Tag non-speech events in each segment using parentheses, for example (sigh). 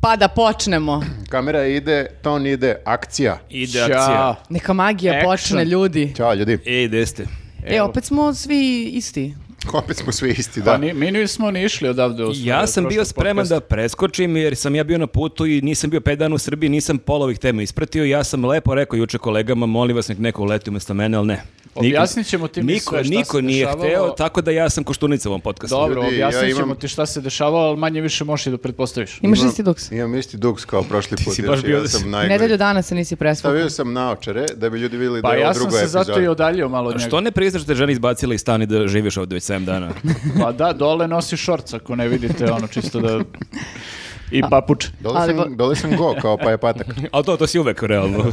Pa Da, da počnemo. Kamera ide, ton ide, akcija. Ide akcija. Neka magija Action. počne, ljudi. Ćao ljudi. Ej, gde ste? E, opet smo svi isti. Opet smo svi isti, Pa da. ni, mi nismo ni išli odavde. u svoj Ja sam bio prošli spreman da podcast. preskočim jer sam ja bio na putu i nisam bio pet dana u Srbiji, nisam pola ovih tema ispratio. Ja sam lepo rekao juče kolegama, molim vas nek neko uleti umjesto mene, ali ne. Niko- Objasnit ćemo ti mi niko, sve šta se Niko nije dešavalo. hteo, tako da ja sam koštunica u ovom podcastu. Dobro, Ljudi, ja objasnit ćemo imam- ti šta se dešavalo, ali manje više možeš i da pretpostaviš. Imaš Imam- isti duks. Imam isti duks kao prošli put. si jer baš bio ja da si- sam Nedelju najgori. dana se nisi presvukao. Stavio sam naočare da bi ljudi vidjeli Pa da je ja ovo sam druga se zato i epizoda. odaljio malo od njega. Što ne priznaš da je žena izbacila iz stana i da živiš ovdje već 7 (laughs) dana? Pa da, dole nosi šorc ako ne vidite, ono čisto da... I papuč. Dole Ali sam, bo- dole sam go, (laughs) kao pa je patak. ali to, to si uvek, realno.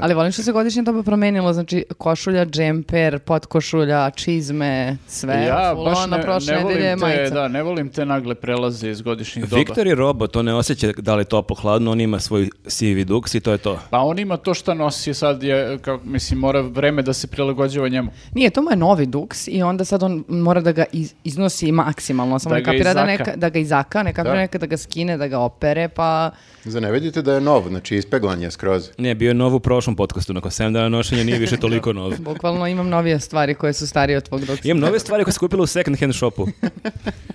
Ali volim što se godišnje doba promenilo, znači košulja, džemper, potkošulja, čizme, sve. ja full baš ono, ne, prošle ne nedelje je volim te, majica. da, ne volim te nagle prelaze iz godišnjih doba. Viktor je robot, on ne osjeća da li je toplo hladno, on ima svoj sivi duks i to je to. Pa on ima to šta nosi sad, je, kao, mislim, mora vreme da se prilagođava njemu. Nije, to mu je novi duks i onda sad on mora da ga iz- iznosi maksimalno. Samo Da ne ga kapira da, izaka. neka, da ga izaka, ne kapira Da. neka da ga skine, da ga opere, pa... Za ne vidite da je nov, znači ispeglan je skroz. Ne, bio je nov u prošlom podcastu, nakon 7 dana nošenja nije više toliko (laughs) nov. Bukvalno imam novije stvari koje su starije od tvog duksa. Imam nove stvari koje sam kupila u second hand shopu.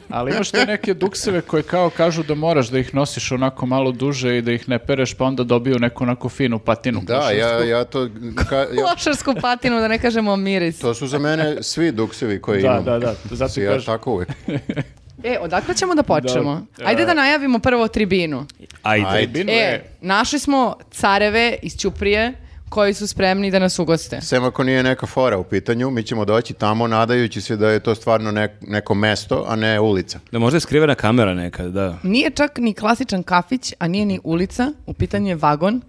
Ali imaš te neke dukseve koje kao kažu da moraš da ih nosiš onako malo duže i da ih ne pereš, pa onda dobiju neku onako finu patinu. Da, ja, ja to... ka- ja- Lošarsku patinu, da ne kažemo miris. to su za mene svi duksevi koji Da, imam. da, da, zato ti Ja kažem. tako (laughs) uvijek. E, odakle ćemo da počnemo? Ajde da najavimo prvo tribinu. Ajde. Ajde. Binu E, je- našli smo careve iz Ćuprije koji su spremni da nas ugoste. Sem ako nije neka fora u pitanju, mi ćemo doći tamo nadajući se da je to stvarno nek- neko mesto, a ne ulica. Da možda je skrivena kamera nekad, da. Nije čak ni klasičan kafić, a nije ni ulica, u pitanju je vagon.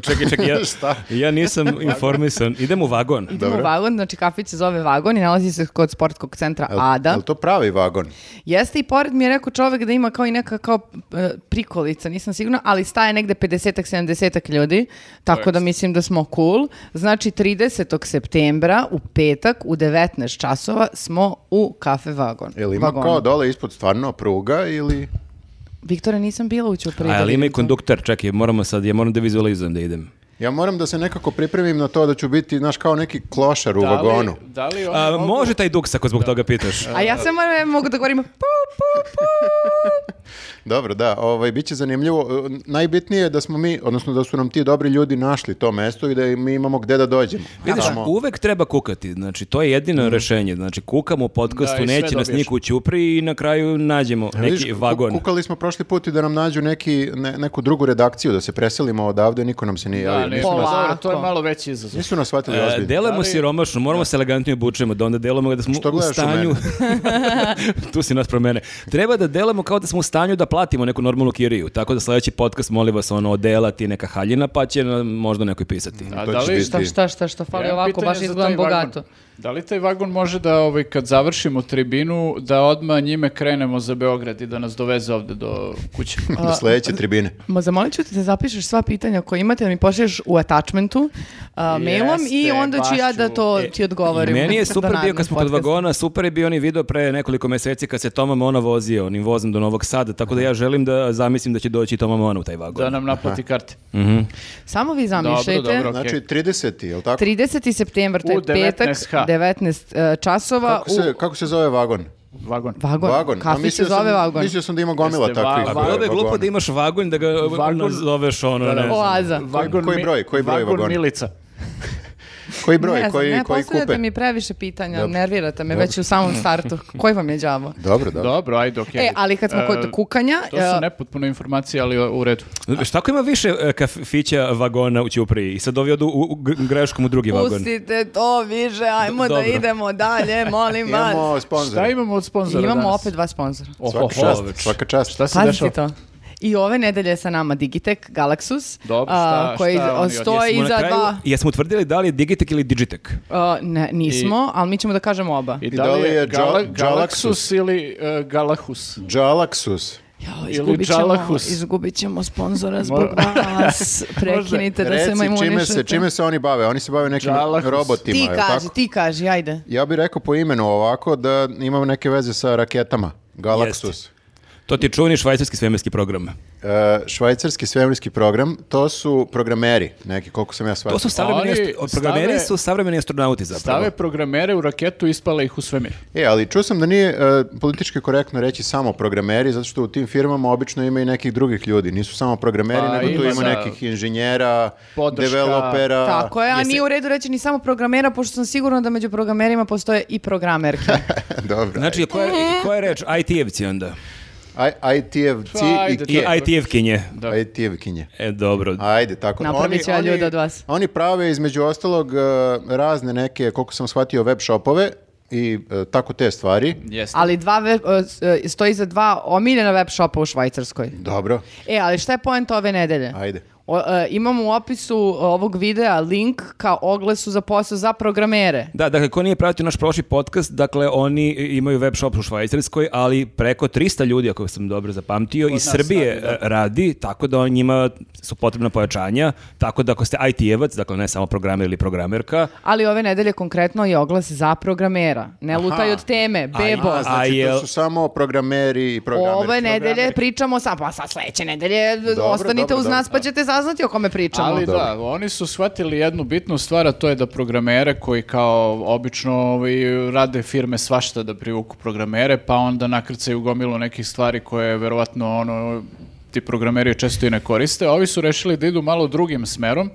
čekaj, čekaj, ja, (laughs) Šta? ja (laughs) nisam informisan. Idem u vagon. Idemo u vagon, znači kafić se zove vagon i nalazi se kod sportskog centra Jel- Ada. jel to pravi vagon? Jeste i pored mi je rekao čovek da ima kao i neka kao e, prikolica, nisam sigurna, ali staje negde 50 70 ljudi, tako da mislim da smo cool. Znači 30. septembra u petak u 19 časova smo u kafe vagon. Jel ima vagonu. kao dole ispod stvarno pruga ili... Viktore, nisam bila u Ćupriji. A, da ali ima i vidim to. konduktor, čekaj, moramo sad, ja moram da vizualizujem da idem. Ja moram da se nekako pripremim na to da ću biti, znaš, kao neki klošar u Da li- vagonu. Da li oni A, mogu- može taj duks ako zbog toga pitaš. A ja sam moram, mogu da govorim pu, pu, pu. Dobro, da, ovaj, bit će zanimljivo. E, Najbitnije je da smo mi, odnosno da su nam ti dobri ljudi našli to mesto i da mi imamo gde da Mm. dođemo. Vidiš, Samo- uvek treba kukati, znači to je jedino rješenje. Znači kukamo u podcastu, Da, i sve neće nas dobiješ. niko ućupri i na kraju nađemo E, neki vidiš, ku- vagon. Kukali smo prošli put i da nam nađu neki, ne- neku drugu redakciju, da se preselimo odavde, niko nam se nije Da, javio. ne, nisu, dobro, nas, Polako. to je malo veći izazov. nisu nas shvatili E, ozbiljno. delamo Ali- siromašno, moramo se elegantnije obučemo, da onda delamo da smo Što u gledaš u stanju... (laughs) tu si nas pro mene. Treba da delamo kao da smo u stanju da platimo neku normalnu kiriju, tako da sljedeći podcast, molim vas, ono, odelati neka haljina, pa će nam možda neko i pisati. A To da će li- biti- Šta, šta, šta, šta, fali Ja, ovako, pitanje baš za taj izgledam vagon. bogato. Da li taj vagon može da, ovaj, kad završimo tribinu, da odmah njime krenemo za Beograd i da nas doveze ovde do (laughs) kuće? Do sledeće tribine. Ma zamolit ću te da zapišeš sva pitanja koje imate, da mi pošalješ u attachmentu, a, mailom i Jeste, onda ću baš ja ću. da to ti odgovorim. E, Meni je za super bio naredni kad smo kod podcast. vagona, super je bio onaj video pre nekoliko mjeseci kad se Toma Mona vozio onim vozom do Novog Sada, tako da ja želim da zamislim da će doći i Toma Mona u taj vagon. da nam naplati karte. Samo vi zamišljajte. dobro. Ok. Znači, 30. je li tako? 30. septembar, to je U petak, 19H. 19 e, časova. Kako se, kako se zove vagon? Vagon. u vagon. Vagon. A Kafić se mislio zove sam- vagon. Mislio sam da ima gomila Jeste, takvih. va- A bilo bi glupo vagona. da imaš vagon da ga Vagon- zoveš ono, ne znam. Oaza. Vagon koji mi- broj, koji broj vagon vagona? Milica. Koji broj, ne znam, koji, ne koji postavljate kupe? mi previše pitanja, Dobro. nervirate me Dobro. već u samom startu. Koji vam je đavo? Dobro, dobro. Dobro, ajde, okej. E, ali kad smo kod E, kukanja, To su e, nepotpune informacije, ali u redu. Šta ako ima više e, kafića vagona u Ćupriji i sad ovi odu u, u gr- greškom u drugi vagon? pustite to više, ajmo da Dobro. idemo dalje, molim vas. (laughs) Imamo sponzora. Šta imamo od sponzora Imamo danas? opet dva sponzora. Oho, Svaka čast, svaka čast. Šta se Pazite dešava? to. I ove nedelje je sa nama Digitek, Galaxus, Dobro, a, šta- koji šta oni od- stoji Jesmo na iza kraju, dva... jesmo utvrdili da li je Digitek ili Digitek? A, ne, nismo, ali mi ćemo da kažemo oba. I da li je Gala- Galaxus ili e, Galahus? Džalaksus. Jo, Ili izgubit ćemo, Džalahus. izgubit ćemo sponzora zbog Mora- vas. Prekinite da se Reci, čime majmunišete. se, čime se oni bave? Oni se bave nekim Džalahus. robotima, Ti je li kaži, tako? ti kaži, ajde. Ja bih rekao po imenu ovako da imam neke veze sa raketama. Galaksus. Jeste. To ti je čuveni švajcarski svemirski program. E, švajcarski svemirski program, to su programeri, neki, koliko sam ja shvatio. To su savremeni, Oni ast- programeri Pa stave- su savremeni astronauti zapravo. Stave programere u raketu, ispala ih u svemir. E, ali čuo sam da nije e, politički korektno reći samo programeri, zato što u tim firmama obično ima i nekih drugih ljudi. Nisu samo programeri, Pa, nego tu ima ima za- nekih inženjera, Podrška. developera. Tako je, a jesi- nije u redu reći ni samo programera, pošto sam sigurna da među programerima postoje i programerke. (laughs) Dobro. Znači, koja, koja je (laughs) reč? IT-evci onda. Aj- ITFC Pa, i ajde, I Kje. tako. IT-evkinje. Da. ITFkinje. E, dobro. Ajde, tako. Napravit Oni- ću ja oni- ljude od vas. Oni prave između ostalog e, razne neke, koliko sam shvatio, web shopove i e, tako te stvari. Jeste. Ali dva web, e, s- e, stoji za dva omiljena web shopa u Švajcarskoj. Dobro, E, ali šta je poenta ove nedelje? ajde. O, e, imamo u opisu e, ovog videa link ka oglasu za posao za programere. Da, dakle, ko nije pratio naš prošli podcast, dakle, oni imaju web shop u Švajcarskoj, ali preko 300 ljudi, ako sam dobro zapamtio, iz nas Srbije radi, da. e, radi, tako da on- njima su potrebna pojačanja, tako da ako ste IT-evac, dakle, ne samo programer ili programerka, dakle, Ali ove nedelje konkretno je oglas za programera. Ne lutaj od teme, bebo. A, Znači, jel- to su samo programeri i programeri. Ove nedelje pričamo sa, pa sad sledeće nedelje Dobro, ostanite dobro, uz dobro. nas pa ćete saznati o kome pričamo. Ali Dobro. da, oni su shvatili jednu bitnu stvar, a to je da programere koji kao obično ovaj, rade firme svašta da privuku programere, pa onda nakrcaju gomilu nekih stvari koje verovatno ono, ti programeri često i ne koriste. Ovi su rešili da idu malo drugim smerom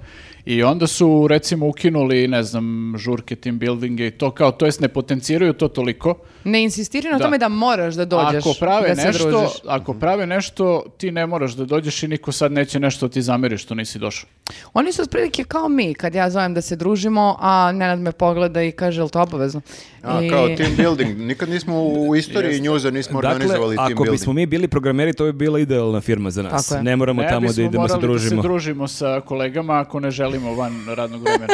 i onda su recimo ukinuli, ne znam, žurke, team buildinge i to kao, to jest ne potenciraju to toliko. Ne insistiri na Da. tome da moraš da dođeš. Ako prave da se nešto, družiš. ako prave nešto, ti ne moraš da dođeš i niko sad neće nešto da ti zameri što nisi došao. Oni su otprilike kao mi, kad ja zovem da se družimo, a Nenad me pogleda i kaže, jel to obavezno? A, I- kao team building. Nikad nismo u istoriji njuza nismo Dakle, organizovali team ako building. bismo mi bili programeri, to bi bila idealna firma za nas. Tako je. Ne moramo Ne tamo da bismo idemo se morali da družimo. se družimo sa kolegama ako ne želimo van radnog vremena.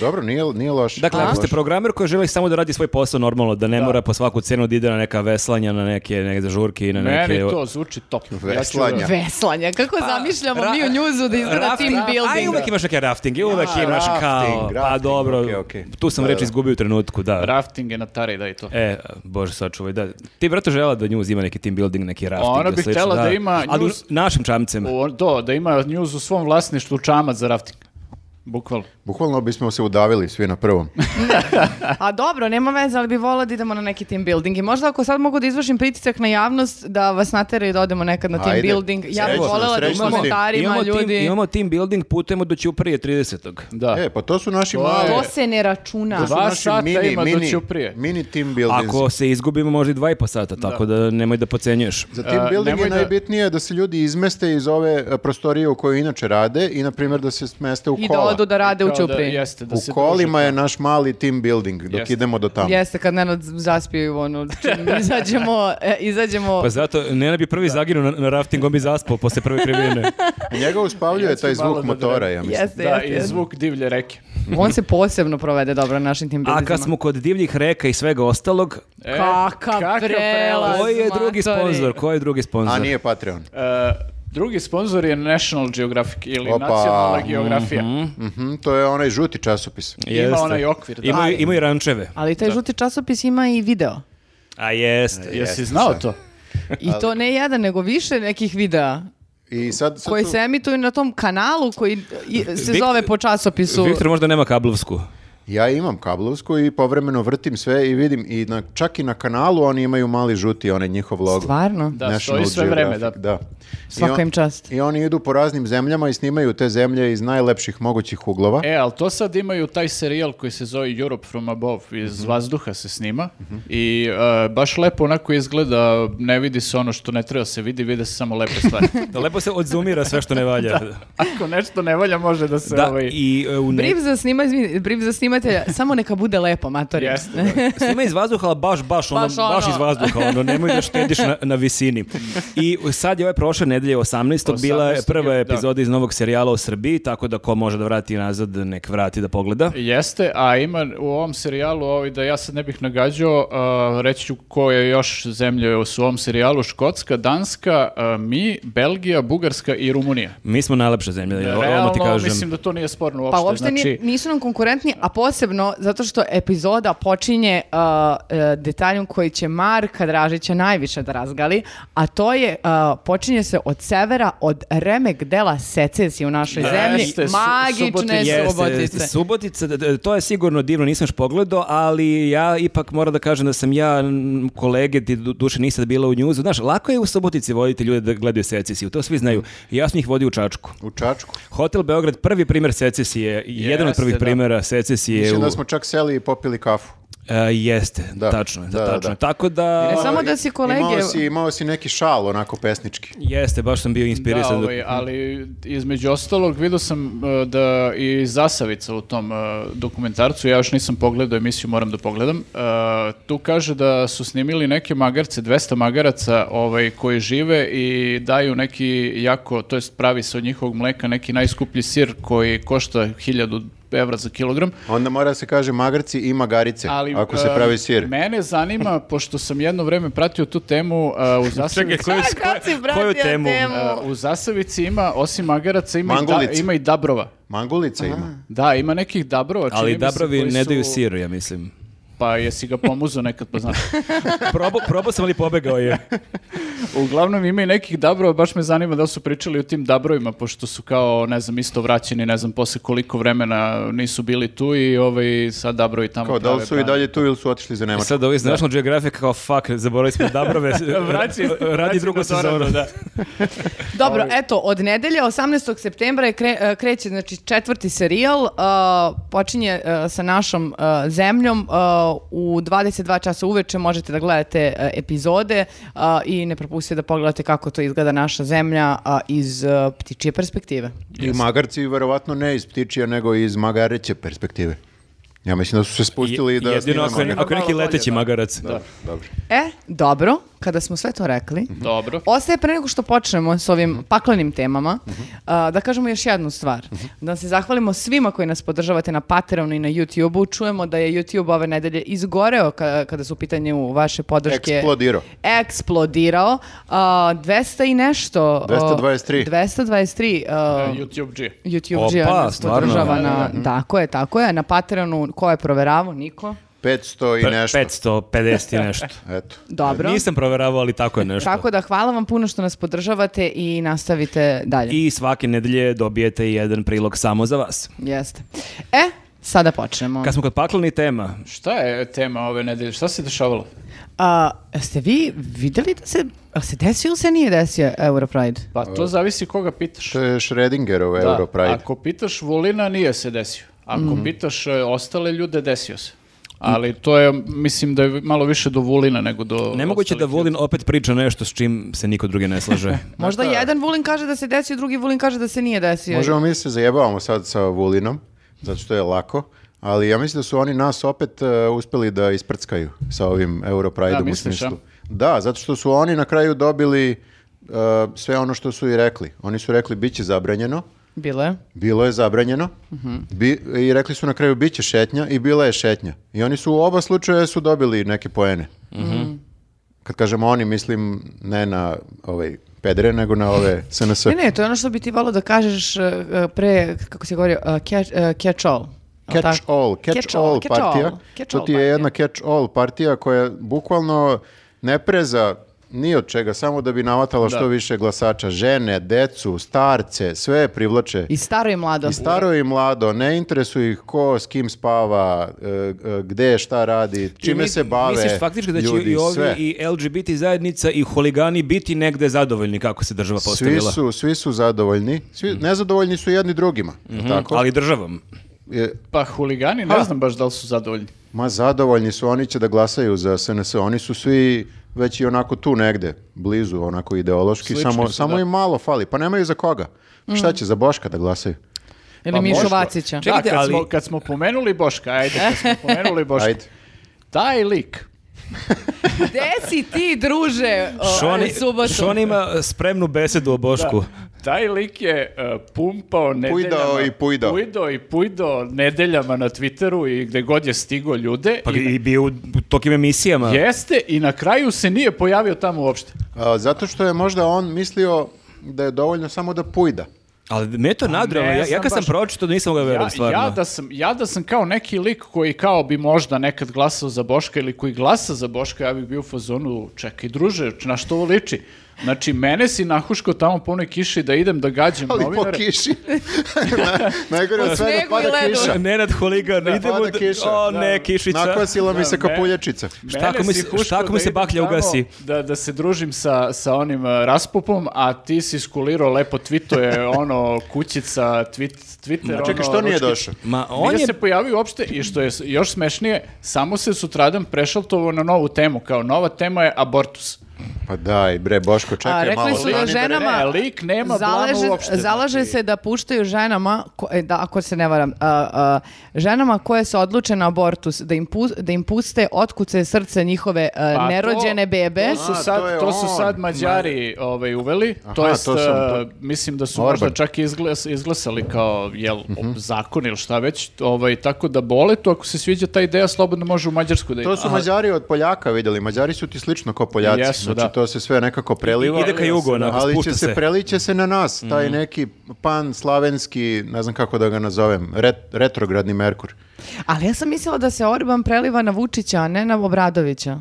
Dobro, nije, nije loše. Dakle, Nije ako ste loše. programer koji želi samo da radi svoj posao normalno, da ne mora po svaku cenu da ide na neka veslanja, na neke, neke žurke i na (laughs) neke... Meni to zvuči top. Ja ću- Veslanja. Veslanja, kako zamišljamo mi u njuzu da izgleda Rafting. team Pa, Aj, building. uvek imaš neke rafting, uvek imaš rafting, kao, pa rafting, dobro, okej, okej. tu sam Da, reč da. izgubio u trenutku, da. (laughs) Rafting je na tari, da i to. E, bože, sačuvaj, da. Ti brate žela da njuz ima neki team building, neki rafting. Ona bi slično, htela da ima Ali u njuz- našim čamcem. O, to, da ima news u svom vlasništvu čamac za rafting. Bukvalno. Bukvalno bismo se udavili svi na prvom. A dobro, nema veze, ali bi volila da idemo na neki team building. I možda ako sad mogu da izvršim pritisak na javnost, da vas nateraju da odemo nekad na team Ajde. building. Ja bih Srećno, voljela da u srećno s tim. komentarima imamo, ljudi... Team, imamo team building, putujemo do Ćuprije 30. Da. E, pa to su naši To je- mali... To se ne računa. to su Dva naši sata mini, ima do mini, Ćuprije. Mini team buildings. Ako se izgubimo, možda i dva i po sata, tako da nemoj da pocenjuješ. Za E, team building nemoj je da- najbitnije da se ljudi izmeste iz ove e, prostorije u kojoj inače rade i, na primjer, da se smeste u I da kola. odu da rade u Kao Ćupriji. Da, jeste, da se u kolima druže. je naš mali team building dok Jeste. idemo do tamo. Jeste, kad Nenad zaspije ono, čim (laughs) izađemo, e, izađemo... Pa zato, Nena bi prvi zaginuo na, na rafting, on bi zaspao posle prve (laughs) krivine. Njega uspavljuje taj malo zvuk da motora, drem. ja mislim. Jeste, Da, jeste, i jeste. zvuk divlje reke. On se posebno provede dobro na našim tim A bildizima. kad smo kod divljih reka i svega ostalog, E, Kakav prelaz. koji je drugi matori. sponsor? Koji je drugi sponsor? A nije Patreon. E, drugi sponsor je National Geographic ili Opa. Nacionalna geografija. Mhm, to je onaj žuti časopis. Ima Jeste. onaj okvir, da. Ima, Ali- ima i rančeve. Ali taj žuti časopis ima i video. A jeste. Jesi znao to? I to ne jedan, nego više nekih videa I sad, sad koji tu- se emituju na tom kanalu koji i- se Vikt- zove po časopisu. Viktor možda nema kablovsku. Ja imam kablovsku i povremeno vrtim sve i vidim i na, čak i na kanalu oni imaju mali žuti, onaj njihov logo. Stvarno? Da, stoji sve vreme, da. Geographic, da. I Svaka on- im čast. I oni idu po raznim zemljama i snimaju te zemlje iz najlepših mogućih uglova. E, ali to sad imaju taj serijal koji se zove Europe from Above, iz vazduha se snima i e, baš lepo onako izgleda, ne vidi se ono što ne treba se vidi, vide se samo lepe stvari. Da lepo se odzumira sve što ne valja. da, (laughs) Ako nešto ne valja, može da se ovaj... i e, u ne... Briv za, snima, izvini, brief za (laughs) snimatelja, samo neka bude lepo, matori. Jeste, da. Snima iz vazduha, ali baš, baš, ono, baš, Baš ono. iz vazduha, ono, nemoj da štediš na, na visini. I sad je ove prošle nedelje, 18. bila je 18., prva da. epizoda iz novog serijala u Srbiji, tako da ko može da vrati nazad, nek vrati da pogleda. Jeste, a ima u ovom serijalu, ovaj, da ja sad ne bih nagađao, a, reći ću koje još zemlje su u ovom serijalu, Škotska, Danska, a, mi, Belgija, Bugarska i Rumunija. Mi smo najlepša zemlja, da, E, odmah ti Realno, kažem. mislim da to nije sporno uopšte. Pa uopšte znači, nije- nisu nam konkurentni, a posebno zato što epizoda počinje uh, uh, detaljem koji će Marka Dražića najviše da razgali, a to je, uh, počinje se od severa, od remek dela secesije u našoj Jeste, zemlji, su- magične Subotica. subotice. Subotica, d- d- to je sigurno divno, nisam još pogledao, ali ja ipak moram da kažem da sam ja, m, kolege, ti du- duše niste bila u njuzu. Znaš, lako je u Subotici voditi ljude da gledaju secesiju, to svi znaju. Mm. Ja sam ih vodio u Čačku. U Čačku. Hotel Beograd, prvi primjer secesije, jedan od Jeste, prvih da. primjera secesije. Mislim u- da smo čak seli i popili kafu. E, jeste, Da. tačno je, da, Da, da, tačno je. da. Tako da... Ne E, samo da si kolege- Imao si, imao si neki šal, onako pesnički. Jeste, baš sam bio Da, inspirisan. do- ovaj, ali između ostalog vidio sam e, da i Zasavica u tom e, dokumentarcu, ja još nisam pogledao emisiju, moram da pogledam, e, tu kaže da su snimili neke magarce, 200 magaraca ovaj, koji žive i daju neki jako, to jest pravi se od njihovog mleka neki najskuplji sir koji košta 1000 evra za kilogram. Onda mora se kaže magarci i magarice, Ali, ako se e, pravi sir. Mene zanima, pošto sam jedno vreme pratio tu temu, e, u Zasavici... koju, (laughs) A, kad si koju- koju vratio temu? temu? E, u Zasavici ima, osim magaraca, ima, i, da- Mangulica. ima i dabrova. Mangulica ima. Da, ima nekih dabrova. čini Ali mi se, Dabrovi koji ne su- daju sir, ja mislim. Pa jesi ga pomuzao nekad, pa znaš. Probao, probao sam ali pobegao (laughs) je. Uglavnom ima i nekih dabrova, baš me zanima da li su pričali o tim dabrovima, pošto su kao, ne znam, isto vraćeni, ne znam, posle koliko vremena nisu bili tu i ovaj, sad dabrovi tamo Kao, da li prave su i brane. dalje tu ili su otišli za Nemačku? E Sad ovi iz National Geographic kao fuck, zaboravili smo (laughs) Dabrove. Vraći- radi vraći drugu na doradu, sezonu. Da. Dobro, eto, od nedelje 18. septembra je kre- e, kreće znači, četvrti serijal, e, počinje e, sa našom e, zemljom, e, u 22 časa uveče možete da gledate e, epizode e, i ne propustite da pogledate kako to izgleda naša zemlja a, iz e, ptičije perspektive. I magarci verovatno ne iz ptičija, nego iz magareće perspektive. Ja mislim da su se spustili i da snimamo. Jedino ako, je- ako je neki Malo bolje, leteći da. magarac. Da, dobro. E, dobro, kada smo sve to rekli, Dobro. Ostaje pre nego što počnemo s ovim paklenim temama, a, da kažemo još jednu stvar. Da se zahvalimo svima koji nas podržavate na Patreonu i na YouTubeu. Čujemo da je YouTube ove nedelje izgoreo ka- kada su u pitanju vaše podrške. Eksplodirao. Eksplodirao. A, 200 i nešto. a, 223. 223. a, YouTube G. YouTube Opa, nas stvarno? podržava Da, da, na... Tako je, tako je. Na Patreonu ko je proveravao? Niko. 500 i nešto. 550 i (laughs) nešto. Eto. Dobro. Nisam proveravao, ali tako je nešto. Tako da hvala vam puno što nas podržavate i nastavite dalje. I svake nedelje dobijete jedan prilog samo za vas. Jeste. E, sada počnemo. Kad smo kod paklenih tema, Šta je tema ove nedelje? Šta se dešavalo? A, ste vi vidjeli da se, a se desio ili se nije desio Europride? Pa E. to zavisi koga pitaš. To je Schrödingerov Da, Europride. Ako pitaš Vulina, nije se desio. Ako Mhm. pitaš e, ostale ljude, desio se. Ali to je, mislim da je malo više do Vulina nego do... nemoguće da ostalih Vulin opet priča nešto s čim se niko drugi ne (laughs) slaže. Možda jedan Vulin kaže da se desio, drugi Vulin kaže da se nije desio. Možemo mi se zajebavamo sad sa Vulinom, zato što je lako, ali ja mislim da su oni nas opet e, uspeli da isprckaju sa ovim Da, Europrideom u misliš, smislu. Da, zato što su oni na kraju dobili e, sve ono što su i rekli. Oni su rekli bit će zabranjeno, Bilo je. bilo je zabranjeno Bi- i rekli su na kraju bit će šetnja i bila je šetnja. I oni su u oba slučaja su dobili neke poene. Kad kažemo oni, mislim ne na ovaj pedere, nego na ove SNS. Ne, ne, to je ono što bi ti volio da kažeš e, e, pre, kako se govorio, e, catch, e, catch all. Jel Catch tako? all, catch, all, catch partija. all, catch to all ti je partija. jedna catch all partija koja bukvalno ne preza ni od čega, samo da bi navatala što više glasača. Žene, decu, starce, sve privlače. I staro i mlado. I staro i mlado, ne interesuje ih ko s kim spava, e, e, gde, šta radi, čime Mi- se bave. Misliš faktički da će ljudi, i ovi sve. i LGBT zajednica i huligani biti negde zadovoljni kako se država Svi postavila? Mhm. su, svi su zadovoljni, svi, nezadovoljni su jedni drugima, jel tako? Mm, Ali državom. E, Pa huligani, ne znam baš da li su zadovoljni. Ma zadovoljni su, oni će da glasaju za SNS, oni su svi već i onako tu negde, blizu onako ideološki, Slični samo, su, samo da. im malo fali, pa nemaju za koga. Mhm. Šta će, za Boška da glasaju? Ili Pa Mišu možda. Vacića. Ček- Čekajte, da, kad, ali- smo, kad smo pomenuli Boška, ajde, kad (laughs) smo pomenuli Boška. Ajde. Taj lik, Gde si ti, druže, o, Šoni, u e, subotu? Šoni ima e, spremnu besedu o Bošku. taj lik je e, pumpao nedeljama. i pujdao. Pujdao i pujdao nedeljama na Twitteru i gde god je stigo ljude. Pa i na- i bio u tokim emisijama. Jeste i na kraju se nije pojavio tamo uopšte. A, zato što je možda on mislio da je dovoljno samo da pujda. Ali me je to nadralo, ne ja, ja znam kad sam baš. pročito nisam ga verujem ja, stvarno. ja, da sam, ja da sam kao neki lik koji kao bi možda nekad glasao za Boška ili koji glasa za Boška, ja bih bio u fazonu, čekaj druže, na što ovo liči? Znači, mene si nahuško tamo po onoj kiši da idem da gađam Ali po novinare. kiši. (laughs) Na- Najgore od Po sve da snegu pada i ledu. kiša. Nenad Huligan, Da, idemo... pada da- kiša, O, da. ne, kišica. Nakvasila mi se Da, me- kapuljačica. Šta ako mi se- Mene si šta ako huško mi se idem baklja tamo ugasi? Da, da se družim sa, sa onim e, raspupom, a ti si skulirao lepo tvituje ono kućica, tweet, Twitter. A čekaj, ono, što nije ručki- došao? Ma On on nije je... se pojavio uopšte i što je s- još smešnije, samo se sutradan prešaltovo na novu temu, kao nova tema je abortus. Pa daj, bre, Boško, A, čekaj rekli malo. su da stani, bre. žena- Nama Ne, lik nema Zalaže, blama uopšte. znači. zalaže se da puštaju ženama, ko- e, da, ako se ne varam, a, a, ženama koje se odluče na abortus, da im, pu- da im puste otkuce srce njihove a, Pa to- nerođene bebe. To su A, sad, to je to, su on. sad Mađari ovaj, uveli, Aha, to jest, to sam- to- eh, mislim da su Orban. Mhm. možda čak i izglas, izglasali kao jel, zakon ili šta već, ovaj, tako da boletu, ako se sviđa ta ideja, slobodno može u Mađarsku da ide. To su Mađari od Poljaka vidjeli. Mađari su ti slično kao Poljaci. Jesu, znači, da. to se sve nekako preliva. I- ide ka jugu, onako, ali spušta će se, se. preliće se na nas. Taj neki pan slavenski, ne znam kako da ga nazovem, ret- retrogradni Merkur. Ali ja sam mislila da se Orban preliva na Vučića, a ne na Obradovića.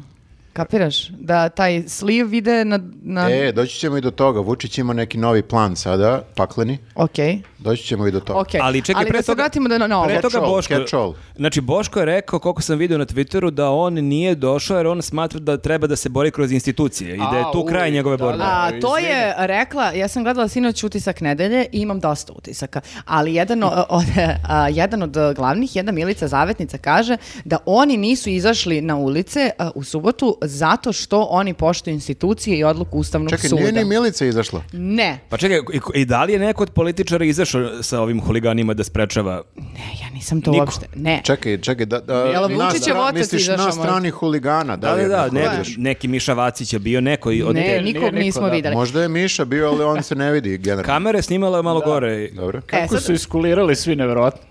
Kapiraš? Da taj sliv ide na... na... E, doći ćemo i do toga. Vučić ima neki novi plan sada, pakleni. Okej. Doći ćemo i do toga. Okej. Ali čekaj, pre da se toga- vratimo da na, na ovo. Pre Catch toga all, Boško, catch all. znači Boško je rekao, koliko sam vidio na Twitteru, da on nije došao jer on smatra da treba da se bori kroz institucije i da je A, tu kraj uvijek, njegove da, borbe. da. A, to izvini. je rekla, ja sam gledala sinoć utisak nedelje i imam dosta utisaka, ali jedan o- od, a, jedan od glavnih, jedna Milica Zavetnica kaže da oni nisu izašli na ulice a, u subotu zato što oni poštuju institucije i odluku Ustavnog Čekaj, suda. nije ni Milica izašla. Ne, Pa čekaj, i, i da li je neko od političara izašao sa ovim huliganima da sprečava? ne, ja nisam to Niko. uopšte, ne. Čekaj, čekaj, da, da, Jel' na Vučićev stra- otac misliš izašao na možda? strani huligana. Da, Da, li da, je da, neko ne, izašao? neki Miša Vacić je bio, neko i od ne, te- nikog nije niko, nismo da. videli. Možda je Miša bio, ali on se ne vidi generalno. Kamera je snimala malo gore. Dobro. E, Kako sad- su iskulirali svi, nevjerojatno.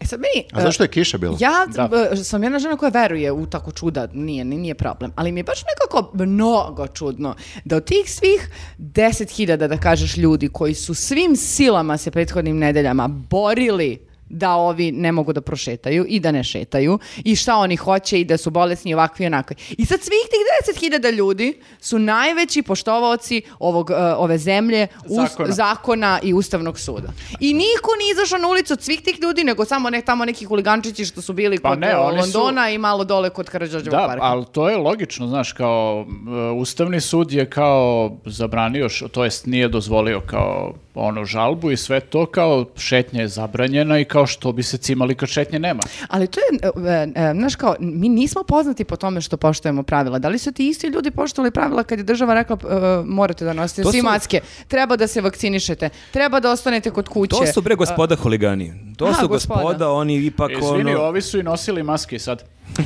E sad meni, A zašto je kiša bila? Ja Da. b- sam jedna žena koja veruje u tako čuda, nije, ni- nije problem, ali mi je baš nekako mnogo čudno da od tih svih deset hiljada, da kažeš, ljudi koji su svim silama se prethodnim nedeljama borili da ovi ne mogu da prošetaju i da ne šetaju i šta oni hoće i da su bolesni i ovakvi i onakvi. I sad svih tih deset hiljada ljudi su najveći poštovaoci ovog, e, ove zemlje, us- Zakona. zakona i Ustavnog suda. I niko nije izašao na ulicu od svih tih ljudi, nego samo ne, tamo neki huligančići što su bili Pa kod ne, e, oni su- Londona i malo dole kod Karadžorđevog Da, parka. ali to je logično, znaš, kao e, Ustavni sud je kao zabranio, š- to jest nije dozvolio kao ono žalbu i sve to kao šetnja je zabranjena i kao što bi se cimali kad šetnje nema. Ali to je, e, e, znaš kao, mi nismo poznati po tome što poštujemo pravila. Da li su ti isti ljudi poštovali pravila kad je država rekla e, morate da nosite To svi su- maske, treba da se vakcinišete, treba da ostanete kod kuće. To su bre gospoda huligani. To A, su gospoda. gospoda, oni ipak E, Izvini, ono... ovi su i nosili maske sad. (laughs)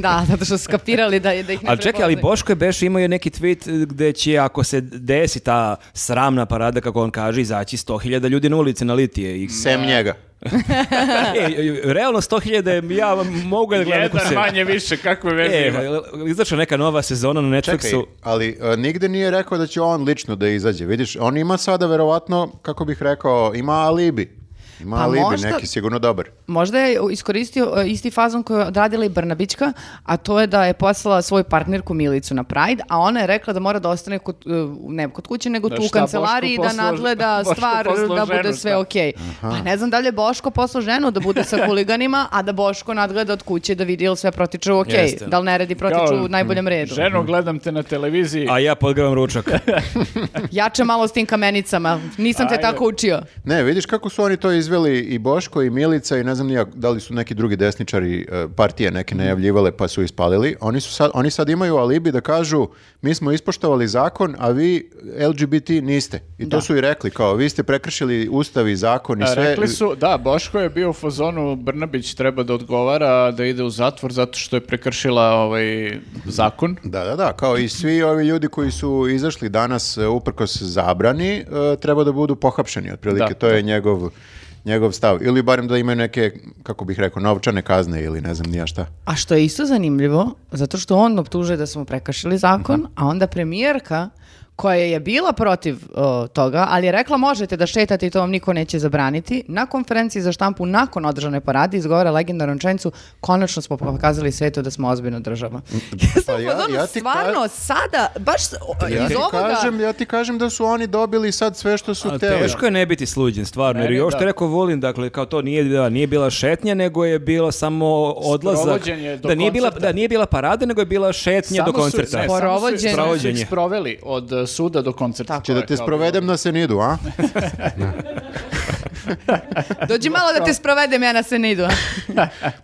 da, zato što su skapirali da, je- da ih ne Ali čekaj, ali prepoznaju. Boško je Beš imao je neki tweet e, gde će ako se desi ta sramna parada, kako on kaže, izaći 100.000 ljudi na ulice na litije. (laughs) I... Sem njega. E, e, realno 100.000 je- ja mogu da gledam neku Jedan seriju. manje više, kakve veze E, ima. izašla neka nova sezona na Čekaj, Netflixu. ali e, nigde nije rekao da će on lično da izađe. Vidiš, on ima sada verovatno, kako bih rekao, ima alibi. Ima Pa alibi, možda- neki sigurno dobar. Možda je iskoristio e, isti fazon koju je odradila i Brnabićka, a to je da je poslala svoju partnerku Milicu na Pride, a ona je rekla da mora da ostane kod, e, ne kod kuće, nego Da tu u šta, kancelariji Boško da poslao- (laughs) nadgleda Boško stvar, poslao da bude ženu, sve šta? okej. Pa ne znam da li je Boško poslao ženu da bude (laughs) sa huliganima, a da Boško nadgleda od kuće da vidi ili sve protiče okej, Jeste. da li ne radi protiču Kao, u najboljem redu. Ženo, gledam te na televiziji. A ja podgravam ručak. Jače malo s tim kamenicama, nisam te Ajde. tako učio. Ne, vidiš kako su oni to izveli i Boško i Milica i ne znam nijak, da li su neki drugi desničari e, partije neke najavljivale pa su ispalili. Oni, su sad, oni sad imaju alibi da kažu mi smo ispoštovali zakon, a vi LGBT niste. I to su i rekli kao vi ste prekršili ustav i zakon i A, sve. Rekli su, da, Boško je bio u fazonu Brnabić treba da odgovara da ide u zatvor zato što je prekršila ovaj zakon. Da, da, da, kao i svi ovi ljudi koji su izašli danas e, uprkos zabrani, e, treba da budu pohapšeni, otprilike, Da. to je njegov, njegov stav. Ili barem da imaju neke, kako bih rekao, novčane kazne ili ne znam nija šta. A što je Mhm. isto zanimljivo, zato što on optužuje da smo prekršili zakon, a onda premijerka koja je bila protiv o, toga, ali je rekla možete da šetate i to vam niko neće zabraniti. Na konferenciji za štampu nakon održane parade izgovara legendarnu rečenicu konačno smo pokazali svetu da smo ozbiljna država. (laughs) ja sam Pa ja- u fazonu, ja ti ka- stvarno sada baš o, Ja iz ti, ovoga kažem, ja ti kažem da su oni dobili sad sve što su A hteli. teško je ne biti sluđen, stvarno, jer Meni i ovo što da. je rekao Vulin, dakle, kao to nije bila, nije bila šetnja, nego je bilo samo odlazak. Sprovođen je do da, nije bila, koncerta. da nije bila parada, nego je bila šetnja do koncerta. Su, ne, samo su- Sprovođenje. samo su Sprovođenje. ih sproveli od uh, suda do koncerta. Tako Če Znači da te sprovedem na Senidu, a? Dođi malo da te sprovedem, ja na se ne idu.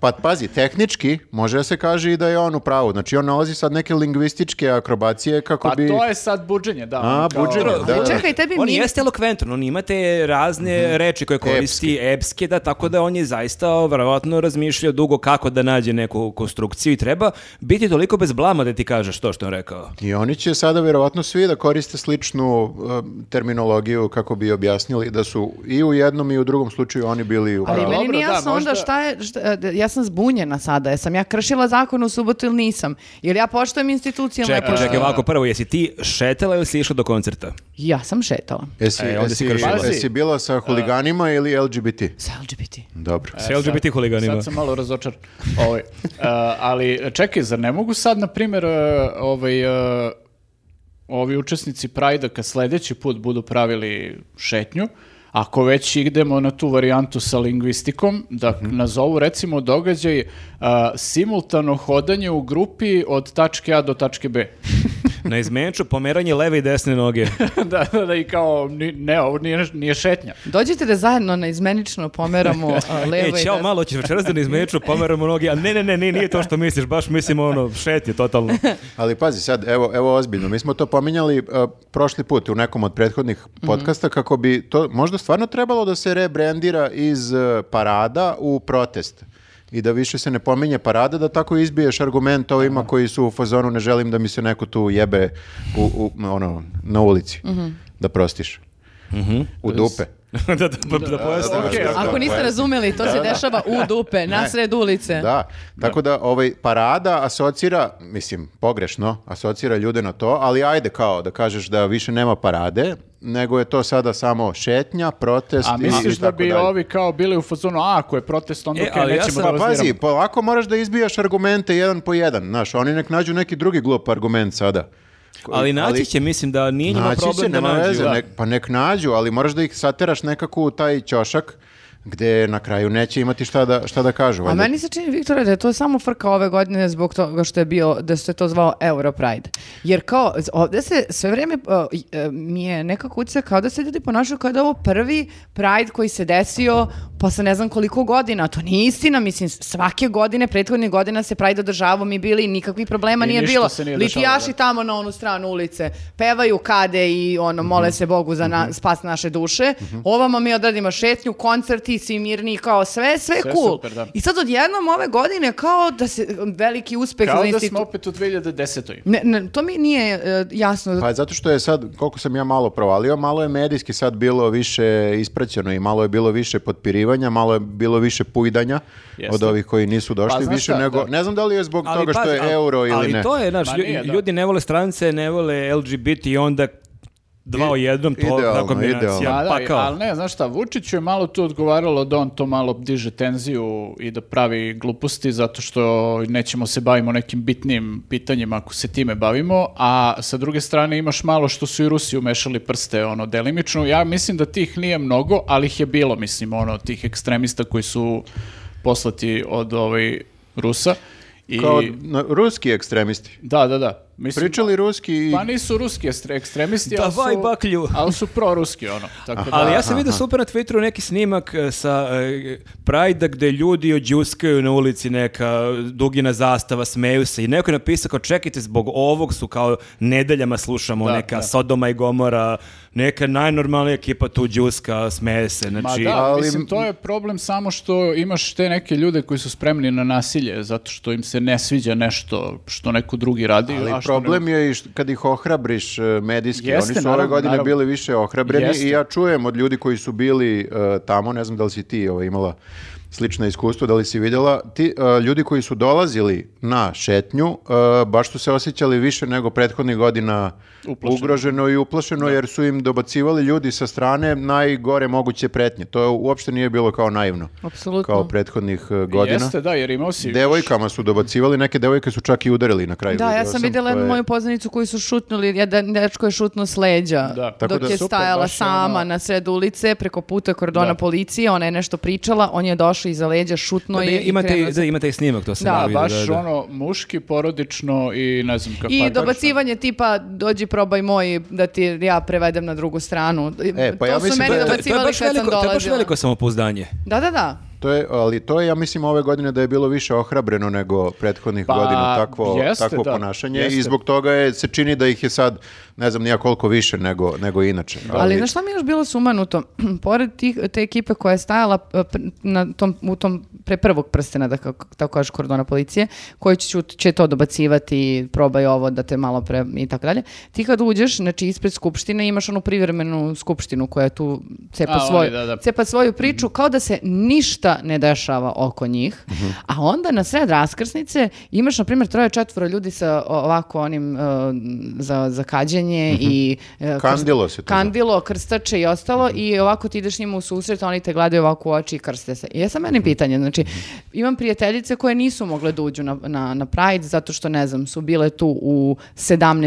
Pa pazi, tehnički može da se kaže i da je on u pravu. Znači on nalazi sad neke lingvističke akrobacije kako Pa bi... to je sad buđenje, da. A, ono kao- buđenje, da. Čekaj, tebi On mi... jeste elokventan, on imate razne Mhm. reči koje koristi, epske. da, tako da on je zaista verovatno razmišljao dugo kako da nađe neku konstrukciju i treba biti toliko bez blama da ti kažeš to što je on rekao. I oni će sada vjerovatno svi da koriste sličnu em, terminologiju kako bi objasnili da su i u jednom i u drugom slučaju oni bili u Ali pravu. meni dobro, nije da, jasno onda možda- šta je, šta- e, ja sam zbunjena sada, jesam ja kršila zakon u subotu ili nisam, jer ja poštujem institucije Čekaj, lepo- čekaj, ovako prvo, jesi ti šetala ili si išla do koncerta? Ja sam šetala Jesi, E, onda si jesi, kršila. jesi bila sa huliganima ili LGBT? sa LGBT. Dobro. Sa LGBT huliganima. E, Sad sam malo razočar. Ovaj, e, ali čekaj, zar ne mogu sad, na primjer, e, ovaj, e, ovi učesnici Prajda kad sljedeći put budu pravili šetnju, ako već idemo na tu varijantu sa lingvistikom, da Mhm. nazovu recimo događaj e, simultano hodanje u grupi od tačke A do tačke B. Na izmenču pomeranje leve i desne (laughs) noge. da, da, da, i kao, ni- ne, ovo nije, nije šetnja. Dođite da zajedno na izmenično pomeramo a, levo E, i ćao, desno. malo ćeš večeras da ne izmeču, pomeramo noge, a ne, ne, ne, ne, nije to što misliš, baš mislim ono, šetje (laughs) totalno. Ali pazi sad, evo, evo ozbiljno, mi smo to pominjali e, prošli put u nekom od prethodnih podcasta kako bi to možda stvarno trebalo da se rebrandira iz e, parada u protest i da više se ne pominje parada, da tako izbiješ argument ovima koji su u fazonu ne želim da mi se neko tu jebe u, u- ono, na ulici, da prostiš. Mhm. U dupe. da, da, da, da pojasnim. Okej, Znaš, Ako niste razumeli, to se dešava u dupe, na sred ulice. Da, tako da ovaj parada asocira, mislim, pogrešno, asocira ljude na to, ali ajde kao da kažeš da više nema parade, nego je to sada samo šetnja, protest A i- misliš i da tako bi dalje. ovi kao bili u fazonu, a ako je protest, onda E, okej, ali ja sam- nećemo da Pa vas pazi, diramo." polako moraš da izbijaš argumente jedan po jedan, znaš, oni nek nađu neki drugi glup argument sada. Ko- Ali naći će, mislim da nije njima naći će, problem da nema nađu. veze, da. nek- pa nek nađu, ali moraš da ih sateraš nekako u taj ćošak gde na kraju neće imati šta da, šta da kažu. A valjda. meni se čini, Viktore, da je to samo frka ove godine zbog toga što je bio, da se to zvao Europride. Jer kao, z- ovdje se sve vrijeme o, i, e, mi je nekako utjeca kao da se ljudi ponašaju kao da je ovo prvi Pride koji se desio posle ne znam koliko godina. To nije istina, mislim, svake godine, prethodnih godina se Pride održavao, mi bili, nikakvih problema I nije ništa bilo. se nije dešavalo, Litijaši da. tamo na onu stranu ulice pevaju kade i ono, Mhm. mole se Bogu za na, spas naše duše. Ovamo mi odradimo šetnju, koncerti, svi mirni, kao sve, sve, Sve cool. super, da. I sad odjednom ove godine kao da se veliki uspeh Kao za da smo institut. opet u 2010. Ne, ne, to mi nije e, jasno. Pa zato što je sad, koliko sam ja malo provalio, malo je medijski sad bilo više ispraćeno i malo je bilo više potpirivanja, malo je bilo više pujdanja Jeste. od ovih koji nisu došli Pa, znaš više šta, nego, da. ne znam da li je zbog toga što pazi, je ali- euro ili ali ne. to je, znaš, Ma lju- Pa nije, da. ljudi ne vole strance, ne vole LGBT i onda dva I- u jednom, to idealno, tako kombinacija. Pa idealno. Pa Da, da, pakao. ali ne, znaš šta, Vučiću je malo tu odgovaralo da on to malo diže tenziju i da pravi gluposti zato što nećemo se bavimo nekim bitnim pitanjima ako se time bavimo, a sa druge strane imaš malo što su i Rusi umešali prste ono delimično. Ja mislim da tih nije mnogo, ali ih je bilo, mislim, ono tih ekstremista koji su poslati od ovaj Rusa. I, Kao na- ruski ekstremisti. Da, da, da. Mislim, Pričali ruski i... Pa nisu ruski estre- ekstremisti, ali Davaj su, baklju. ali su proruski, ono. Tako da, Ali ja sam vidio super na Twitteru neki snimak e, sa e, Prajda gde ljudi odđuskaju na ulici neka dugina zastava, smeju se i neko je napisao kao čekajte zbog ovog su kao nedeljama slušamo Da, neka da. Sodoma i Gomora, neka najnormalnija ekipa tu džuska, smeje se. Ma Znači, da, ali- mislim, to je problem samo što imaš te neke ljude koji su spremni na nasilje zato što im se ne sviđa nešto što neko drugi radi. Ali a što problem ne- je i št- kad ih ohrabriš e, medijski. Jeste, Oni su ove naravno, godine naravno. bili više ohrabreni Jeste. i ja čujem od ljudi koji su bili e, tamo, ne znam da li si ti ovaj, imala slična iskustva, da li si vidjela, ti e, ljudi koji su dolazili na šetnju, e, baš su se osjećali više nego prethodnih godina Uplašeno. ugroženo i uplašeno, jer su im dobacivali ljudi sa strane najgore moguće pretnje. To uopšte nije bilo kao naivno. Apsolutno. Kao prethodnih e, godina. Jeste, da, jer imao si... Devojkama su dobacivali, neke devojke su čak i udarili na kraju. Da, ja video sam vidjela to jednu je- moju poznanicu koju su šutnuli, jedan dečko je šutno s leđa, Da. Tako dok da je super, stajala baš je ono- sama na sred ulice, preko puta kordona Da. policije, ona je nešto pričala, on je došao iza leđa, šutno Da, je Ono i imate, krenuo. i- da, imate i snimak, to sam Da, ja Da, vidio, baš da, da. ono muški, porodično i ne znam kako. I dobacivanje tipa dođi probaj moj da ti ja prevedem na drugu stranu. E, pa ja to su mislim meni da je- To je- to je dobacivali baš kad sam veliko, to je baš dolazila. veliko samopouzdanje. Da, da, da. To je, ali to je, ja mislim, ove godine da je bilo više ohrabreno nego prethodnih Pa, godina takvo, jeste, takvo da, ponašanje i jeste. zbog toga je, se čini da ih je sad, ne znam, nija koliko više nego, nego inače. Ali znaš šta mi je još bilo sumanuto? (clears throat) Pored tih, te ekipe koja je stajala e, pr- na tom, u tom pre prvog prstena, da kako, tako kaže kordona policije, koji će, ću- će to dobacivati, probaj ovo da te malo pre i tako dalje. Ti kad uđeš, znači ispred skupštine imaš onu privremenu skupštinu koja tu cepa, A, oni, svoju, da, Mhm. da. cepa svoju priču kao da se ništa ne dešava oko njih, Mhm. a onda na sred raskrsnice imaš, na primjer, troje četvoro ljudi sa o- ovako onim e, za, za Mhm. kađenje i e, Kandilo se to zove. Kandilo, krstače i ostalo i ovako ti ideš njima u susret, a oni te gledaju ovako u oči i krste se. I ja sam Mhm. meni pitanje, znači, imam prijateljice koje nisu mogle da uđu na, na, na Pride zato što, ne znam, su bile tu u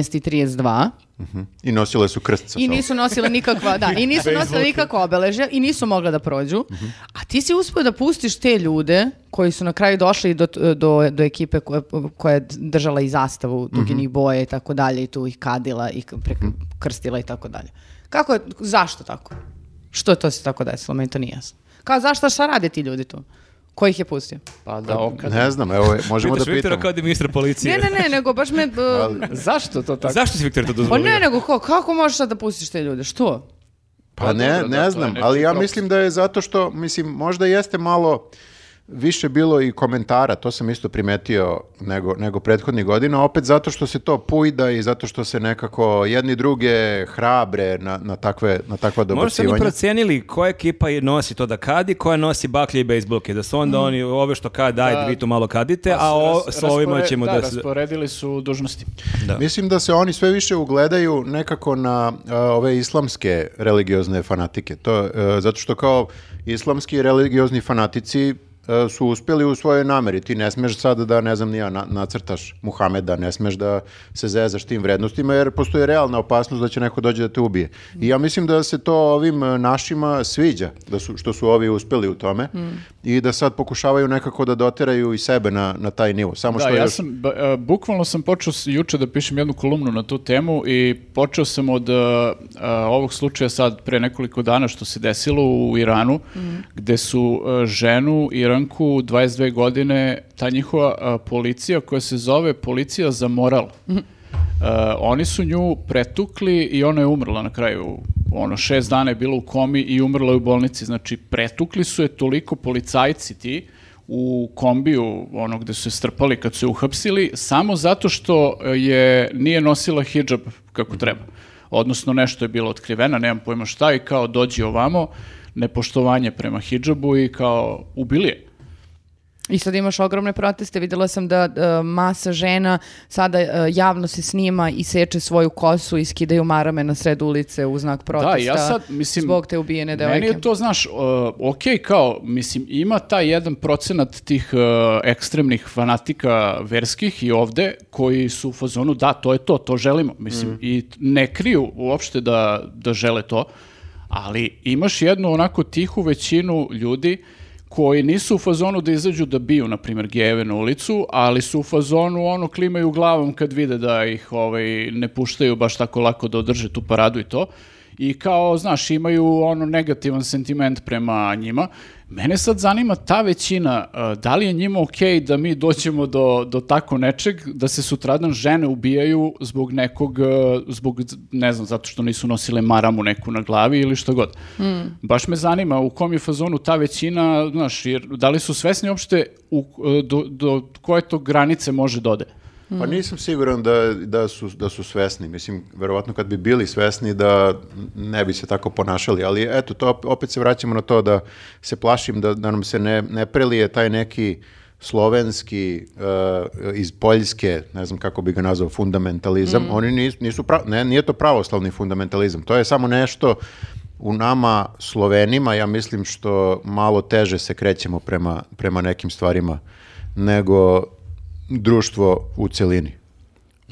17.32 mhm, I nosile su krst sa i sobom. nisu nosile nikakva, da, i nisu nosile nikakva obeležja i nisu mogle da prođu. Mhm. A ti si uspio da pustiš te ljude koji su na kraju došli do, do, do ekipe koja, koja je držala i zastavu Mhm. duginih boja i tako dalje i tu ih kadila i k- pre- krstila i tako dalje. Kako je, zašto tako? Što je to se tako desilo? Meni to nije jasno. Kao zašto, šta rade ti ljudi tu? Ko ih je pustio? Pa da, okad. Ne znam, evo, je, možemo da Pitaš Viktora pitamo. kao da je ministar policije. Ne, ne, ne, nego baš me... (laughs) e, Zašto to tako? Zašto si Viktor to Pa dozvolio? ne, nego ko, kako možeš sad da pustiš te ljude? Što? Pa Pa ne, dobro, da, to ne je znam, nečiji ali ja propust. mislim da je zato što, mislim, možda jeste malo više bilo i komentara, to sam isto primetio nego, nego prethodnih godina, opet zato što se to pujda i zato što se nekako jedni druge hrabre na, na, takve, na takva Možda su oni dobacivanja. procenili koja ekipa je- nosi to da kadi, koja nosi baklje i bejsbolke, da su onda oni ove što kad, ajde, vi tu malo kadite, Pa a o, Ras- s ovima raspore- ćemo da... se- rasporedili su dužnosti. Da. Mislim da se oni sve više ugledaju nekako na e, ove islamske religiozne fanatike. To, e, zato što kao islamski religiozni fanatici e, su uspjeli u svojoj nameri. Ti ne smeš sad da, ne znam, ni ja, na- nacrtaš Muhameda, ne smeš da se zezaš tim vrednostima, jer postoji realna opasnost da će neko dođe da te ubije. I ja mislim da se to ovim e, našima sviđa, da su, što su ovi uspjeli u tome Mm. i da sad pokušavaju nekako da doteraju i sebe na, na taj nivo. Samo Da, što je ja još- sam, ba- e, bukvalno sam počeo s- juče da pišem jednu kolumnu na tu temu i počeo sam od e, e, ovog slučaja sad pre nekoliko dana što se desilo u Iranu, gde su e, ženu Iranku 22 godine, ta njihova e, policija koja se zove policija za moral. E, oni su nju pretukli i ona je umrla na kraju. Ono, šest dana je bila u komi i umrla je u bolnici. Znači, pretukli su je toliko policajci ti u kombiju, ono gde su je strpali kad su je uhapsili, samo zato što e, je nije nosila hijab kako treba. Odnosno, nešto je bilo otkrivena, nemam pojma šta, i kao dođi ovamo, nepoštovanje prema hijabu i kao ubili je. I sad imaš ogromne proteste, vidjela sam da e, masa žena sada e, javno se snima i seče svoju kosu i skidaju marame na sred ulice u znak protesta Da, ja sad, mislim, zbog te ubijene devojke. Meni je to, znaš, uh, ok, kao, mislim, ima taj jedan procenat tih uh, ekstremnih fanatika verskih i ovde koji su u fazonu, da, to je to, to želimo, mislim, Mm. i t- ne kriju uopšte da, da žele to, ali imaš jednu onako tihu većinu ljudi koji nisu u fazonu da izađu da biju, na primjer, gejeve na ulicu, ali su u fazonu ono klimaju glavom kad vide da ih ovaj, ne puštaju baš tako lako da održe tu paradu i to. I kao, znaš, imaju ono negativan sentiment prema njima. Mene sad zanima ta većina, eh, da li je njima okej da mi dođemo do, do tako nečeg, da se sutradan žene ubijaju zbog nekog, eh, zbog, ne znam, zato što nisu nosile maramu neku na glavi ili što god. Baš me zanima u kom je fazonu ta većina, e, znaš, jer da li su svesni uopšte u, eh, do, do koje to granice može dode. Pa nisam siguran da, da, su, da su svesni. Mislim, verovatno kad bi bili svesni da ne bi se tako ponašali. Ali eto, to op- opet se vraćamo na to da se plašim da, da nam se ne, ne prelije taj neki slovenski uh, iz Poljske, ne znam kako bi ga nazvao, fundamentalizam. Oni nisu, nisu pra- ne, nije to pravoslavni fundamentalizam. To je samo nešto u nama Slovenima, ja mislim što malo teže se krećemo prema, prema nekim stvarima nego društvo u celini.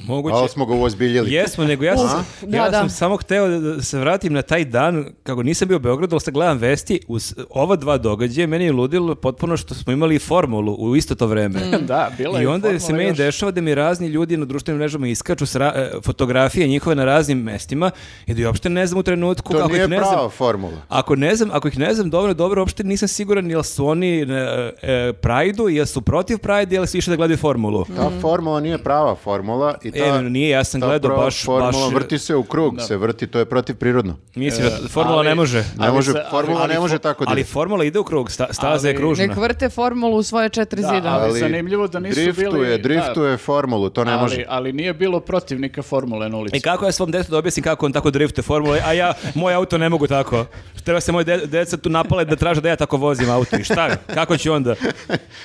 Moguće. Ali smo ga uozbiljili. Jesmo, nego ja sam, Uf, ja da, da. sam samo hteo da- da se vratim na taj dan, kako nisam bio u Beogradu, ali sad gledam vesti, uz ova dva događaja meni je ludilo potpuno što smo imali formulu u isto to vreme. Da, bila je I onda se formula meni još. dešava da mi razni ljudi na društvenim mrežama iskaču s ra- e, fotografije njihove na raznim mestima i da ja uopšte ne znam u trenutku To kako nije ih ne znam. prava formula. Ako ne znam, ako ih ne znam dobro, dobro, uopšte nisam siguran jel su oni e, e, Prajdu, jel su protiv Prajda, jel su išli da gledaju formulu. Ta formula nije prava formula i ta, Mm. E, nije, ja sam ta gledao prava baš- formula baš- vrti se u krug, se vrti, to je protivprirodno. Mislim da formula ali- ne može. Ne Ali može, se- ali- formula ne ali može E, fo- tako da Ali ide. formula ide u krug, sta- staza je Ali- kružna. Nek vrte formulu u svoje četiri Da, (laughs) zida. ali- zanimljivo da nisu bili- driftuje, da. Driftuje formulu, to ne ali, može. ali nije bilo protivnika Formule na ulici. I E, kako ja svom detetu da objasnim kako on tako driftuje formule, a ja, moj auto ne mogu tako. Treba se moje de- deca tu napale da traže da ja tako vozim auto. I šta? Kako ću onda?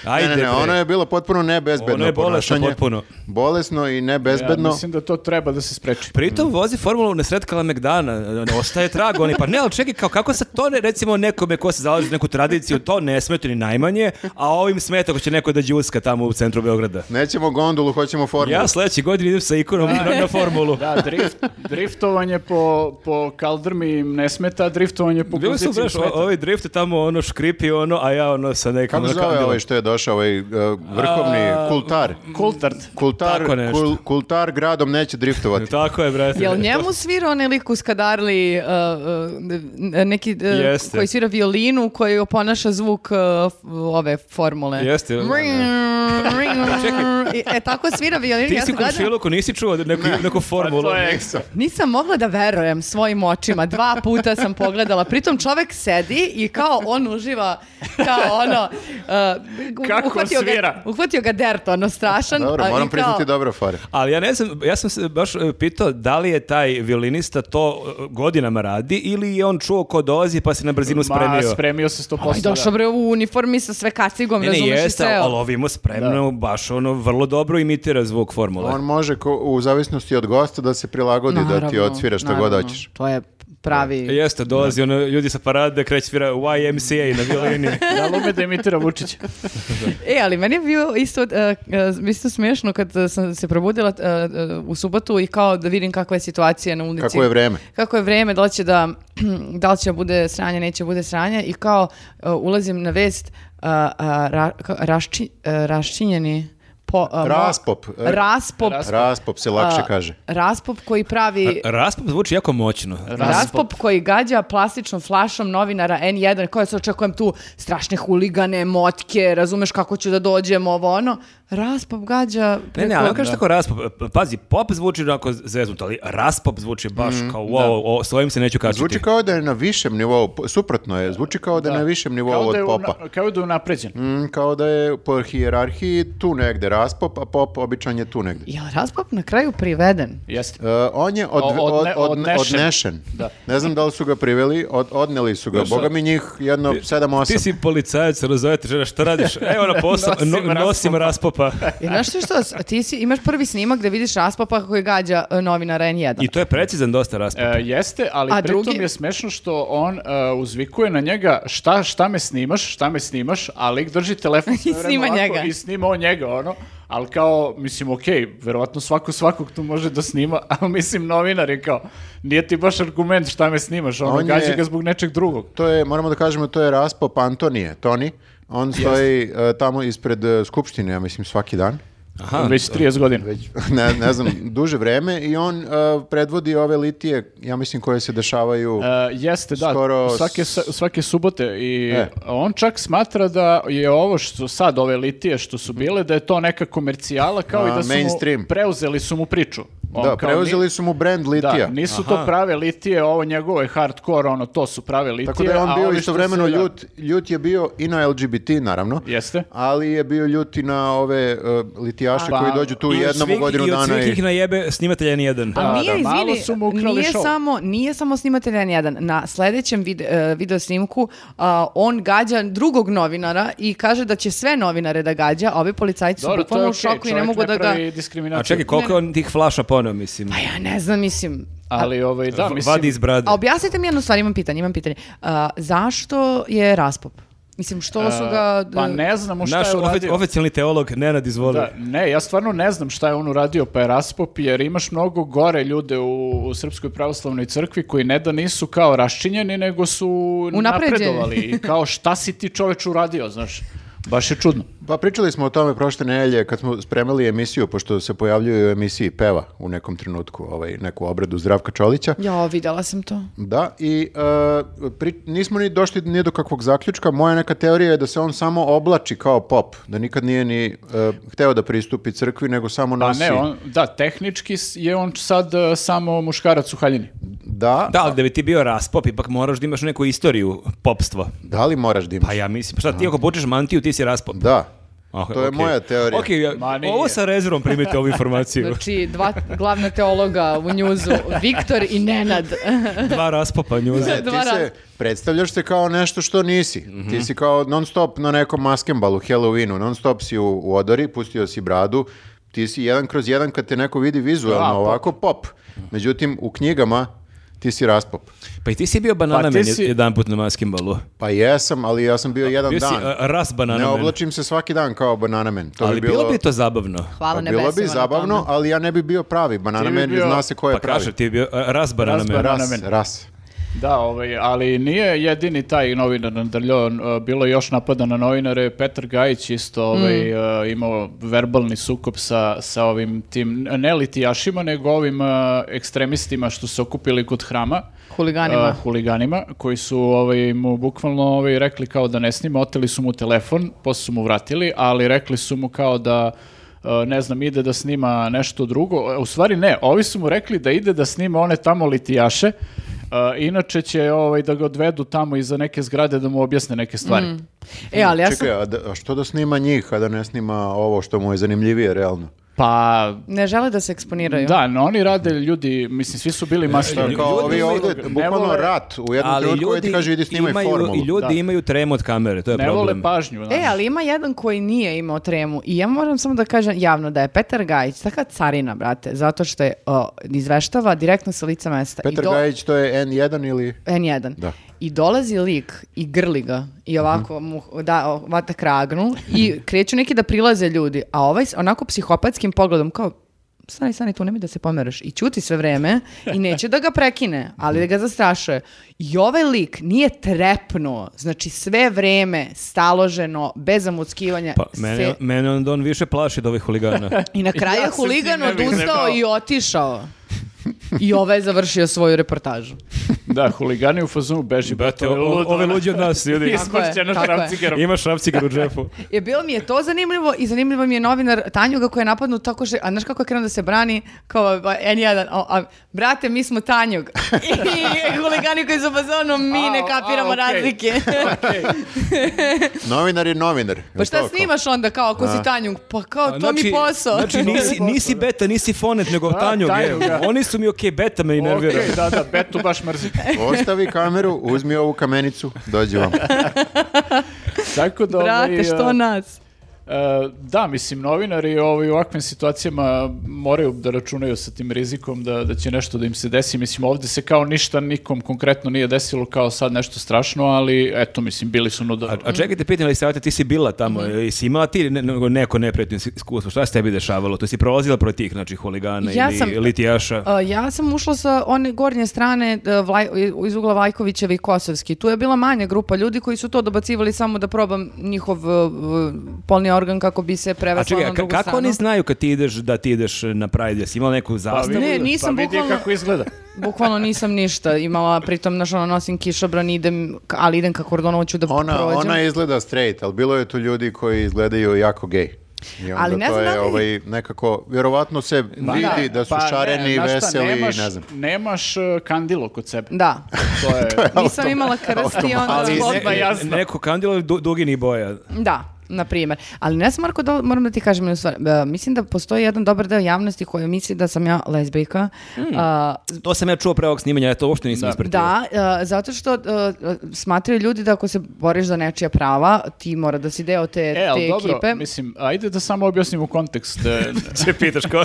Ajde, ne, ne, ne, bre. ono je bilo potpuno nebezbedno Ono je bolesno ponašanje. potpuno. Bolesno i Ja nebezbedno. mislim da to treba da se spreči. Pritom vozi formulu ne sred Kalemegdana, ostaje trag oni, pa ne, ali čekaj, kao, kako se to ne, recimo nekome ko se zalazi u neku tradiciju, to ne smeta ni najmanje, a ovim smeta ako će neko da đuska tamo u centru Beograda. Nećemo gondolu, hoćemo formulu. Ja sledeće godine idem sa ikonom na, na formulu. Da, drift, driftovanje po, po kaldrmi im ne smeta, driftovanje po Bili su, guzicim znaš, smeta. ovi drifte tamo, ono, škripi, ono, a ja, ono, sa nekom... Kako se zove ovaj što je došao, ovaj uh, vrhovni A, kultar? Kultard. Kultar, tako nešto. kul- kultar gradom neće (laughs) driftovati. Tako je, brate. Jel njemu svira onaj lik u Skadarli, uh, uh, neki uh, Jeste. koji svira violinu, koji oponaša zvuk uh, f- ove formule? Jeste, da, da. (laughs) I- E, tako svira violinu. Ti ja si sam u gledala- komšiluku, nisi čuo neku, neku formulu. to je Ekstra. Nisam mogla da verujem svojim očima. Dva puta sam pogledala. Pritom čovek sedi i kao on uživa, kao ono... uh, u- Kako uhvatio svira. Ga, uhvatio ga dert, ono strašan. Pa Dobro, a, i moram kao- priznati dobro fare. Ali ja ne znam, ja sam se baš e, pitao da li je taj violinista to e, godinama radi ili je on čuo ko dolazi pa se na brzinu Ma, spremio. spremio se 100%. Aj, došao bre u uniformi sa sve kacigom, Ne, ne, razumeš i jeste, sve. ali ovimo spremno, baš ono, vrlo dobro imitira zvuk formule. On može ko- u zavisnosti od gosta da se prilagodi, da ti Naravno, odsvira šta naravno. god hoćeš. To je pravi... Jeste, dolazi ono, ljudi sa parade, kreće svira YMCA na violini. Da li ume da imitira Vučića? E, ali meni je bio isto, uh, uh, isto smiješno kad uh, sam se probudila uh, uh, u subotu i kao da vidim kakva je situacija na ulici. Kako je vreme? kako je vreme, da li će da, (clears throat) da li će da bude sranje, neće da bude sranje i kao uh, ulazim na vest uh, uh, ra- ka- rašči, uh, raščinjeni po, uh, mo- Raspop. raspop, Raspop se lakše uh, kaže. raspop koji pravi (laughs) Raspop zvuči jako moćno. Raspop. koji gađa plastičnom flašom novinara N1, koja se očekujem tu strašne huligane, motke, razumeš kako ću da dođem, ovo ono. Raspop gađa... Ne, ne, preko- ali kažeš tako raspop. Pazi, pop zvuči onako zeznut, ali raspop zvuči baš kao wow, o, s ovim se neću kačiti. Zvuči kao da je na višem nivou, po- suprotno je, zvuči kao (laughs) da je na višem nivou Kao od da je, popa. una, kao da je unapređen. Mm, kao da je po hijerarhiji tu negde raspop, a pop običan je tu negde. Jel Raspop na kraju priveden? Jeste. E, on je od, O- odne- od- od- odnešen. odnešen. Da. Ne znam da li su ga priveli, od, odneli su ga. Boga mi njih jedno 7-8. Ti si policajac, razovete žena, šta radiš? Evo (laughs) na posao, Nosim no- nosim raspopa. (laughs) I znaš ti što, ti si, imaš prvi snimak gde vidiš Raspopa koji gađa e, novinara N1. I to je precizan dosta raspop. E, jeste, ali A pritom drugi? je smešno što on e, uzvikuje na njega šta, šta me snimaš, šta me snimaš, a lik drži telefon (laughs) sve I vreme snima ovako njega. I snima on njega, ono. Ali kao, mislim, okej, verovatno svako svakog tu može da snima, (laughs) ali mislim, novinar je kao, nije ti baš argument šta me snimaš, ono, On je- gađa ga zbog nečeg drugog. To je, moramo da kažemo, to je raspop Antonije, Toni. On stoji e, tamo ispred e, skupštine, ja mislim, svaki dan. Aha, Već 30 godina. Već, (laughs) ne, ne znam, duže vreme i on e, predvodi ove litije, ja mislim, koje se dešavaju... E, jeste, da, Skoro svake, s- sa- svake subote i E. on čak smatra da je ovo što sad, ove litije što su bile, da je to neka komercijala kao A, i da su mainstream. mu, preuzeli su mu priču. Da, preuzeli su mu brand Da, litija. nisu to prave litije, ovo njegovo je hardcore, ono, to su prave litije. Tako da je a on ovi bio što istovremeno se- da. ljut, ljut je bio i na LGBT naravno. Jeste. Ali je bio ljut i na ove e, litijaše Pa, koji dođu tu I od jednom u svih- godinu I od dana svih i... ih najebe snimatelja nijedan. A Da, nije, da, malo izvini, su mu ukrali nije show. samo, nije samo snimatelj N1. Na sljedećem vid, e, video snimku a, on gađa drugog novinara i kaže da će sve novinare da gađa, a ovi policajci su Dobro, to je bukvalno u okej, šoku i ne čovjek mogu da ga... pravi diskriminaciju. A čekaj, koliko je on tih flaša poneo, mislim? Pa ja ne znam, mislim... Ali, ovaj, da, V- mislim... Vadi iz brade. A objasnite mi jednu stvar, imam pitanje, imam pitanje. A, zašto je raspop? Mislim, što su ga... Pa ne znam u šta Naš je ofi- uradio. oficijalni teolog Nenad izvoli. Da, ne, ja stvarno ne znam šta je on uradio pa je raspop, jer imaš mnogo gore ljude u, u Srpskoj pravoslavnoj crkvi koji ne da nisu kao raščinjeni, nego su Unapređeni. napredovali. I kao šta si ti čoveč uradio, znaš. Baš je čudno. Pa pričali smo o tome prošle nedelje kad smo spremali emisiju, pošto se pojavljuje u emisiji Peva u nekom trenutku, ovaj, neku obradu Zdravka Čolića. Ja, videla sam to. Da, i e, pri- nismo ni došli ni do kakvog zaključka. Moja neka teorija je da se on samo oblači kao pop, da nikad nije ni e, hteo da pristupi crkvi, nego samo Pa nosi. ne, on, da, tehnički s- je on sad e, samo muškarac u haljini. Da, da. Da, ali da bi ti bio raspop, ipak moraš da imaš neku istoriju popstva. li moraš da imaš? Pa ja mislim, pa šta ti ako počeš mantiju, ti si raspop. Da. Ah, to je ok. moja teorija. Ok, ja- Ma nije. ovo sa rezervom primite ovu (laughs) informaciju. Znači, dva glavna teologa u njuzu, Viktor i (laughs) Nenad. Pa Dva raspopa njuza. Ne, Dva ti se razlika. predstavljaš se kao nešto što nisi. Mhm. Ti si kao non stop na nekom maskembalu, Halloweenu, non stop si u, u odori, pustio si bradu, ti si jedan kroz jedan kad te neko vidi vizualno Da, pop. ovako, pop. Međutim, u knjigama ti si raspop. Pa i ti si bio banana Pa ti men si- jedan put na maskimbalu. Pa jesam, ali ja sam bio jedan Bio si dan. a, ras banana ne man. oblačim se svaki dan kao banana man. To Ali bi bilo... bilo, bi to zabavno. pa Hvala bilo bi nebesima na zabavno, tome. ali ja ne bi bio pravi Ti banana bi man, bio- zna se ko je Pa pravi. kažem ti je bio a, ras banana Ras man. banana. Ras, Banana man. ras. Da, ovaj, ali nije jedini taj novinar nadrljao, e, bilo je još napada na novinare, Petar Gajić isto ovaj, e, imao verbalni sukop sa, sa ovim tim, ne litijašima, nego ovim e, ekstremistima što su okupili kod hrama. Huliganima. e, huliganima, koji su ovaj, mu bukvalno ovaj, rekli kao da ne snima, oteli su mu telefon, posle su mu vratili, ali rekli su mu kao da e, ne znam, ide da snima nešto drugo. E, U stvari ne, ovi su mu rekli da ide da snima one tamo litijaše, e, inače će ovaj, da ga odvedu tamo iza neke zgrade da mu objasne neke stvari. E, ali ja sam... Čekaj, a, da- a što da snima njih, a da ne snima ovo što mu je zanimljivije, realno? Pa, Ne žele da se eksponiraju. da, no oni rade ljudi, mislim, svi su bili Šta, mašta. kao ljudi ovi imaju- ovdje, ne bukvalno vole- rat u jednom Ali trenutku koji ti ljudi kaže idi snimaj imaju, formulu. i ljudi Da. imaju tremu od kamere, to je Ne problem. vole pa- pažnju. znaš. E, ali ima jedan koji nije imao tremu i ja moram samo da kažem javno da je Petar Gajić taka carina, brate, zato što je o, izveštava direktno sa lica mesta. I Petar do- Gajić, to je N1 ili... N1. Da. I dolazi lik i grli ga i ovako mu da, o, vata kragnu i kreću neki da prilaze ljudi, a ovaj s onako psihopatskim pogledom kao stani, stani tu, nemoj da se pomeraš. I ćuti sve vreme i neće da ga prekine, ali da ga zastrašuje. I ovaj lik nije trepnuo, znači sve vreme staloženo, bez zamuckivanja. Pa, se- Znači, mene, mene onda on više plaši od ovih huligana. I na kraju Ja je se s tim huligan ne bih odustao zajebao. i otišao. I ovaj je završio svoju reportažu. Da, huligani u fazonu beži. Brate, brate, ovo je ono, o- ludo. (laughs) ove luđe od nas, ljudi. Ismršćena tako je. šrafcigerom. Imaš šrapcigar u džepu. Je bilo mi je to zanimljivo i zanimljivo mi je novinar Tanjuga koji je napadnut tako što, a znaš kako je krenuo da se brani kao ba, N1, a, a, brate mi smo (laughs) Tanjug i huligani koji su bazovno mi ne A, kapiramo a, okej. razlike. Novinar je novinar. (laughs) pa jel šta tako? snimaš onda kao ako si Tanjug? Pa kao to mi posao. Znači, (laughs) nisi, nisi beta, nisi fonet, nego tanjog. je. Tanjog, da. Oni su mi okej, beta me i nervira. Okej, da, da, Betu baš (laughs) mrzim. (laughs) Ostavi kameru, uzmi ovu kamenicu, dođi vam. Tako da, ovaj, Brate, e, što nas? e, da, mislim, novinari ovaj, u ovakvim situacijama moraju da računaju sa tim rizikom da, da će nešto da im se desi. Mislim, ovdje se kao ništa nikom konkretno nije desilo kao sad nešto strašno, ali eto, mislim, bili su A, nuda. a čekajte, pitan li savjeta, ti si bila tamo, i si imala ti ne, nego neko neprijatno iskustvo, šta se tebi dešavalo? To si prolazila protiv tih, znači, huligana Ja ili sam- litijaša? A, ja sam ušla sa one gornje strane e, Vlaj- iz ugla Vajkovićevi i Kosovski. Tu je bila manja grupa ljudi koji su to dobacivali samo da probam njihov e, e, polni organ kako bi se A prevesla čekaj, na a ka- drugu kako stranu. oni znaju kad ti ideš, da ti ideš eh, na Pride, jesi imala neku zastavu? vi- Ne, nisam pa vidi bukvalno- kako izgleda. Bukvalno nisam ništa imala, pritom znaš, ono, nosim kišobran, idem, ka- ali idem ka kordonu, hoću da Ona, prođem. ona izgleda straight, ali bilo je tu ljudi koji izgledaju jako gej. I onda Ali ne to znam je da li- ovaj, nekako, vjerovatno se vidi da su Pa ne, šareni, znaš šta, veseli i nemaš- ne znam. Nemaš e, kandilo kod sebe. (laughs) Da. To je... Nisam imala krst i onda... Ali zbog- ne- Odmah jasno. neko kandilo du, dugini boja. Da, na primjer. Ali ne znam, Marko, da, moram da ti kažem jednu stvar. E, mislim da postoji jedan dobar deo javnosti koja misli da sam ja lezbijka. Hmm. A, To sam ja čuo pre ovog snimanja, ja to uopšte nisam Da. ispratio. (laughs) da, e, zato što e, smatraju ljudi da ako se boriš za nečija prava, ti mora da si deo te, E, ali te dobro, ekipe. mislim, ajde da samo objasnim u kontekst. e, Se Znači, pitaš ko?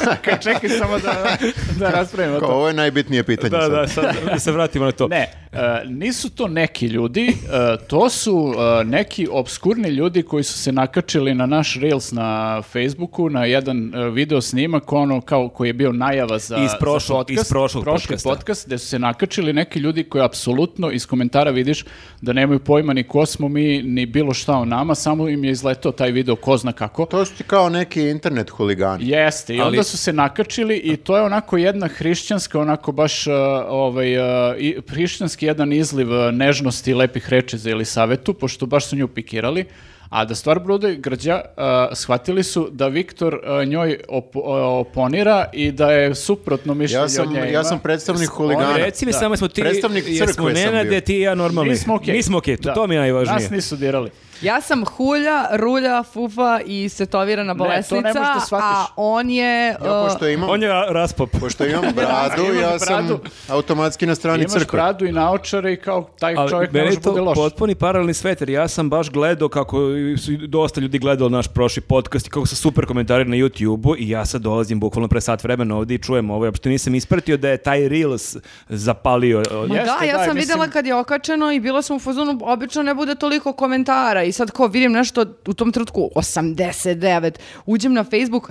Ka- (laughs) Čekaj samo da, (laughs) da raspravimo Kao, to. Ovo je najbitnije pitanje da, sad. da, sad da se vratimo na to. Ne, e, nisu to neki ljudi, e, to su e, neki obskurni ljudi koji su se nakačili na naš Reels na Facebooku, na jedan e, video snimak, ono kao koji je bio najava za, Iz za prošlog- podcast, iz prošlog prošli podcasta. podcast, gde su se nakačili neki ljudi koji apsolutno iz komentara vidiš da nemaju pojma ni ko smo mi, ni bilo šta o nama, samo im je izletao taj video ko zna kako. To su ti kao neki internet huligani. Jeste, i Ali- onda su se nakačili i to je onako jedna hrišćanska, onako baš uh, ovaj, uh, i- hrišćanski jedan izliv uh, nežnosti i lepih reči za Elisavetu, pošto baš su nju pikirali. A da stvar brude, građa, uh, shvatili su da Viktor uh, njoj opo- uh, oponira i da je suprotno mišljenje Ja sam, od nje. ja ima. sam predstavnik huligana. Oni, reci mi samo smo ti, Predstavnik jesmo crkve sam Nenade, bio. ti i ja normalni. Nismo okej. Nismo okej, to, Da. to mi je najvažnije. Nas nisu dirali. Ja sam hulja, rulja, fufa i setovirana to ne možeš da bolesnica, a shvatiš. on je... Ja, e, pošto imam, On je ra- raspop. pošto imam bradu, Imaš ja sam bradu. automatski na strani Imaš crkve. pradu i naočare i kao taj Ali čovjek ne meni može je bude to loš. potpuni paralelni svet, jer ja sam baš gledao kako su dosta ljudi gledalo naš prošli podcast i kako su super komentari na YouTube-u i ja sad dolazim bukvalno pre sat vremena ovdje i čujem ovo. Ja uopšte nisam ispratio da je taj Reels zapalio. Ma Jeste, da, ja da, sam mislim- vidjela kad je okačeno i bila sam u fazonu, obično ne bude toliko komentara i sad kao vidim nešto u tom trenutku 89, uđem na Facebook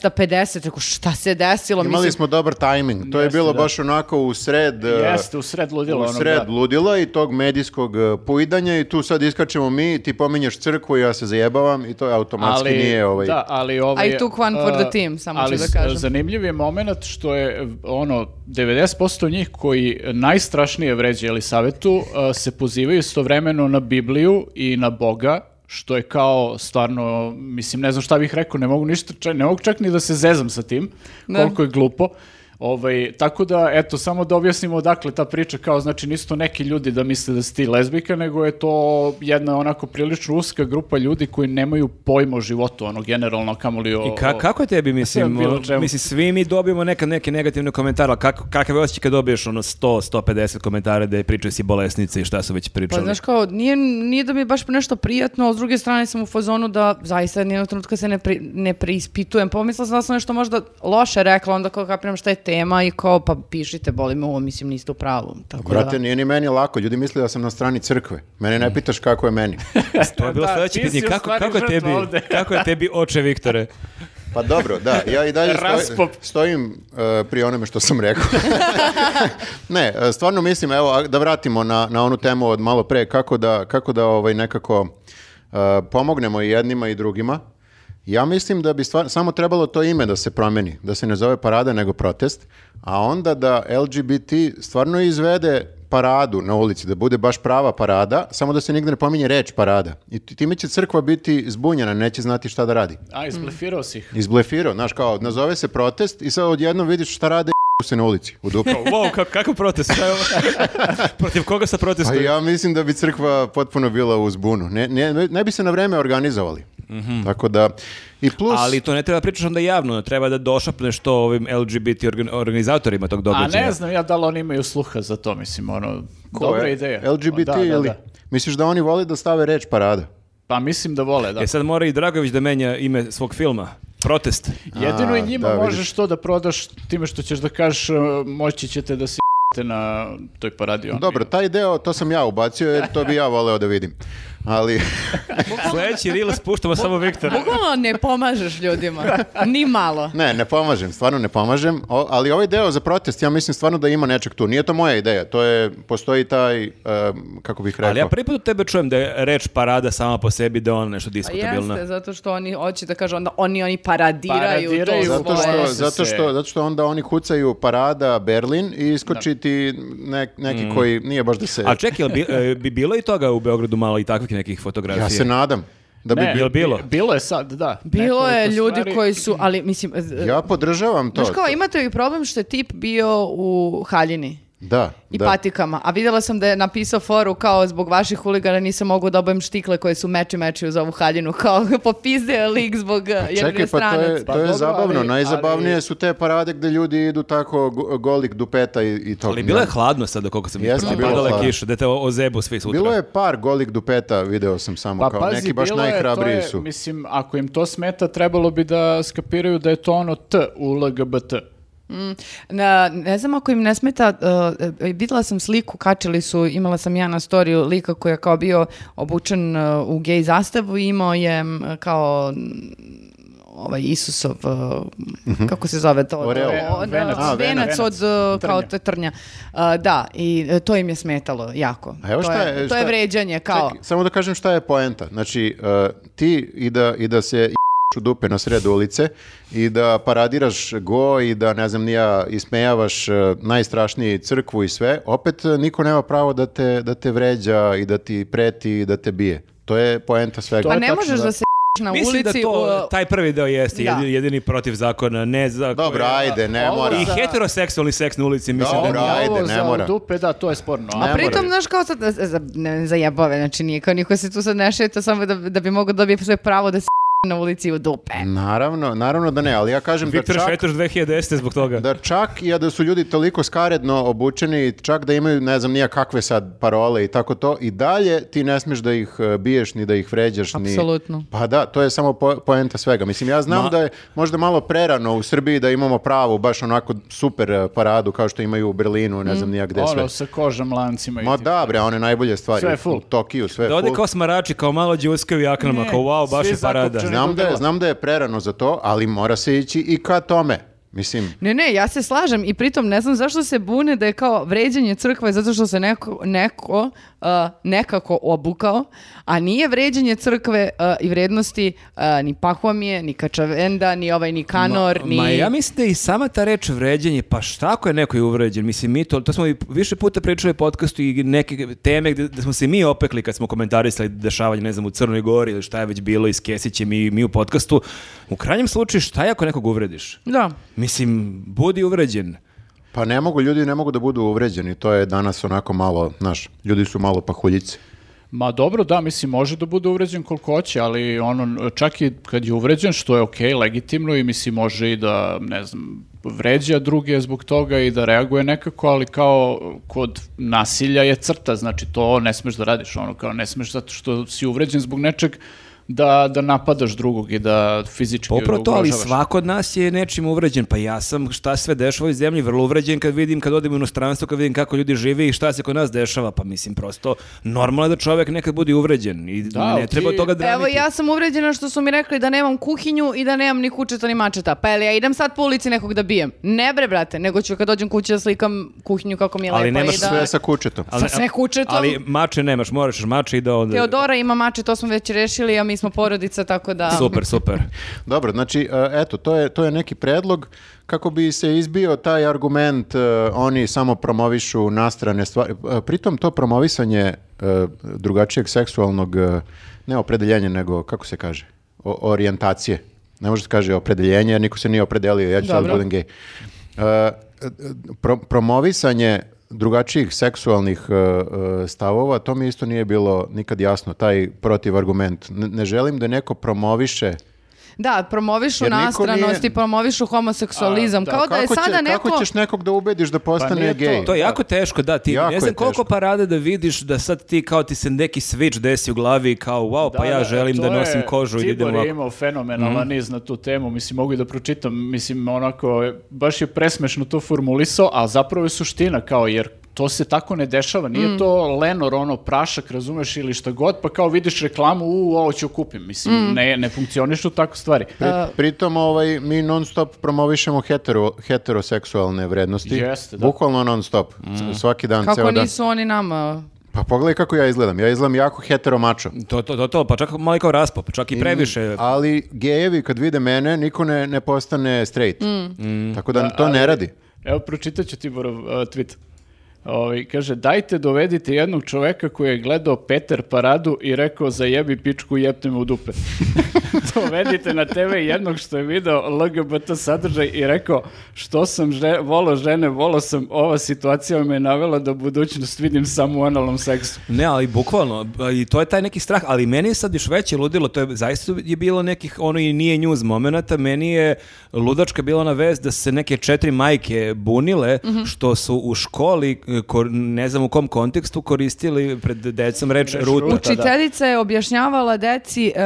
250, rekao šta se desilo, Imali mislim, smo dobar tajming. To je Jeste, bilo da. baš onako u sred... e, Jeste, u sred ludila. u onog, sred da. ludila i tog medijskog e, pujdanja i tu sad iskačemo mi, ti pominješ crkvu, ja se zajebavam i to automatski nije ovaj... Da, ali ovaj... I took one for the uh, team, samo ali ću da s- kažem. zanimljiv je moment što je ono, 90% njih koji najstrašnije vređa Elisavetu uh, se pozivaju istovremeno na Bibliju i na Boga, što je kao stvarno, mislim, ne znam šta bih rekao, ne mogu ništa, čak- ne mogu čak ni da se zezam sa tim, Da. koliko je glupo. Ovaj, tako da, eto, samo da objasnimo odakle ta priča, kao, znači, nisu to neki ljudi da misle da si ti lezbika, nego je to jedna onako prilično uska grupa ljudi koji nemaju pojma o životu, ono, generalno, kamoli o... I ka- kako je tebi, mislim, (laughs) Bilo o- čemu. mislim, svi mi dobijemo neke, neke negativne komentare, ali kako, kakav je osjećaj kad dobiješ ono 100, 150 komentara da je pričao si bolesnica i šta su već pa pričali? znaš kao, nije, nije da mi je baš nešto prijatno, ali s druge strane sam u fazonu da zaista nijednog trenutka se ne, pri- ne preispitujem, pomislila sam da sam nešto možda loše rekla, onda kao kapiram šta je tema i kao, pa pišite, boli me ovo, mislim, niste u pravu, tako da. Brate, nije ni meni lako. Ljudi misle da sam na strani crkve. Mene Mm. ne pitaš kako je meni. E, to je bilo Da, sljedeće ti si pitanje, u kako, stvari kako, je žrtva tebi, ovde. kako je tebi oče (laughs) Viktore? Pa dobro, da, ja i dalje stoji- Raspop. stojim e, pri onome što sam rekao. (laughs) ne, e, stvarno mislim, evo, a- da vratimo na, na onu temu od malo pre, kako da, kako da ovaj, nekako e, pomognemo i jednima i drugima. Ja mislim da bi stvar, samo trebalo to ime da se promeni, da se ne zove parada nego protest, a onda da LGBT stvarno izvede paradu na ulici, da bude baš prava parada, samo da se nigde ne pominje reč parada. I t- time će crkva biti zbunjena, neće znati šta da radi. A, isblefirao si ih. Izblefirao, znaš, kao, nazove se protest i sad odjednom vidiš šta rade (laughs) se na ulici, u (laughs) dupu. Pa, Wow, kako, kako protest? Šta je (laughs) ovo? Protiv koga se A protestuje? ja mislim da bi crkva potpuno bila u zbunu. Ne, ne, ne bi se na vreme organizovali. Tako da, i plus... Ali to ne treba pričaš onda javno, treba da došapneš to ovim LGBT organ- organizatorima tog A događaja. ne znam ja da li oni imaju sluha za to, mislim, ono, ko dobra je? ideja. Pa LGBT Da, da, ili... da. Misliš da oni vole da stave reč parada? Pa mislim da vole, da. E sad mora i Dragović da menja ime svog filma. Protest. Jedino A, i njima da, možeš vidiš. to da prodaš time što ćeš da kažeš e, moći ćete da se (laughs) na toj paradi. ono. Dobro, taj deo, to sam ja ubacio, jer to bi ja voleo da vidim. Ali, (laughs) Sljedeći reel spuštamo samo Viktora. Bukvalno ne pomažeš (laughs) ljudima, ni malo. ne, ne pomažem, stvarno ne pomažem. O- ali ovaj deo za protest, ja mislim stvarno da ima nečeg tu. Nije to moja ideja, to je, postoji taj, em, kako bih rekao... Ali ja prvi put od tebe čujem da je reč parada sama po sebi, da je ona nešto Pa diskutabilna. Jeste, zato što oni hoće da kažu onda oni oni paradiraju, Paradiraju to Zato svoje. što, se zato, se. što, zato što onda oni kucaju parada Berlin i iskoči ti ne- neki Mm. koji nije baš da se... A čekaj, jel bi, e, bi bilo i toga u Beogradu malo i takvih nekih fotografija? ja se nadam. Da bi Ne, Jel bilo? bi- Bilo je sad, da. Bilo je Nekoliko ljudi stvari. koji su, ali mislim... e, Ja podržavam to. Znaš kao, imate i problem što je tip bio u haljini Da, i da. patikama, a vidjela sam da je napisao foru kao zbog vaših huligana nisam mogu da obajem štikle koje su meči meči uz ovu haljinu, (laughs) kao popizde je lik zbog e, jer Čekaj, je pa to stranac. je, Pa to je dobro, zabavno. ali- Najzabavnije ali- su te parade gde ljudi idu tako go- golik dupeta i, i to. Ali bilo je hladno sada koliko sam Jeste, ispratio. bilo je Padala je hladno. kiša, da te o- ozebu svi sutra. Bilo je par golik dupeta, video sam samo Pa, kao neki baš bilo Pa je, to najhrabriji je, su. Mislim, ako im to smeta, trebalo bi da skapiraju da je to ono T u LGBT. Mm, Na- ne znam ako im ne smeta, e, e, vidjela sam sliku, kačili su, imala sam ja na storiju lika koji je kao bio obučen e, u gej zastavu i imao je m, kao m, ovaj Isusov, e, kako se zove to? Mhm. Oreo. O, da, Venac. A, venac venac. od e, kao t- Trnja. trnja. E, da, i e, to im je smetalo jako. A to, evo šta je, je- to šta- je vređanje, E, kao. Čekaj, samo da kažem šta je poenta. Znači, eh, ti i da, i da se i***š u dupe na sred ulice i da paradiraš go i da, ne znam, nija ismejavaš eh, najstrašniji crkvu i sve, opet eh, niko nema pravo da te, da te vređa i da ti preti i da te bije. To je poenta svega. Pa je ne tačno, možeš da. da se (laughs) na Mislim ulici da to, u- taj prvi deo jeste Da. jedini, jedini protiv zakona, ne za... Dobro, ajde, ne Ovo mora. I za- heteroseksualni seks na ulici, mislim Dobro, da nije. Ovo ajde, ne za mora. dupe, da, to je sporno. Ne A A, moraju. pritom, znaš, kao sad, e, za, ne, za jebove, znači nije kao niko se tu sad ne šeta samo da, da bi mogao dobije sve pravo da se (laughs) na ulici u dupe. Naravno, naravno da ne, ali ja kažem Viktor da čak... Švetoš 2010 zbog toga. Da čak i da su ljudi toliko skaredno obučeni, i čak da imaju ne znam nija kakve sad parole i tako to, i dalje ti ne smiješ da ih e, biješ ni da ih vređaš. ni- Apsolutno. Pa da, to je samo po, poenta svega. Mislim, ja znam Ma- da je možda malo prerano u Srbiji da imamo pravu, baš onako super e, paradu kao što imaju u Berlinu, ne znam nija gde sve. ono, sa kožom, lancima i Ma tim. da bre, one najbolje stvari. Sve je full. U Tokiju, sve je Da ode full. kao smarači, kao malo džuskaju u jaknama, Ne, kao wow, baš svi je parada. zakopčani. Znam da, je, Nudela. znam da je prerano za to, ali mora se ići i ka tome. Mislim, Ne, ne, ja se slažem i pritom ne znam zašto se bune da je kao vređanje crkve zato što se neko, neko uh, nekako obukao, a nije vređanje crkve uh, i vrednosti uh, ni Pahomije, ni Kačavenda, ni ovaj, ni Kanor, ni... Ma ja mislim da i sama ta reč vređanje, pa šta ako je neko je uvređen? Mislim, mi to, to smo i više puta pričali u podcastu i neke teme gde, gde smo se mi opekli kad smo komentarisali dešavanje, ne znam, u Crnoj Gori ili šta je već bilo i s Kesićem i mi u podcastu. U krajnjem slučaju, šta je ako nekog uvrediš? Da. Mislim, budi uvređen. Pa ne mogu, ljudi ne mogu da budu uvređeni, to je danas onako malo, znaš, ljudi su malo pahuljici. Ma dobro, da, mislim, može da bude uvređen koliko hoće, ali ono, čak i kad je uvređen, što je okej, legitimno i mislim, može i da, ne znam, vređa druge zbog toga i da reaguje nekako, ali kao kod nasilja je crta, znači to ne smeš da radiš, ono, kao ne smeš zato što si uvređen zbog nečeg da, da napadaš drugog i da fizički Pa upravo to, ali ugrožavaš. svako od nas je nečim uvređen. Pa ja sam šta sve dešava u ovoj zemlji, vrlo uvređen kad vidim, kad odim u inostranstvo, kad vidim kako ljudi žive i šta se kod nas dešava. Pa mislim, prosto, normalno je da čovjek nekad bude uvređen i Da, ne ali treba ti- toga dramiti. Evo ja sam uvređena što su mi rekli da nemam kuhinju i da nemam ni kučeta ni mačeta. Pa jel ja idem sad po ulici nekog da bijem? Ne bre brate, nego ću kad dođem kući da slikam kuhinju kako mi je Ali lepo nemaš i da... Sve sa kučetom. Sa sve kučetom. Ali mače nemaš, moraš mače i da onda... Teodora ima mače, to smo već rešili, a mi smo porodica, tako da... Super, super. Dobro, znači, e, eto, to je, to je neki predlog kako bi se izbio taj argument e, oni samo promovišu nastrane stvari. E, Pritom to promovisanje e, drugačijeg seksualnog, e, ne opredeljenja, nego, kako se kaže, o, orijentacije. Ne može se kaže opredeljenje, jer niko se nije opredelio, ja ću sad Dobro. budem gej. E, e, pro- promovisanje drugačijih seksualnih e, e, stavova, to mi isto nije bilo nikad jasno, taj protivargument. Ne, ne želim da neko promoviše Da, promovišu Jer niko nastranost i nije- promovišu homoseksualizam. A, da, kao da je kako, će- sada neko... kako ćeš nekog da ubediš da postane nije to. gej? To je jako teško, da, ti Jako ne je znam koliko teško. parada da vidiš da sad ti kao ti se neki switch desi u glavi i kao wow, pa Da, ja da, želim to da je- nosim kožu i da idem Tibor ovako. Mhm. je imao fenomenalan niz na tu temu, mislim, mogu i da pročitam, mislim, onako, je- baš je presmešno to formulisao, a zapravo je suština, kao, jer to se tako ne dešava, nije to lenor, ono, prašak, razumeš, ili šta god, pa kao vidiš reklamu, u, ovo ću kupim, mislim, ne, ne funkcionišu tako stvari. Pri- pritom ovaj, mi non stop promovišemo hetero, heteroseksualne vrednosti. Jeste, da. Bukvalno non stop. S- Svaki dan, Kako ceo dan. nisu oni nama... Pa pogledaj kako ja izgledam. Ja izgledam jako heteromačo. To, to, to, to, pa čak malo i kao raspop, čak i previše. Ali gejevi kad vide mene, niko ne, ne Mm. postane straight. Tako da to ne radi. Evo, pročitat ću Tiborov uh, tweet. Ovaj, kaže, dajte dovedite jednog čoveka koji je gledao Peter Paradu i rekao zajebi pičku i jepne mu u dupe. (laughs) dovedite na TV jednog što je video LGBT sadržaj i rekao što sam že, volo žene, volo sam, ova situacija me navela da budućnost vidim samo u analnom seksu. Ne, ali bukvalno, i to je taj neki strah, ali meni je sad još veće ludilo, to je zaista je bilo nekih, ono i nije news momenata, meni je ludačka bila na vez da se neke četiri majke bunile, što su u školi, e, kor- ne znam u kom kontekstu, koristili pred decom reč ruta. Učiteljica je objašnjavala deci e, e,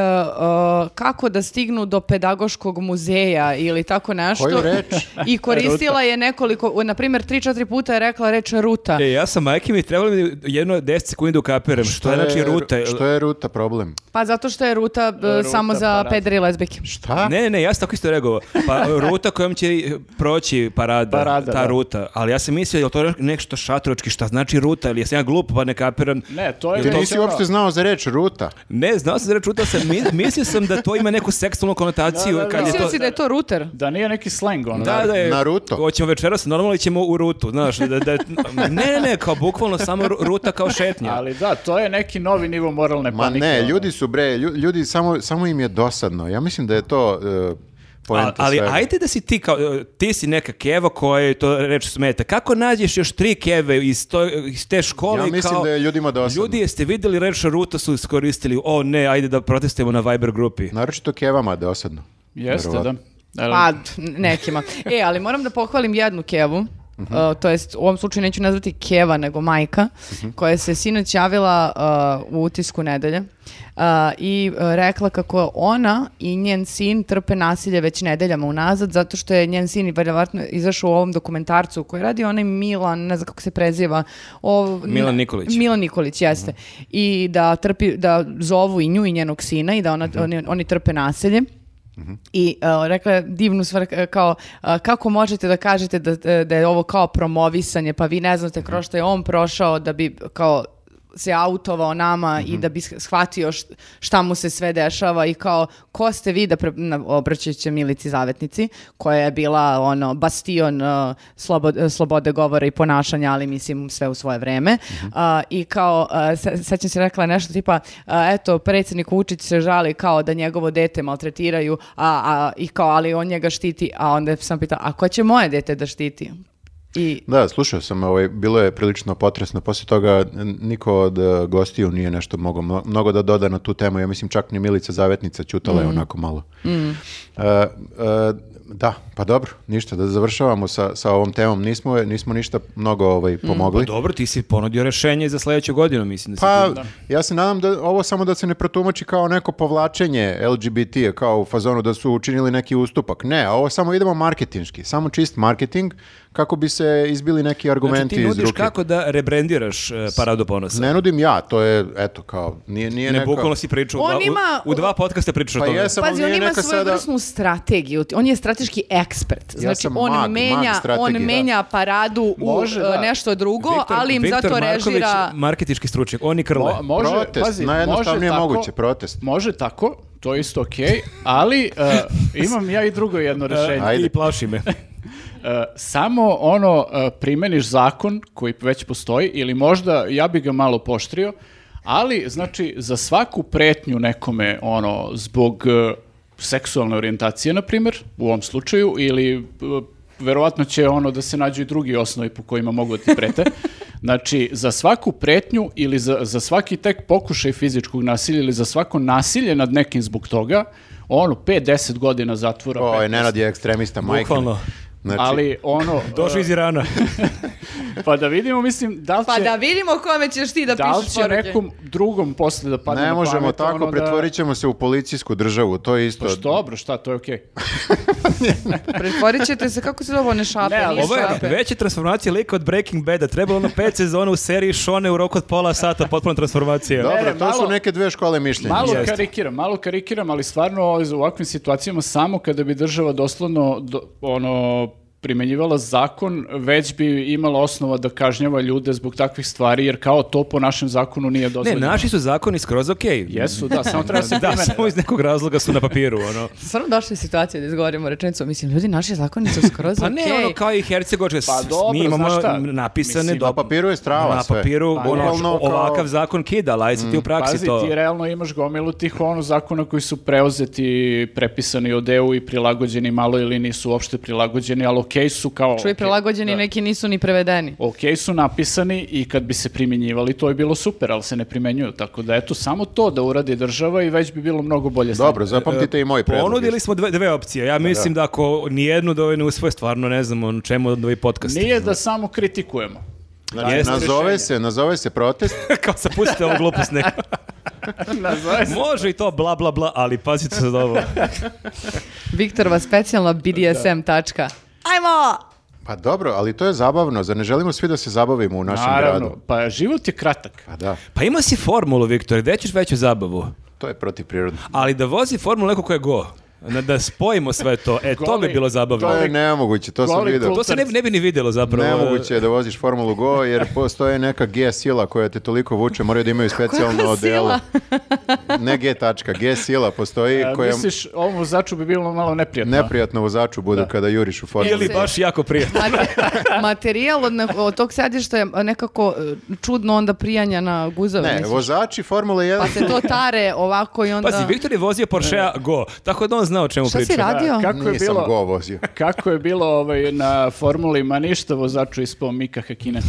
kako da stignu do pedagoškog muzeja ili tako nešto. Koju reč? I koristila je nekoliko, u, na primjer, 3-4 puta je rekla reč ruta. E, ja sam majke mi trebalo mi jedno 10 sekundi da ukapiram. Što, je, znači ruta? Što je ruta problem? Pa zato što je ruta, e, samo pa za parada. pedere i lezbike. Šta? Ne, ne, ne, ja sam tako isto reagovao. Pa (laughs) ruta kojom će proći parada, Parada, ta da. ruta. Ali ja sam mislio, je li to nešto šatročki, šta znači ruta, ili jesam ja glup pa ne kapiram. Ne, to je... Ti to nisi uopšte znao za reč ruta. Ne, znao sam da reč ruta, sam, mi- mislio sam da to ima neku seksualnu konotaciju. Da, da, da. kad je Mislili to... si da je to ruter? Da nije neki slang ono. Da, da je, Na ruto. Hoćemo večeras, normalno ili ćemo u rutu, znaš, da, da, ne, ne, ne, kao bukvalno samo ru- ruta kao šetnja. Ali da, to je neki novi nivo moralne Ma panike. ne, ono. ljudi su bre, lju- ljudi samo, samo im je dosadno. Ja mislim da je to uh, A- poenta ali svega. ajde da si ti kao, e, ti si neka keva koja je to reč smeta. Kako nađeš još tri keve iz, to, iz te škole? Ja i mislim kao, da je ljudima dosadno. Ljudi jeste vidjeli reč ruta su iskoristili, o ne, ajde da protestujemo na Viber grupi. Naročito kevama je dosadno. Jeste, da. Verovatno. Ali- Pa, d- nekima. E, ali moram da pohvalim jednu kevu. Uh, to jest, u ovom slučaju neću nazvati Keva, nego majka, koja se sinoć javila uh, u utisku nedelje uh, i uh, rekla kako ona i njen sin trpe nasilje već nedeljama unazad, zato što je njen sin verovatno izašao u ovom dokumentarcu koji radi onaj Milan, ne znam kako se preziva. O, Milan Nikolić. Mhm. Milan Nikolić, jeste. I da, trpi, da zovu i nju i njenog sina i da ona, Mhm. oni, oni trpe nasilje. I uh, rekla je divnu stvar k- kao uh, kako možete da kažete da, da je ovo kao promovisanje pa vi ne znate kroz što je on prošao da bi kao se autovao nama Mhm. i da bi sh- shvatio št- šta mu se sve dešava i kao ko ste vi da pre, na- obraćajući se Milici Zavetnici koja je bila ono bastion uh, slobo- uh, slobode govora i ponašanja ali mislim sve u svoje vreme Mhm. A, i kao uh, se- sećam se rekla je nešto tipa a, eto predsjednik Vučić se žali kao da njegovo dete maltretiraju a, a, i kao ali on njega štiti a onda sam pitala a ko će moje dete da štiti i Da, slušao sam, ovaj, bilo je prilično potresno. Poslije toga n- niko od e, gostiju nije nešto mogao mno- mnogo da doda na tu temu. Ja mislim čak ni Milica Zavetnica ćutala Mm. je onako malo. E, e, da, pa dobro, ništa, da završavamo sa, sa ovom temom. Nismo, je- nismo ništa mnogo ovaj, Mm, pomogli. Dobro, ti si ponudio rešenje za sljedeću godinu, mislim da si Pa, ti- znači, ja se nadam da ovo samo da se ne protumači kao neko povlačenje LGBT-a, kao u fazonu da su učinili neki ustupak. Ne, ovo samo idemo marketinški, samo čist marketing kako bi se izbili neki Znači argumenti ti iz nudiš ruke. kako da rebrendiraš e, Paradu ponosa. Ne nudim ja, to je, eto, kao, nije, nije Ne, neka- bukvalno si pričao. u On dva- u- ima- U, dva podcasta pričao Pa o tome. jesam, ali Pazi, on nije ima neka svoju sada... vrsnu strategiju. On je strateški ekspert. Znači, sam on, mag, menja, mag on strategije, da. menja paradu Može, u da. e, nešto drugo, ali im Viktor zato Marković, režira... marketinški stručnjak, oni krle. Mo- može, Protest, pazi, najjednostavnije može tako- moguće, protest. Može tako, to je isto okej, ali (laughs) e, imam ja i drugo jedno E, rešenje. Ajde. I plaši me. E, samo ono e, primeniš zakon koji već postoji ili možda ja bi ga malo poštrio, ali znači za svaku pretnju nekome ono zbog e, seksualne orijentacije na primjer u ovom slučaju ili e, verovatno će ono da se nađu i drugi osnovi po kojima mogu da ti prete. Znači, za svaku pretnju ili za, za svaki tek pokušaj fizičkog nasilja ili za svako nasilje nad nekim zbog toga, ono, 5-10 godina zatvora. O, je, 15. Nenad je ekstremista, majka. mi. Bukvalno. Znači, Ali ono... Došao e, (laughs) iz Irana. pa da vidimo, mislim, da li Pa će, da vidimo kome ćeš ti da da li pišeš će poruke. nekom drugom posle da padne ne na možemo pamet, tako, ono da- pretvorit ćemo se u policijsku državu, to je isto... Pa što, dobro, šta, to je okej. Pretvorit ćete se, kako se zove one šape? Ne, ali Nije Ovo je šape. veća transformacija lika od Breaking Bada. Trebalo ono pet sezona u seriji Šone u roku od pola sata, potpuna transformacija. Dobro, Ne, ne, to su malo- neke dve škole mišljenja. Malo Jeste. karikiram, ovaj, malo karikiram, ali stvarno u ovakvim situacijama samo kada bi država doslovno do- ono primenjivala zakon, već bi imala osnova da kažnjava ljude zbog takvih stvari, jer kao to po našem zakonu nije Ne, dozvoljeno. naši su zakoni skroz okej. Jesu, da, samo treba se Da, primene. samo iz nekog razloga su na papiru, ono. Stvarno došla je situacija da izgovorimo rečenicu, mislim, ljudi, naši zakoni su skroz (laughs) Pa ne, okej. ono kao i Hercegovačka, Pa s- dobro, mi imamo znaš šta? napisane Mislim, do- na papiru je strava Na sve. papiru, Pa, ono, realno kao- ovakav zakon kida, ali si ti u praksi Pazi, to... ti realno imaš gomilu tih ono zakona koji su preuzeti, prepisani od EU i prilagođeni malo ili nisu uopšte prilagođeni, ali okej su kao... Čuj, okej, prilagođeni, da. neki nisu ni prevedeni. Okej su napisani i kad bi se primjenjivali to je bilo super, ali se ne primjenjuju. Tako da eto, samo to da uradi država i već bi bilo mnogo bolje stanje. Dobro, zapamtite i moj predlog. Ponudili smo dve, dve opcije. Ja mislim da, ako nijednu da ovaj ne usvoje, stvarno ne znam on čemu onda ovaj podcast. Nije da samo kritikujemo. (laughs) Znači, Jeste nazove rešenje. se, nazove se protest. (laughs) Kao se pustite ovu glupost ne. Nazove se- Može i to bla bla bla, ali pazite se za ovo. Viktorova specijalna BDSM tačka. Pa dobro, ali to je zabavno. Zar ne želimo svi da se zabavimo u našem Naravno, gradu? pa život je kratak. Pa da, Pa ima si formulu, Viktor, gde ćeš veću zabavu? to je protiv prirode. Ali da vozi formulu neko ko je go. Da- Da spojimo sve to. E, to bi Goli- bilo zabavno. To je nemoguće, to sam Goli vidio. klub. To se ne, ne bi ni vidjelo zapravo. Nemoguće je da voziš Formulu Go jer postoje neka G sila koja te toliko vuče, moraju da imaju ono specijalno odelo. sila? Ne G tačka, G sila postoji A, koja E, Misliš, ovom vozaču bi bilo malo neprijatno? neprijatno vozaču budu kada juriš u Formulu Ili pa- se- baš jako (laughs) prijatno. Mate- Materijal od, ne- od tog sedišta je nekako e, čudno onda prijanja na guzove. Ne, mislim. vozači Formule 1 Pa se to tare ovako i onda... Pazi, Viktor je vozio Porschea Go, tako da on zna o čemu Šta priča. si radio? Kako je nisam bilo? Go vozio. Kako je bilo ovaj, na formuli, ma ništa vozaču ispao Mika Hakina.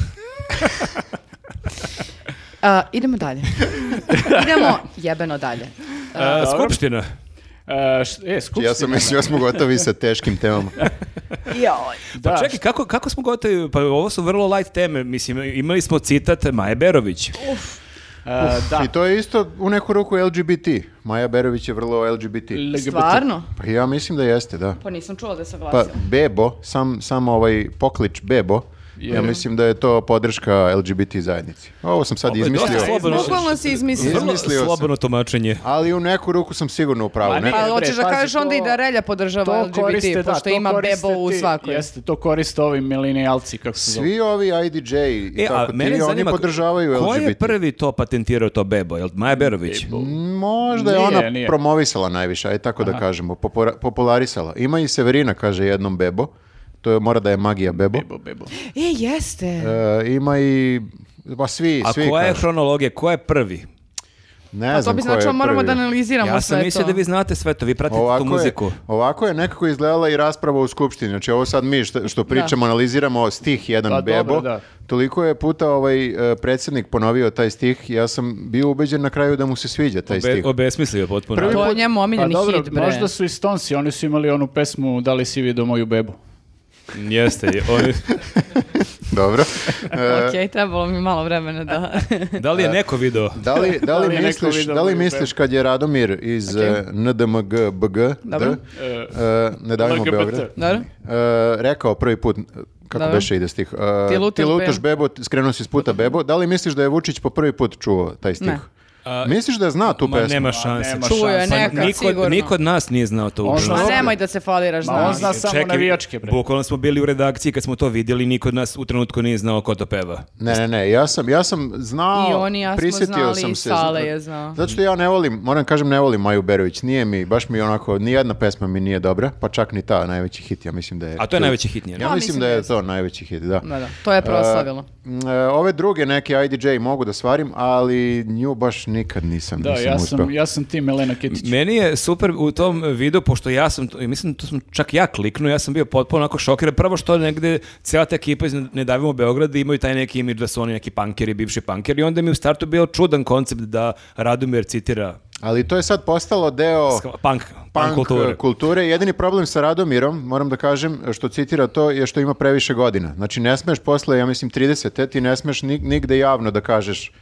A, idemo (laughs) dalje. idemo jebeno dalje. A, skupština. E, š- e, skupština. Ja sam mislio da smo gotovi sa teškim temama. Da, Pa čekaj, kako, kako smo gotovi? Pa ovo su vrlo light teme. Mislim, imali smo citat Maje Berović. e, da. I to je isto u neku ruku LGBT. Maja Berović je vrlo LGBT. LGBT. Stvarno? Pa ja mislim da jeste, da. Pa nisam čula da se Pa oglasila. Bebo, sam, sam ovaj poklič Bebo, ja mislim da je to podrška LGBT zajednici. Ovo sam sad Ovo je izmislio. dosta slobodno. Bukvalno si izmislio. Vrlo Izmislio sam. slobodno tumačenje. Ali u neku ruku sam sigurno u pravu. Ma ne? nije. Ali Pa hoćeš E, da bre, pazi, kažeš onda i to- da relja podržava LGBT, pošto to ima koriste bebo u ti- svakoj. Jeste, to koriste ovi milenijalci, kako se zove. Svi ovi IDJ i E, a tako ti, mene oni zanima, podržavaju ko LGBT. je prvi to patentirao to bebo? Jel Maja Berović? Možda je Nije, ona nije. promovisala najviše, aj tako da kažemo, popora- popularisala. Ima i Severina, kaže jednom Bebo, to je, mora da je magija Bebo. Bebo, bebo. E, jeste. E, ima i, pa svi, A svi koja je kažu. hronologija? Ko je prvi? Ne Pa to znam bi ko je značilo moramo prvi. da analiziramo Ja sve sam mislio to. da vi znate sve to, vi pratite tu Ovako je, muziku. ovako je nekako izgledala i rasprava u skupštini. Znači ovo sad mi što, što pričamo, analiziramo stih jedan Pa dobro, bebo. da. Toliko je puta ovaj e, predsjednik ponovio taj stih, ja sam bio ubeđen na kraju da mu se sviđa taj Obe, stih. obesmislio je potpuno. Prvi- To je njemu Pa omiljeni dobro, hit, bre. možda su i Stonsi, oni su imali onu pesmu Da li si vidio moju bebu? Jeste. je- oni- (laughs) (laughs) Dobro. E, Ok, trebalo mi malo vremena da... E, da li je neko video? Da li, da Da li, li je neko misliš, video da li moju misliš kad je Radomir iz e, NDMG BG, Dobro. D, e, ne davimo LGBT. Beograd, e, (laughs) Dobro? rekao prvi put, e, kako Dobro. beše ide stih, e, Ti lutaš bebo, skrenuo si s puta bebo, da li misliš da je Vučić po prvi put čuo taj stih? Ne. A, misliš da zna tu Ma pesmu? nema šanse. nema Čuo je šanse. Pa nekad, niko, sigurno. niko od nas nije znao to uopšte. zna- Ma Dobro. Pa nemoj da se faliraš, Ma on znaš. zna samo navijačke, bre. Bukvalno smo bili u redakciji kad smo to vidjeli, niko od nas u trenutku nije znao ko to peva. Ne, ne, ne, ja sam, ja sam znao, I oni i ja smo prisjetio znali, sam i se. Sale je znao. Zato što ja ne volim, moram kažem ne volim Maju Berović, nije mi, baš mi onako, ni jedna pesma mi nije dobra, pa čak ni ta najveći hit, ja mislim da je. A to je najveći hit njena. Ja Pa, mislim mislim da da je jeste. to najveći hit, da. Da, da, to je proslavilo. E, e, ove druge neke IDJ mogu da svarim, ali nju baš nikad nisam, Da, nisam ja uspeo. sam, ja sam tim Elena Kitić. Meni je super u tom videu, pošto ja sam, to- mislim, to sam čak ja kliknuo, ja sam bio potpuno onako šokiran. Prvo što negde cijela ta ekipa iz Ne davimo Beograd imaju taj neki imidž da su oni neki pankeri, bivši pankeri. I onda mi je u startu bio čudan koncept da Radomir citira Ali to je sad postalo deo sk- punk, Oh. punk punk kulture. e, kulture. Jedini problem sa Radomirom, moram da kažem, što citira to, je što ima previše godina. Znači, ne smeš posle, ja mislim, 30, te ti ne smeš nig- nigde javno da kažeš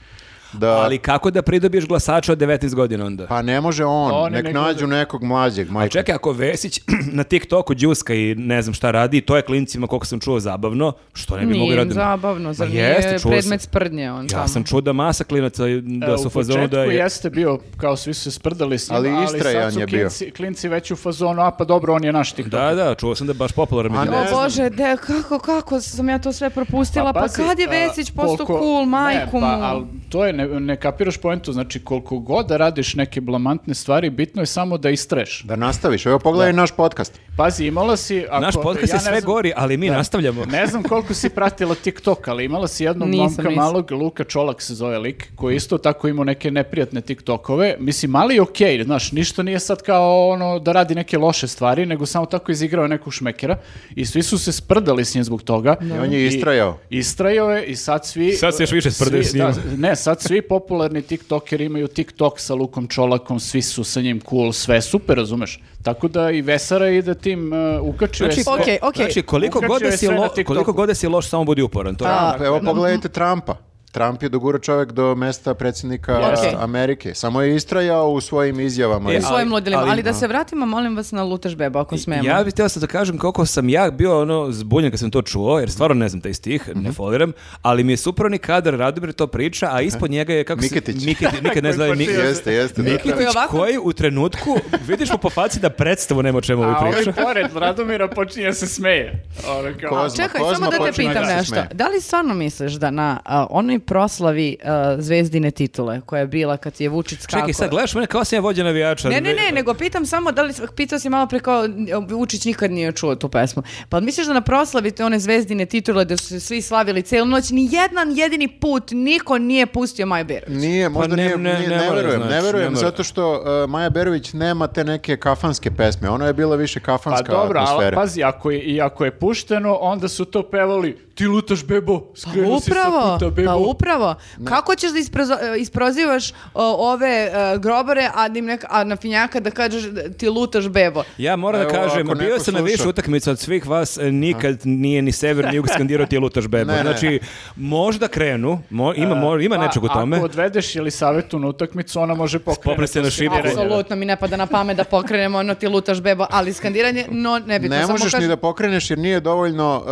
Da. Ali kako da pridobiješ glasača od 19 godina onda? Pa ne može on, On je nek neko- nađu nekog mlađeg, majko. Čekaj, ako Vesić (clears throat) na TikToku džuska i ne znam šta radi, to je klincima koliko sam čuo zabavno, što ne bi mogu Nije im raditi. zabavno, zar Ma nije jeste, čuo sam. predmet sprdnje on Ja tamo? sam čuo da masa klinaca da E, su u u fazonu da početku je... jeste bio, kao svi su se sprdali s njim, Ali ali, istrajan sad su je bio. klinci, klinci već u fazonu, a pa dobro, on je naš TikTok. Da, da, čuo sam da je baš popularan. A među ne O mladima. znam. Bože, de, kako, kako sam ja to sve propustila, pa, pazi, kad je a, Vesić postao koliko- cool, majku ne, mu? pa, al to je, ne, ne kapiraš poentu, znači koliko god da radiš neke blamantne stvari, bitno je samo da istreš. Da nastaviš, evo pogledaj naš podcast. Pazi, imala si... Ako, Naš podcast ja je ne sve znam- gori, ali mi nastavljamo. Ne znam koliko si pratila TikTok, ali imala si jednog Nisam, momka nisam. malog, Luka Čolak se zove lik, koji je isto tako imao neke neprijatne TikTokove. Mislim, mali je okej, znaš, ništa nije sad kao ono da radi neke loše stvari, nego samo tako izigrao nekog šmekera i svi su se sprdali s njim zbog toga. I on je istrajao. I, istrajao je i sad svi... Sad se još više sprdaju svi- s njim. da, ne, sad svi popularni TikTokeri imaju TikTok sa Lukom Čolakom, svi su sa njim cool, sve super, razumeš? Tako da i Vesara ide tim uh, ukačio je sve. okej, okej. znači, koliko Ukačio god, da je si sve na lo, TikToku. koliko god da si loš, samo budi uporan. To je ono. Trump, evo pogledajte Trumpa. Trump je dogurao čovjek do mesta predsjednika Jeste. a, Amerike. Samo je istrajao u svojim izjavama. E, i- U svojim ali- ludilima. ali- Ali, da se vratimo, molim vas, na Lutaš beba, ako smemo. Ja bih htio sad da kažem koliko sam ja bio ono zbunjen kad sam to čuo, jer stvarno ne znam taj stih, ne foliram, ali mi je suprotni kadar Radomir to priča, a ispod njega je kako se- Miketić. Miketić, nikad ne znam. Mik, Jeste, jeste. da. Miketić Koji ovako- koji u trenutku, vidiš mu po faci da predstavu nema o čemu ovi A ovaj priča. pored Radomira počinje se smeje. Ono kao- Ko zna? Čekaj, Kozma samo pa da te počinje pitam da se nešto. smeje. Da li stvarno misliš da na a, onoj proslavi a, zvezdine titule koja je bila kad je Vučić skakao? Čekaj, sad gledaš mene kao sam ja vođa navijača. Ne, ne, ne, nego pitam samo da li, pitao si malo preko, Vučić nikad nije čuo tu pesmu. Pa misliš da na proslavi te one zvezdine titule da su se svi slavili celu noć, ni jedan jedini put niko nije pustio Maj Berović? Nije, možda Pa ne- nije, ne- nije- ne ne, mora, verujem, znači, ne verujem, ne mora. zato što uh, Maja Berović nema te neke kafanske pesme, ona je bila više Pa kafanska dobro, ali atmosfera. pazi, ako je, i ako je pušteno, onda su to pevali ti lutaš bebo, Pa skrenu si sa upravo, puta pa bebo. upravo. Kako ćeš da isprozo- e, isprozivaš o, ove e, grobare, a, da im neka, a na finjaka da kažeš da ti lutaš bebo? Ja moram da Evo, kažem, ako bio neko sam na sluša. više utakmica od svih vas, e, nikad nije ni sever ni jug skandirao ti je lutaš bebo. Ne, ne. Znači, možda krenu, mo- ima, mo- ima Pa, nečeg u tome. Ako odvedeš ili savetu na utakmicu, ona može pokrenuti. Popne se na šipu. Apsolutno mi ne pada na pamet da pokrenemo ono ti lutaš bebo, ali skandiranje, no ne bi Ne samo možeš ni kažem- da pokreneš jer nije dovoljno uh,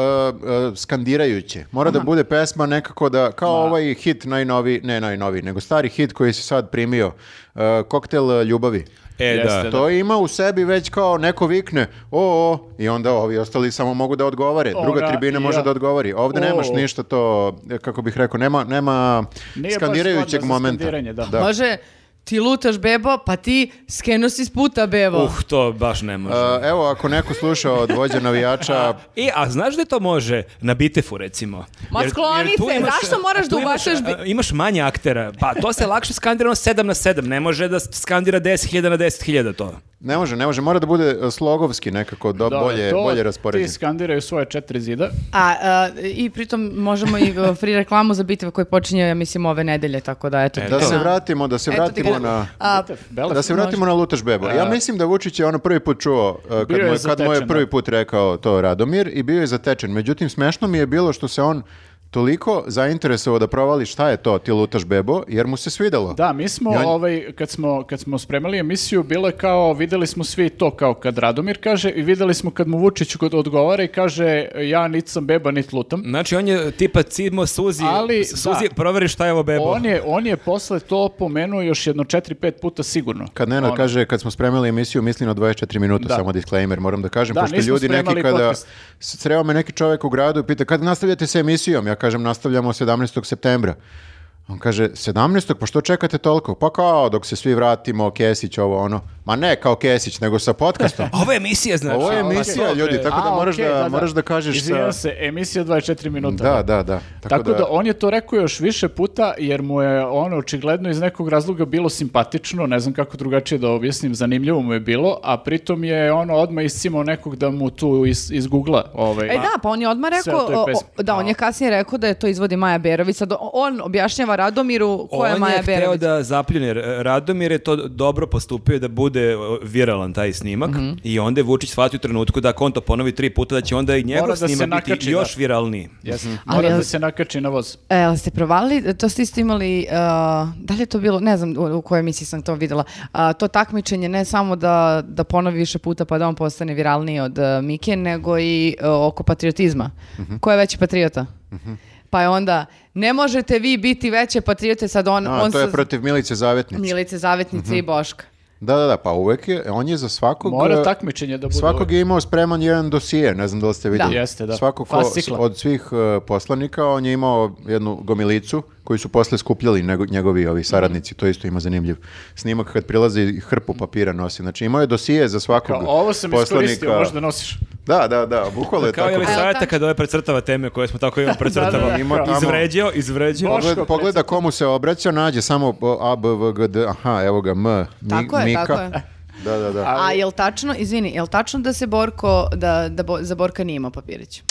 uh, skandirajuće. Mora da bude pesma nekako da, kao ovaj hit najnovi, ne najnovi, nego stari hit koji si sad primio, uh, koktel uh, ljubavi. E, da. Jeste, To ima u sebi već kao neko vikne o, o, i onda ovi ostali samo mogu da odgovore. Druga Ora, tribina i može ja. da odgovori. Ovdje O. nemaš ništa to, e, kako bih rekao, nema, nema Nije baš zgodno skandirajućeg za momenta. skandiranje, da. Može, ti lutaš bebo, pa ti skenu si s puta bebo. Uh, to baš ne može. E, Evo, ako neko sluša od vođa (laughs) navijača, E, a znaš da to može na bitefu, recimo? Ma skloni tu se, zašto moraš da tu imaš, ubacaš bi- a, Imaš manje aktera, pa to se lakše skandira ono 7 na 7, ne može da skandira 10.000 na 10.000 to. ne može, ne može, mora da bude e, slogovski nekako do, Da, bolje, to bolje Ti raspoređen. skandiraju svoje četiri zida. A, e, I pritom možemo i e, free reklamu za bitev koji počinje, ja mislim, ove nedelje, tako da eto. E, Da ti se na- vratimo, da se eto ti vratimo ga- na... A, Bele. Da se vratimo na Lutaš Bebo. Ja mislim da Vučić je ono prvi put čuo e, kad Bio je mu, je- kad mu je zatečen, prvi da. put rekao to Radomir i bio je zatečen. Međutim, smešno mi je bilo što se on toliko zainteresovao da provali šta je to ti Lutaš Bebo, jer mu se svidelo. Da, mi smo, I on- ovaj, kad, smo, kad smo spremali emisiju, bilo je kao, videli smo svi to kao kad Radomir kaže i videli smo kad mu Vučić kod odgovara i kaže ja nit sam beba, nit lutam. Znači, on je tipa cimo Suzi, Ali, Suzi, da. proveri šta je ovo bebo. On je, on je posle to pomenuo još jedno 4-5 puta sigurno. Kad Nenad Ono. kaže, kad smo spremili emisiju, mislim na 24 minuta, Da. samo disclaimer, moram da kažem, Da, pošto nismo ljudi neki spremali kada... podcast. s- Sreo me neki čovjek u gradu i pita, kad nastavljate sa emisijom? Ja kažem, nastavljamo 17. septembra. On kaže, 17. pa što čekate toliko? Pa kao, dok se svi vratimo, Kesić, ovo, ono. Ma ne, kao Kesić, nego sa (laughs) podcastom. Ovo je emisija, znači. Ovo je Pa emisija, to, ljudi, bre. tako da ono, A, moraš, okej, da, moraš da kažeš... sa- Izvinjam se, emisija 24 minuta. Da, da, da. Tako, da... on je to rekao još više puta jer mu je ono očigledno iz nekog razloga bilo simpatično, ne znam kako drugačije da objasnim, zanimljivo mu je bilo, a pritom je ono odmah iscimao nekog da mu tu iz, iz Googla. Ovaj, E da, pa on je odmah Sve o rekao, toj o- o- pesmi. da, on je kasnije rekao da je to izvodi Maja Berović, sad on objašnjava Radomiru ko je On je Maja hteo Berović. da zapljune Radomir je to dobro postupio da bude bude o, viralan taj snimak Mhm. i onda je Vučić shvatio u trenutku da ako on to ponovi tri puta da će onda i njegov Mora da se snimak biti nakači, još da. viralniji. Jes, Ali Mora ja- da se nakači na voz. E, ali ste provalili, to ste isto imali, a, da li je to bilo, ne znam u, u kojoj emisiji sam to videla, a, to takmičenje ne samo da, da ponovi više puta pa da on postane viralniji od e, Mike, nego i e, oko patriotizma. Ko je veći patriota? Pa je onda, ne možete vi biti veće patriote, sad on, A, on to je sa- protiv Milice Zavetnice. Milice, Zavetnice i Boška. Da, da, da, pa uvek je, on je za svakog... Mora eh, takmičenje da bude. Svakog uvek. je imao spreman jedan dosije, ne znam da li ste vidjeli. Da. Jeste, da. Pa, Svako ko, Fascikla. od svih eh, poslanika, on je imao jednu gomilicu koju su posle skupljali nego- njegovi Mhm. ovi saradnici, to isto ima zanimljiv snimak kad prilazi i hrpu papira nosi. Znači imao je dosije za svakog Mhm. Kao, ovo sam iskoristio, poslanika. možda nosiš. Da, da, da, bukvalo je Kao tako. je E, tako? sajta kada ove precrtava teme koje smo (laughs) tako imali Da, da, precrtava. da. Ima tamo- Izvređio, izvređio. Boško Pogled- pogleda komu se obraća, nađe samo o, A, B, V, G, D, aha, evo ga, M, Mi- Tako je, Mika. tako je. Da, da, da. A jel tačno, izvini, jel tačno da se Borko, da, da bo, za Borka nije imao papirić?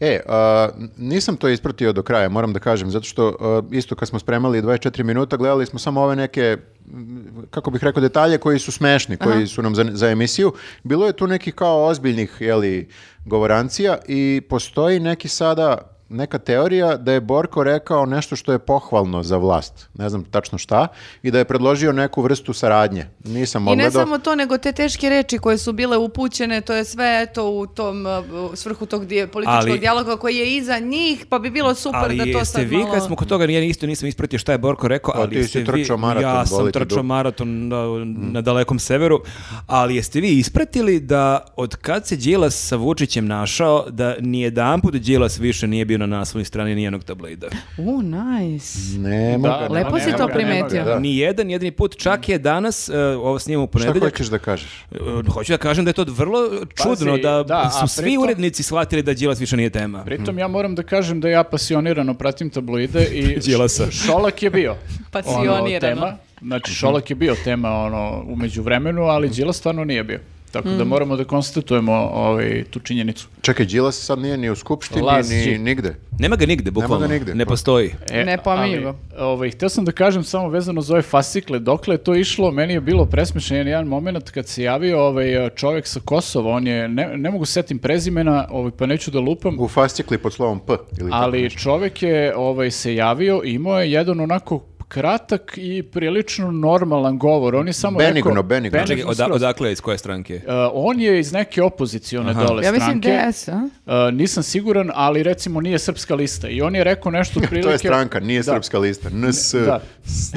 E, a, nisam to ispratio do kraja, moram da kažem, zato što a, isto kad smo spremali 24 minuta, gledali smo samo ove neke, m, kako bih rekao, detalje koji su smešni, koji su nam za, za emisiju. Bilo je tu neki kao ozbiljnih, jeli, govorancija i postoji neki sada neka teorija da je Borko rekao nešto što je pohvalno za vlast, ne znam tačno šta, i da je predložio neku vrstu saradnje. Nisam I ne odgledao. samo to, nego te teške reči koje su bile upućene, to je sve to u tom uh, u svrhu tog dije- političkog Ali- dijaloga koji je iza njih, pa bi bilo super Ali da to jeste sad vi malo... kad smo kod toga, ja isto nisam ispratio šta je Borko rekao, Pa ali ti jeste si vi... trčao maraton, Mm. ja sam boli ti trčao dupe. maraton na, na dalekom severu, ali jeste vi ispratili da od kad se Đilas sa Vučićem našao, da nijedan put Đilas više nije bio na naslovnoj strani nijednog tablida. U, nice. Ne mogu Da, ga, lepo ne si mogu to ga, ne mogu ga, primetio. da. Nijedan jedini put, čak je danas, e, ovo snimamo u Šta ponedeljak, hoćeš da kažeš? e, hoću da kažem da je to vrlo čudno, da, da, a su svi pritom- urednici shvatili da Đilas više nije tema. Pritom ja moram da kažem da ja pasionirano pratim tabloide i Đilasa. Š- Šolak je bio. Pasionirano. Ono, tema. Znači Šolak je bio tema ono umeđu vremenu, ali Đilas stvarno nije bio. Tako da moramo da konstatujemo ovaj, tu činjenicu. Čekaj, Đilas sad nije ni u skupštini, Laz ni Đip. nigde. Nema ga ga nigde, bukvalno. nigde, ne pa- postoji. Ne pominju E, ali, ga. Ovaj, htio sam da kažem samo vezano za ove fasikle, dokle je to išlo, meni je bilo presmešan jedan- jedan moment kad se javio ovaj čovjek sa Kosova, on je, ne, ne mogu setim prezimena, ovaj, pa neću da lupam, U fascikli pod slovom P. Ili tako Ali nešto. (laughs) čovjek je ovaj, se javio i imao je jedan onako kratak i prilično normalan govor. On je samo Benigno, rekao... benigno. Čekaj, oda- skroz. odakle, iz koje stranke? Uh, on je iz neke opozicione dole Ja mislim stranke. DS, a? Uh, nisam siguran, ali recimo nije srpska lista. I on je rekao nešto prilike... (laughs) To je stranka, nije Da. srpska lista. NS, Da. s-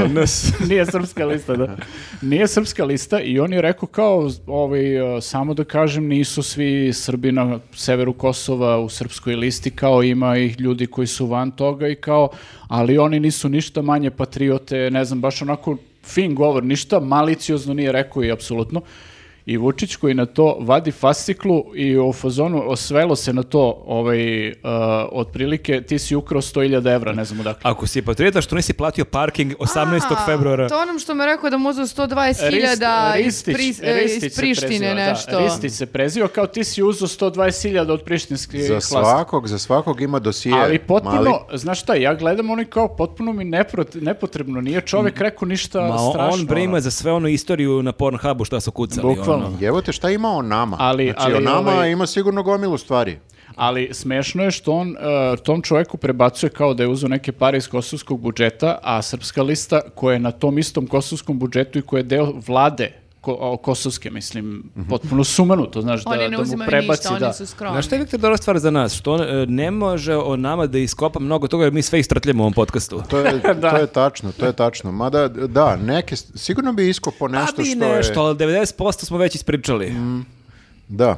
L. (laughs) nije srpska lista, da. Nije srpska lista i on je rekao kao, ovaj, e, samo da kažem, nisu svi Srbi na severu Kosova u srpskoj listi, kao ima ih ljudi koji su van toga i kao, ali oni nisu ništa manje patriote, ne znam, baš onako fin govor, ništa maliciozno nije rekao i apsolutno. I Vučić koji na to vadi fasciklu i u fazonu osvelo se na to ovaj, e, otprilike ti si ukrao 100.000 evra, ne znam odakle. Ako si patriota, što nisi platio parking 18. A, februara? To onom što me rekao da mu uzeo 120.000 iz, Ristić- Pri- e, iz Ristić se Prištine prezio, da, nešto. Ristić se prezio kao ti si uzeo 120.000 od prištinske Za svakog, za svakog ima dosije. Ali potpuno, mali. znaš šta, ja gledam oni kao potpuno mi neprot- nepotrebno, nije čovjek rekao ništa Mm. Ma on- strašno. on brima ono. za sve onu istoriju na Pornhubu šta su kucali. Bukvalno. ono. Evo te, šta ima o nama? Ali- znači, o ali nama ovaj- ima sigurno gomilu stvari. Ali smešno je što on e, tom čovjeku prebacuje kao da je uzeo neke pare iz kosovskog budžeta, a srpska lista koja je na tom istom kosovskom budžetu i koja je deo vlade ko- o, kosovske, mislim, Mhm. potpuno sumanuto, znaš, da, Oni ne da mu uzimaju prebaci. ništa, da. oni su skromni. Znaš što je Viktor dobra stvar za nas? Što on e, ne može o nama da iskopa mnogo toga jer mi sve istrtljamo u ovom podcastu. To (laughs) je, Da. to je tačno, to je tačno. Mada, da, neke, sigurno bi iskopo nešto pa bi što nešto, je... Mm. ali 90% smo već ispričali. Da.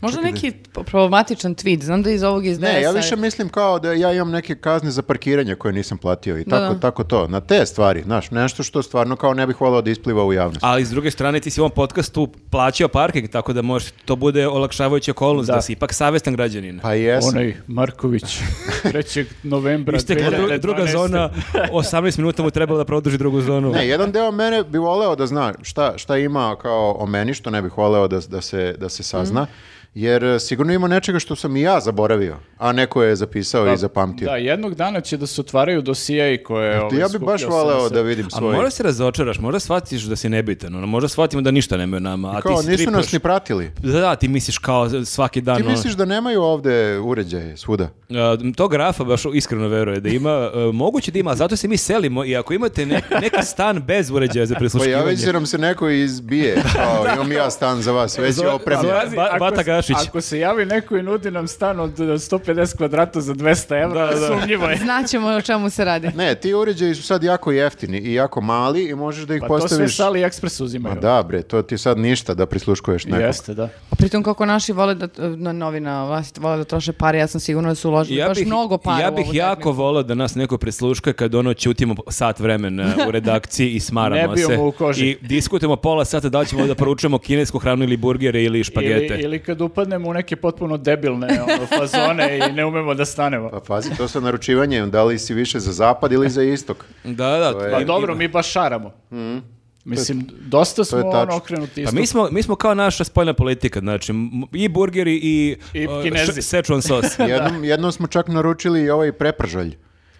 Možda neki problematičan tweet, znam da je iz ovog iz Ne, ja DS-a. više mislim kao da ja imam neke kazne za parkiranje koje nisam platio i tako, da. tako to. Na te stvari, znaš, nešto što stvarno kao ne bih volao da ispliva u javnost. Ali s druge strane ti si u ovom podcastu plaćao parking, tako da možeš, to bude olakšavajuća okolnost da. Da. si ipak savjestan građanin. Pa jesam. Onaj (laughs) Marković, 3. novembra Istekla dru- 2012. druga zona, 18 minuta mu trebalo da produži drugu zonu. Ne, jedan deo mene Mhm. bi voleo da zna šta, šta ima kao o meni, što ne bih voleo da, da, se, da se sazna. Jer e, sigurno ima nečega što sam i ja zaboravio, a neko je zapisao i zapamtio. Da, jednog dana će da se otvaraju dosije i koje... ovaj, ja bih baš skupljao sam voleo se. da vidim A svoje. možda se razočaraš, možda shvatiš da si nebitan, ono, možda shvatimo da ništa nemaju nama, a Kao, ti nisu nas stripaš. ni pratili. Da, da, ti misliš kao svaki dan. Ti ono, misliš da nemaju ovde uređaje svuda? Uh, to grafa baš iskreno veruje da ima, uh, moguće da ima, a zato se mi selimo i ako imate nek- neki stan bez Pa uređaja za Pojavi se prisluškivanje, nam se neko (laughs) izbije. Kao, imam ja stan za vas, već je Zove- opremljen. zove- Pazi, Ba- ako Bata se- Gašić. Ako se javi neko i nudi nam stan od eh, 150 kvadrata za 200 evra, Da, da. sumnjivo je. Znaćemo o čemu se radi. Ne, ti uređaji su sad jako jeftini i jako mali i možeš da ih Pa to sve postaviš... sa AliExpress uzimaju. Ma da bre, to ti sad ništa da prisluškuješ nekog. Jeste, da. A Pritom kako naši vole da, na novina vlast, vole da troše pare, ja sam sigurna da su uložili baš mnogo para ja u bih ovu jako tehniku. volao da nas neko prisluška kad ono ćutimo sat vremena u redakciji i Ne smaramo bio se. mu u koži. I diskutujemo pola sata da li ćemo da poručujemo kinesku hranu ili burgere ili špagete. Ili, ili kad upadnemo u neke potpuno debilne ono, fazone i ne umemo da stanemo. Pa pazi, to sa naručivanjem, da li si više za zapad ili za (laughs) istok. Da, da. To je- Pa i- dobro, mi baš šaramo. Mm. Mislim, dosta smo tačno. ono okrenuti Pa isto. mi smo, mi smo kao naša spoljna politika, znači m- i burgeri i, I uh, Kinezi. š- Szechuan (laughs) sos. Jednom, jednom smo čak naručili i ovaj prepražalj.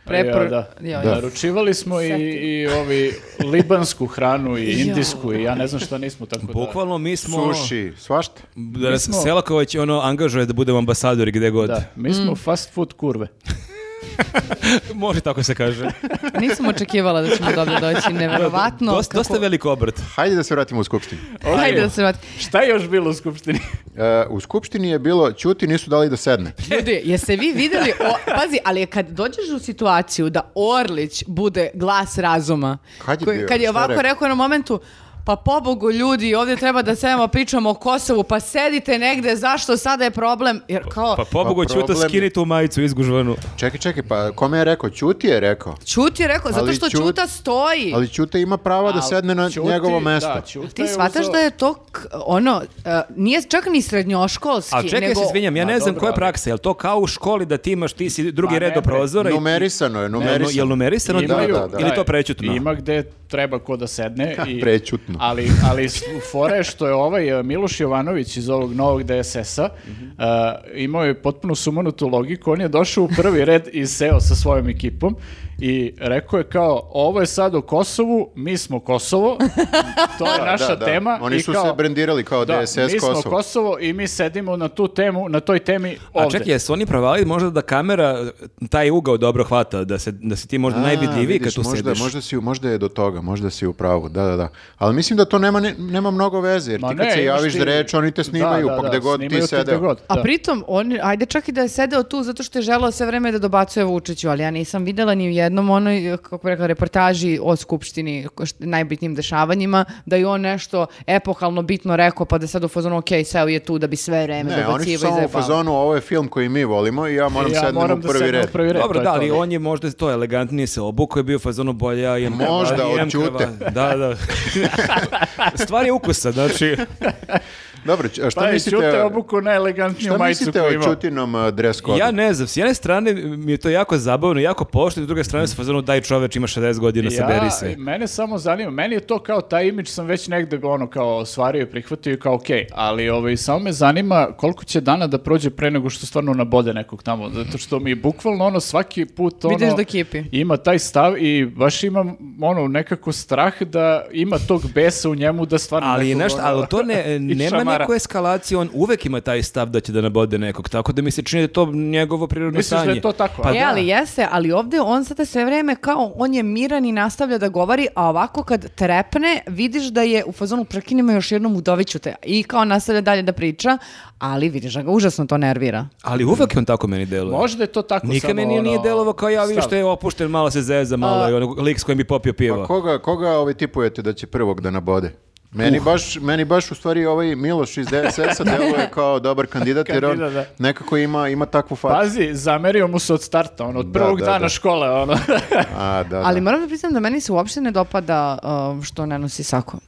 Prepro- Ja, da. Joj. Da. Naručivali smo i, i ovi libansku hranu i indijsku i ja ne znam šta nismo tako da... Bukvalno mi smo... Suši, svašta. Da nas smo- Selaković ono angažuje da budemo ambasadori gde god. Da, mi Mm. smo fast food kurve. (laughs) Može tako se kaže. Nisam očekivala da ćemo dobro (laughs) doći, nevjerovatno. Dosta, dosta velik obrt. Hajde da se vratimo u skupštinu. Hajde da se vrati. Šta je još bilo u skupštini? E, u skupštini je bilo, ćuti nisu dali da sedne. Ljudi, jeste vi vidjeli, o- pazi, ali kad dođeš u situaciju da Orlić bude glas razuma, Kad je bio? kad je Šta je ovako rekao? rekao na momentu, pa pobogu ljudi, ovdje treba da sedemo, pričamo o Kosovu, pa sedite negde, zašto sada je problem? Jer kao, Pa pobogu Pa ću to problem- skiniti u majicu izgužvanu. Čekaj, čekaj, pa kome je rekao? Ćuti je rekao. Ćuti je rekao, zato Ali što Ćut- Ćuta stoji. Ali Ćute ima prava da sedne na Ćuti, njegovo mesto. Da, Ćuta Ti je shvataš uzeo- da je to, k- ono, e, nije čak ni srednjoškolski, A čekaj, ja nego... se izvinjam, ja Ma, ne znam dobro, koja je ali- praksa, je li to kao u školi da ti imaš, ti si drugi Pa red ne, do bre. prozora? i- Numerisano je, numerisano. Jel numerisano? Ima- Imaju- Da, da, da. Ili to je, prećutno? Ima gde treba ko da (laughs) sedne. I, Prećutno. Ali, ali s- fora je što je ovaj eh, Miloš Jovanović iz ovog novog DSS-a eh, imao je potpuno sumanutu logiku. On je došao u prvi (laughs) red i seo sa svojom ekipom i rekao je kao, ovo je sad o Kosovu, mi smo (laughs) Kosovo, to je naša Da, da. tema. Oni i su kao, se brendirali kao Da, DSS mi smo Kosovo. Kosovo i mi sedimo na tu temu, na toj temi ovde. A čekaj, jesu oni provali možda da kamera taj ugao dobro hvata, da, se, da si ti možda A, najvidljiviji kad vidiš, tu možda, sediš? Možda, si, u- možda je do toga, možda si u pravu, da, da, da. Ali mislim da to nema, ne- nema mnogo veze, jer Ma ti kad ne, se imaš javiš ti- za reč, oni te Da, snimaju, da, pa da, gde god snimaju ti te gde sedeo. god, A da. pritom, on, ajde čak i da je sedeo tu zato što je želeo sve vreme da dobacuje Vučiću, ali ja nisam videla ni u jednom onoj, kako bi rekla, reportaži o Skupštini, ko- št- najbitnijim dešavanjima, da je on nešto epohalno bitno rekao, pa da je sad u fazonu, ok, seo je tu da bi sve vreme Ne, oni su dobacivo i samo u zajebavao." fazonu, ovo je film koji mi volimo i ja moram ja sednem moram u da prvi sednem red. u prvi red. Dobro, to je da, to. ali on je možda to elegantnije se obuko je bio u fazonu bolja je mrkava, Možda, je od Ćute. mrkava. Da, (laughs) da. Stvar je ukusa, znači. Dobro, č- a šta Pa je Ćute mislite, obuku najelegantniju šta majicu mislite koju o ima. Ćutinom uh, dress code? Ja ne znam, s jedne strane mi je to jako zabavno, jako pošto, s druge strane se fazonu daj čoveč ima 60 godina, saberi se. Mene samo zanima, meni je to kao taj imidž sam već negde ono kao ostvario i prihvatio i kao okej, ali ovaj, samo me zanima koliko će dana da prođe pre nego što stvarno nabode nekog tamo, zato što mi bukvalno ono svaki put ono... Vidiš da kipi. Ima taj stav i baš imam ono nekako strah da ima tog besa u njemu da stvarno... Ali je nekog, nešto, ono- ali to (laughs) ne, i nema šamara. neku eskalaciju, on uvek ima taj stav da će da nabode nekog, tako da mi se čini da je to njegovo prirodno Misliš da stanje. je to tako, Pa a? e, da. ali jeste, ali ovdje on sada sve vrijeme kao on je miran i nastavlja da govori, a ovako kad trepne, vidiš da je u fazonu prekinimo još jednom udoviću te i kao nastavlja dalje da priča, ali vidiš da ga užasno to nervira. Ali uvek je on tako meni deluje. Možda je to tako Nikad samo, meni nije ono, delovao kao ja, vidiš stav. što je opušten, malo se zeza, malo je ono lik s kojim bi popio pivo. Pa koga, koga ovaj tipujete da će prvog da nabode? Uh. Meni, baš, meni baš u stvari ovaj Miloš iz (laughs) DSS-a deluje kao dobar kandidat, jer on Kandidat, da. nekako ima, ima takvu facu. Pazi, zamerio mu se od starta, ono, od Pa- Da, prvog da, dana da. škole, (laughs) ono. A, Pa da, da. Ali moram da priznam da meni se uopšte ne dopada um, što ne uh, nosi sako.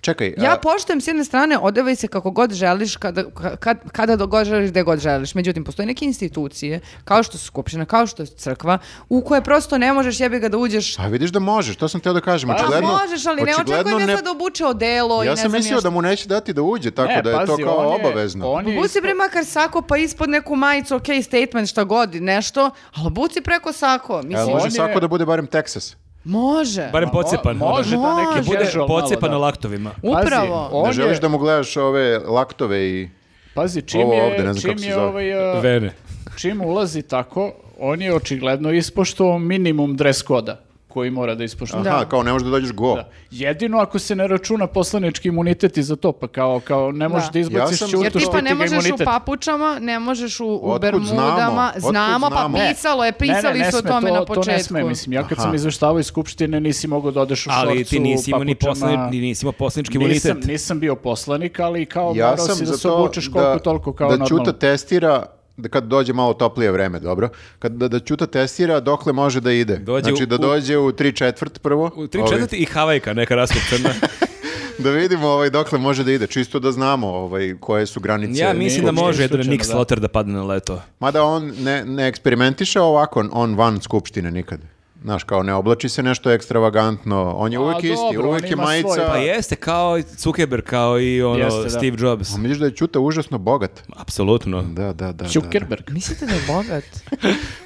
Čekaj, Ja a- poštujem s jedne strane, odevaj se kako god želiš, kada, ka- kad, kada do- god želiš, gde god želiš. Međutim, postoje neke institucije, kao što su skupština, kao što je crkva, u koje prosto ne možeš jebi ga da uđeš. A Pa vidiš da možeš, to sam teo da kažem. Pa Očigledno, možeš, ali ne očigledno očekujem ne- ja sad da obuče odelo i Ja ne sam znam mislio ja šta. da mu neće dati da uđe, tako da je to E, pazi, kao on je- obavezno. on je Buci isto- bre makar sako, pa ispod neku majicu, ok, statement, šta god, nešto, ali buci preko sako. Jel Mislim, E, može on je- svako da bude barem Texas? može. Barem pocepan. ono, Mo- može da neki Može. Bude casual malo, pocepan da. na laktovima. Pazi, Upravo. on Ne želiš je- da mu gledaš ove laktove i... Pazi, čim Ovo je, ovde, ne znam kako čim se je zove. ovaj, uh, Vene. čim ulazi tako, on je očigledno ispoštovao minimum dress koda koji mora da ispoštuje. Aha, kao ne možeš da dođeš go. Da. Jedino ako se ne računa poslanički imunitet i za to, pa kao, kao ne možeš Da. da, Ja izbaciš sam- ćutu što Jer tipa ti ne ga možeš u imunitet. papučama, ne možeš u, u Otkud znamo? bermudama. Otkud Znamo, pa znamo? pisalo je, Ne, ne, pisali ne su o sme, tome to, na to ne početku. sme, mislim. Ja kad Aha. sam izveštavao iz Skupštine nisi mogao da odeš u Ali šorcu, ti nisi imao ni papučama. poslani, ni nisi imao poslanički Nisam, imunitet. nisam bio poslanik, ali kao Ja morao sam si da za se to obučeš koliko da, toliko kao da normalno. Ćuta testira da kad dođe malo toplije vreme, dobro, kad, da, da Ćuta testira dokle može da ide. Dođe znači u- da dođe u 3 četvrt prvo. U tri ovaj, četvrti i Havajka neka raskopčana. (laughs) Da vidimo ovaj, dokle može da ide, čisto da znamo ovaj, koje su granice. ja mislim da uopšte može jedan isključeno, Nick da. Slaughter da padne na leto. Mada on ne, ne eksperimentiše ovako, on van skupštine nikad. Znaš, kao ne oblači se nešto ekstravagantno, on je A, uvijek isti, dobro, uvijek on je ima svoj, majica. Pa jeste kao i Zuckerberg, kao i ono Jeste, da. Steve Jobs. A misliš da je Ćuta užasno bogat? Apsolutno. Da, da, da. da. Ćukerberg. Mislite da je bogat?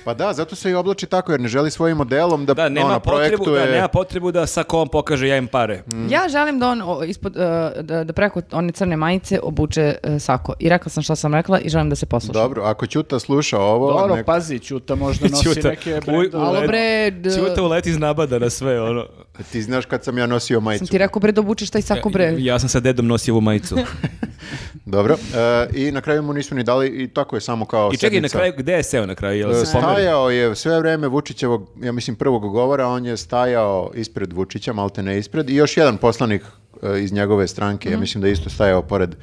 Pa da, zato se i oblači tako jer ne želi svojim modelom da, Da, nema ono, potrebu, projektuje... da, nema potrebu da sa kom pokaže ja im pare. (laughs) Mhm. (laughs) Ja želim da on o, ispod, e, da, da preko one crne majice obuče e, sako. I rekla sam šta sam rekla i želim da se poslušam. Dobro, ako Ćuta sluša ovo... Dobro, pa- nek- pazi, Ćuta (laughs) možda nosi Ćuta, neke Znači, u- brendove. u- Alo (laughs) bre, d- Ćute uleti iz nabada na sve, ono. Ti znaš kad sam ja nosio majicu. sam ti rekao bre da obučeš taj sako bre. Ja sam sa dedom nosio ovu (laughs) majicu. Dobro, e, i na kraju mu nisu ni dali i tako je samo kao I čekaj, na sednica. kraju, gde je seo na kraju? Pa Jel E, se pomerio? Stajao je sve vreme Vučićevog, ja mislim prvog govora, on je stajao ispred Vučića, malte ne ispred, i još jedan poslanik e, iz njegove stranke, Mhm. ja mislim da je isto stajao pored,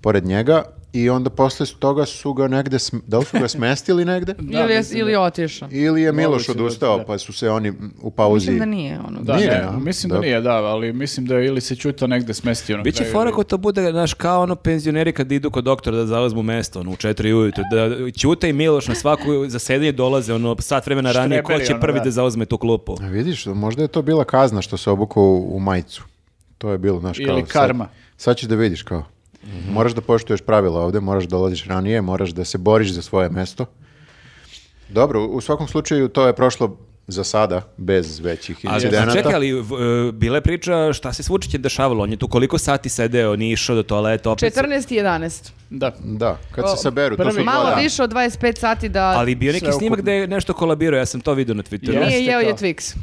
pored njega, i onda posle toga su ga negde, sm- da li su (laughs) ga smestili negde? ili, je, mislim ili je otišao. Ili je Miloš Moguće da- odustao, da. pa su se oni m, u pauzi... Mislim da nije ono. Da, Nije, ne, a? mislim da, Da. nije, da, ali mislim da je ili se Ćuta negde smestio na Biće kraju fora ili- ako to bude, znaš, kao ono penzioneri kad idu kod doktora da zauzmu mesto, ono, u četiri ujutru, da Ćuta i Miloš na svaku zasedanje dolaze, ono, sat vremena ranije, ko Štreberi, će ono, prvi da. da zauzme tu klupu? A Vidiš, možda je to bila kazna što se obukao u u majicu. To je bilo, znaš, kao... Ili karma. Sad, sad ćeš da vidiš, kao. Moraš da poštuješ pravila ovde, moraš da dolaziš ranije, moraš da se boriš za svoje mesto. Dobro, u svakom slučaju to je prošlo za sada bez većih Ali incidenata. čekaj, ali v- e, bila je priča šta se s Vučićem dešavalo, on je tu koliko sati sedeo, nije išao do toaleta, opet se- 14 i 11. Da. Da, kad se saberu, to prvi- su dva Malo dana. više od 25 sati da Ali bio neki Sve snimak ukupno. gde je nešto kolabirao, ja sam to vidio na Twitteru. Je. nije jeste jeo je to. Twix.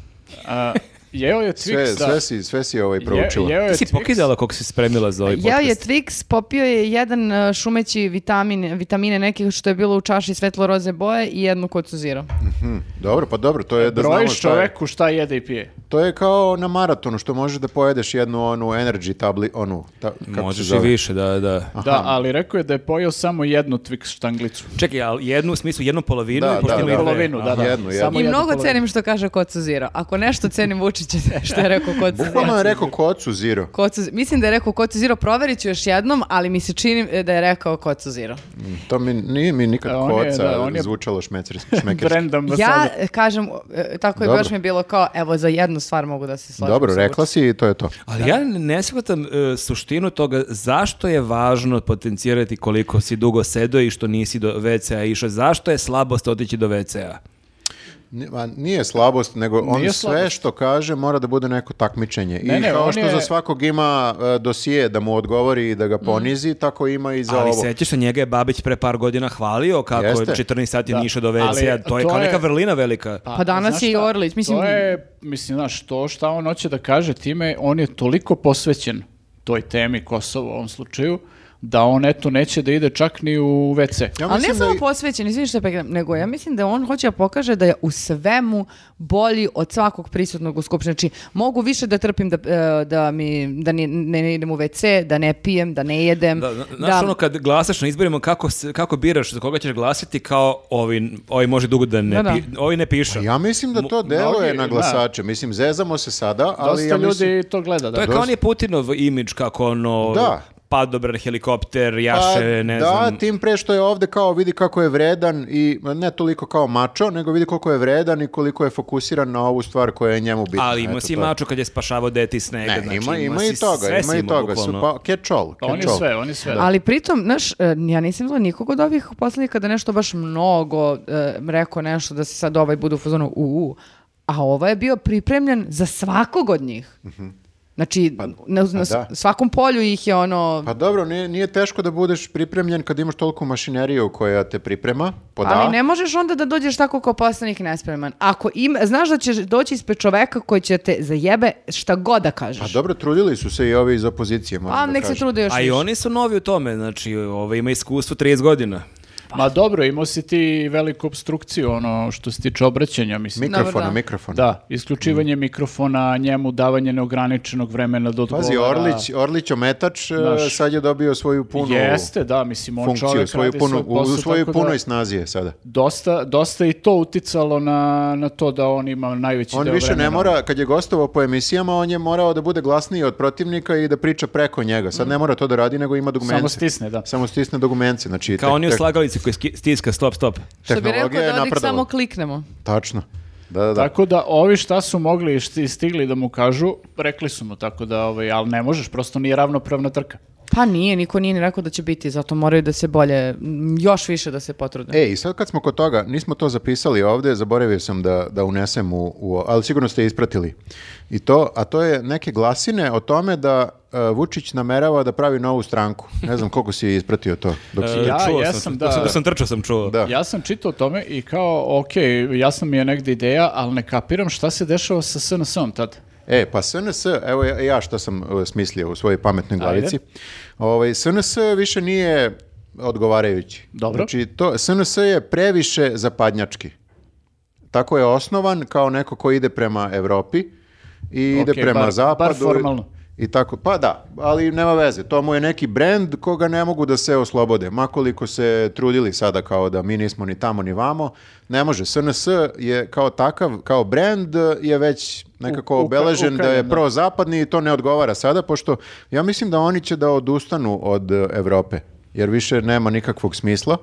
ovaj A, jeo je Twix, Sve, da. sve, si, sve si ovaj proučila. Je- jeo je Ti si Twix. pokidala kako si spremila za ovaj podcast. Jeo je Twix, popio je jedan e, šumeći vitamin, vitamine nekih što je bilo u čaši svetlo roze boje i jednu kocu zero. Dobro, pa dobro, to je da znamo Brojiš šta je. čoveku šta jede i pije. To je kao na maratonu što možeš da pojedeš jednu onu energy tabli, onu, ta, kako se Možeš i zove? više, da, da. Da, ali rekao je da je pojeo samo jednu Twix štanglicu. Čekaj, ali jednu u smislu, jednu polovinu Da, i pošto da, mi Pa da. dve. Polovinu, da, da. Jednu, jednu. Samo I jednu mnogo polovinu. cenim što kaže kocu zero. Ako nešto cenim Vučića, što je (laughs) rekao kocu zero. Bukvalno je rekao kocu zero. Kocu, mislim da je rekao Kocu Zero, proverit ću još jednom, ali mi se čini e, da je rekao Kocu Zero. To mi nije mi nikad A E, on je, koca da, on je- zvučalo (laughs) šmecerski, šmekerski. Brend Ja ambasada. e, kažem, e, tako je Dobro. baš mi je bilo kao, evo za jednu stvar mogu da se složim. Dobro, sa rekla si i to je to. Ali ja ne shvatam e, suštinu toga zašto je važno potencirati koliko si dugo sedao i što nisi do WC-a išao. Zašto je slabost otići do WC-a? Ni- ma, Nije slabost, nego on Nije sve slabost. što kaže mora da bude neko takmičenje. Ne, I ne, kao on što je- Mm. za svakog ima e, dosije da mu odgovori i da ga ponizi, tako ima i za Ali ovo. sećaš se njega je Babić pre par godina hvalio kako je Jeste. 14 sati Da. nije išao do Ali WC-a. To je to kao je- neka vrlina velika. Pa danas znaš je i šta? Orlić, mislim- To je, mislim, znaš, to šta on hoće da kaže time, on je toliko posvećen toj temi Kosovo u ovom slučaju, da on eto neće da ide čak ni u WC. Ja Ali ne mislim samo da i- posvećen, izvini što pekam, nego ja mislim da on hoće da pokaže da je u svemu bolji od svakog prisutnog u skupštini. Znači, mogu više da trpim da, e, da, mi, da ni- ne, idem u WC, da ne pijem, da ne jedem. Da, zna- znaš ono kad glasaš na izborima kako, se- kako biraš za koga ćeš glasiti kao ovi, ovi može dugo da ne, Da, da. pi- ovi ne piše. Pa Ja mislim da to deluje mnogi- na da. glasače. Mislim, zezamo se sada, ali Dosta ja ljudi mislim... to gleda. Da. To je kao on je Putinov imidž kako ono Da. padobran helikopter, jaše, Pa, ne da, znam. tim pre što je ovde kao vidi kako je vredan i ma, ne toliko kao mačo, nego vidi koliko je vredan i koliko je fokusiran na ovu stvar koja je njemu bitna. Ali ima Eto, si to je. mačo kad je spašavao deti iz snega. Ne, znači, ima, ima i si- toga, sve ima si i toga. Su, bukvalno. pa, catch all, On je catch all. sve, on je sve. Ali pritom, znaš, e, ja nisam bila nikog od ovih poslanika da nešto baš mnogo e, rekao nešto da se sad ovaj budu u fazonu u, u. A ovaj je bio pripremljen za svakog od njih. Znači, na, na s- da. svakom polju ih je ono... Pa dobro, nije, nije teško da budeš pripremljen kad imaš toliko mašineriju koja te priprema, po Pa da. Ali ne možeš onda da dođeš tako kao poslanik nespreman. Ako im, znaš da ćeš doći ispred čoveka koji će te zajebe šta god da kažeš. Pa dobro, trudili su se i ovi iz opozicije, moram A da Pa nek se kažem. trude još A i više. oni su novi u tome, znači ovo, ima iskustvo 30 godina. Ma dobro, imao si ti veliku obstrukciju, ono što se tiče obraćanja, mislim. Mikrofona, Dobro, da. mikrofona. Da, isključivanje mikrofona, njemu davanje neograničenog vremena da odgovara. Pazi, Orlić, Orlić ometač e, Naš- sad je dobio svoju punu Jeste, da, mislim, on funkciju, čovjek svoju radi punu, svoj posao, u svojoj tako punoj da snazi je sada. dosta, dosta je i to uticalo na, na to da on ima najveći On deo više ne vremena. mora, kad je gostovao po emisijama, on je morao da bude glasniji od protivnika i da priča preko njega. Sad ne mora to da radi, nego ima dogumence. Mm. Samo stisne, da. Samo stisne dogumence. Znači, Kao te- oni u te- slagalici koji ski- stiska stop, stop. Što bi rekao tehnologija je da odik napredovala. samo kliknemo. Tačno. Da, da, da. Tako da ovi šta su mogli i šti- stigli da mu kažu, rekli su mu tako da, ovaj, ali ne možeš, prosto nije ravnopravna trka. Pa nije, niko nije ni rekao da će biti, zato moraju da se bolje, m, još više da se potrude. E, i sad kad smo kod toga, nismo to zapisali ovdje, zaboravio sam da, da unesem u, u- ali sigurno ste ispratili. I to, a to je neke glasine o tome da e, Vučić namerava da pravi novu stranku. Ne znam koliko si ispratio to. Dok si... E, Ja čuo sam, jesam, dok sam, da. dok sam trčao sam čuo. Da. Ja sam čitao o tome i kao, ok, jasna mi je negde ideja, ali ne kapiram šta se dešava sa SNS-om tad. E, pa SNS, evo ja, ja što sam e, smislio u svojoj pametnoj glavici. Ovaj, SNS više nije odgovarajući. Dobro. Znači, to, SNS je previše zapadnjački. Tako je osnovan kao neko ko ide prema Evropi i ide Okej, prema bar- bar zapadu. i- formalno. I tako, pa da, ali nema veze. To mu je neki brend koga ne mogu da se oslobode. Makoliko se trudili sada kao da mi nismo ni tamo ni vamo, ne može. SNS je kao takav, kao brend je već nekako U- uka- obeležen da je ukaljen, da. prozapadni i to ne odgovara sada, pošto ja mislim da oni će da odustanu od e, Evrope, jer više nema nikakvog smisla.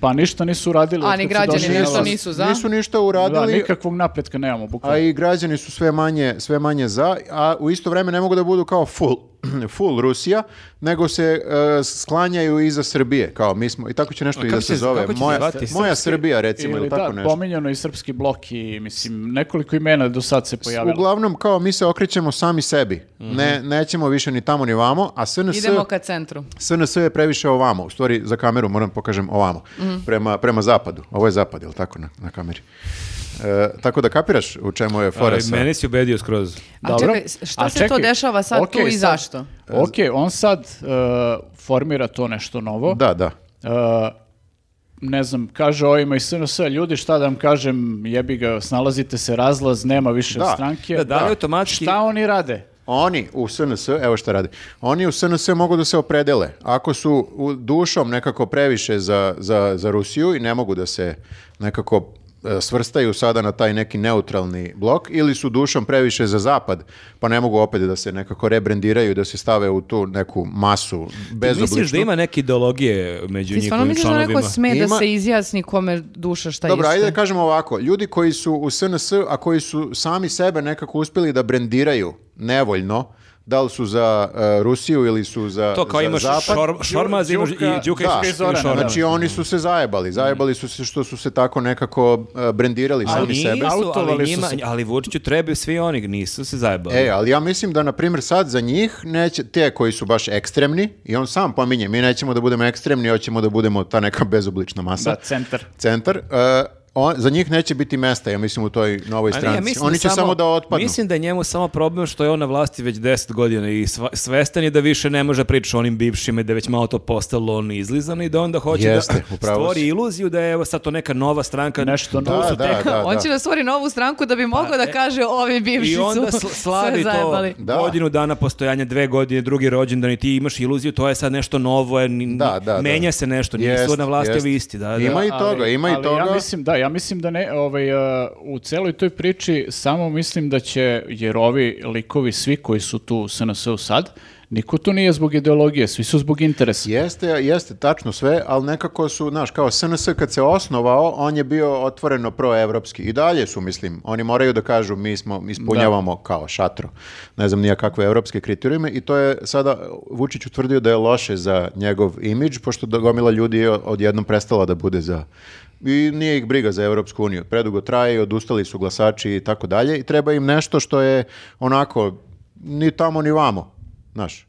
Pa ništa nisu radili. A ni građani Ništa- nešto nisu za. Nisu ništa uradili. Da, nikakvog napretka nemamo, A bukvalno. i građani su sve manje, sve manje za, a u isto vrijeme ne mogu da budu kao full, (clears throat) full Rusija, nego se e, sklanjaju iza Srbije, kao mi smo, i tako će nešto i kako da se će- zove. kako će se Moja, zvati? moja Srbija, recimo, ili, tako da, nešto. pominjano i srpski blok i, mislim, nekoliko imena do sad se pojavilo. Uglavnom, kao mi se okrećemo sami sebi. Mhm. ne, nećemo više ni tamo ni vamo, a SNS... Idemo ka centru. SNS je previše ovamo, u stvari za kameru moram pokažem ovamo, Mhm. prema, prema zapadu. Ovo je zapad, je li tako, na, na kameri? E, tako da kapiraš u čemu je fora Ali sa- mene si ubedio skroz. A Dobro. čekaj, s- šta A se to čekaj, dešava sad okej, tu i sad- zašto? Ok, on sad e, formira to nešto novo. Da, da. E, ne znam, kaže ovima iz SNS, ljudi šta da vam kažem, jebi ga, snalazite se razlaz, nema više Da. stranke. Da, da li automatski... Šta oni rade? Oni u SNS, evo šta radi, oni u SNS mogu da se opredele. Ako su u- dušom nekako previše za, za, za Rusiju i ne mogu da se nekako e, svrstaju sada na taj neki neutralni blok ili su dušom previše za zapad, pa ne mogu opet da se nekako rebrendiraju, da se stave u tu neku masu bezobličnu. Misliš da ima neke ideologije među Ti stvarno njihovim misliš da članovima? neko sme da Ima- se izjasni kome duša šta Dobro, jeste? ajde da kažemo ovako. Ljudi koji su u SNS, a koji su sami sebe nekako uspjeli da brendiraju nevoljno, da li su za e, Rusiju ili su za, To kao za imaš Zapad. šor, Šormaz, imaš i Đuka- Đuka Da, i- i Zorana, Šormaz. Znači oni su se zajebali, zajebali su se što su se tako nekako e, brendirali sami Ali sebe. nisu, ali, Autovali su njima, se. ali Vučiću trebaju svi oni, nisu se zajebali. E, ali ja mislim da, na primjer, sad za njih, neće, te koji su baš ekstremni, i on sam pominje, mi nećemo da budemo ekstremni, hoćemo da budemo ta neka bezoblična masa. Da, centar. centar, e, on- za njih neće biti mesta, ja mislim, u toj novoj A ne, stranci. mislim Oni da će samo, da otpadnu. Mislim da je njemu samo problem što je on na vlasti već 10 godina i sva- svestan je da više ne može pričati o onim bivšima i da je već malo to postalo on izlizano i da onda hoće Jeste, da upravo stvori si. iluziju da je evo sad to neka nova stranka. Nešto Tu novo. su Da, da, tek- da, (laughs) On da. će da stvori novu stranku da bi mogao da kaže ovi bivši Pa, e, I su onda (laughs) sl- sve slavi to zajebali. Da. godinu dana postojanja, dve godine, drugi rođendan i ti imaš iluziju, to je sad nešto novo, je, ni- Da, da, da. menja se nešto, nije Jest, na vlasti jest. ovi isti. Da, da. Ima i Ali- toga, ima i ali toga. Ja mislim, da, ja mislim da ne, ovaj, uh, u celoj toj priči samo mislim da će, jer ovi likovi, svi koji su tu u SNS-u sad, niko tu nije zbog ideologije, svi su zbog interesa. Jeste, jeste, tačno sve, ali nekako su, znaš, kao SNS kad se osnovao, on je bio otvoreno proevropski. I dalje su, mislim, oni moraju da kažu mi smo, ispunjavamo kao šatro, ne znam nija kakve evropske kriterijume i to je sada Vučić utvrdio da je loše za njegov imidž, pošto da gomila ljudi je odjednom prestala da bude za i nije ih briga za Evropsku uniju. Predugo traje, i odustali su glasači i tako dalje i treba im nešto što je onako ni tamo ni vamo, znaš.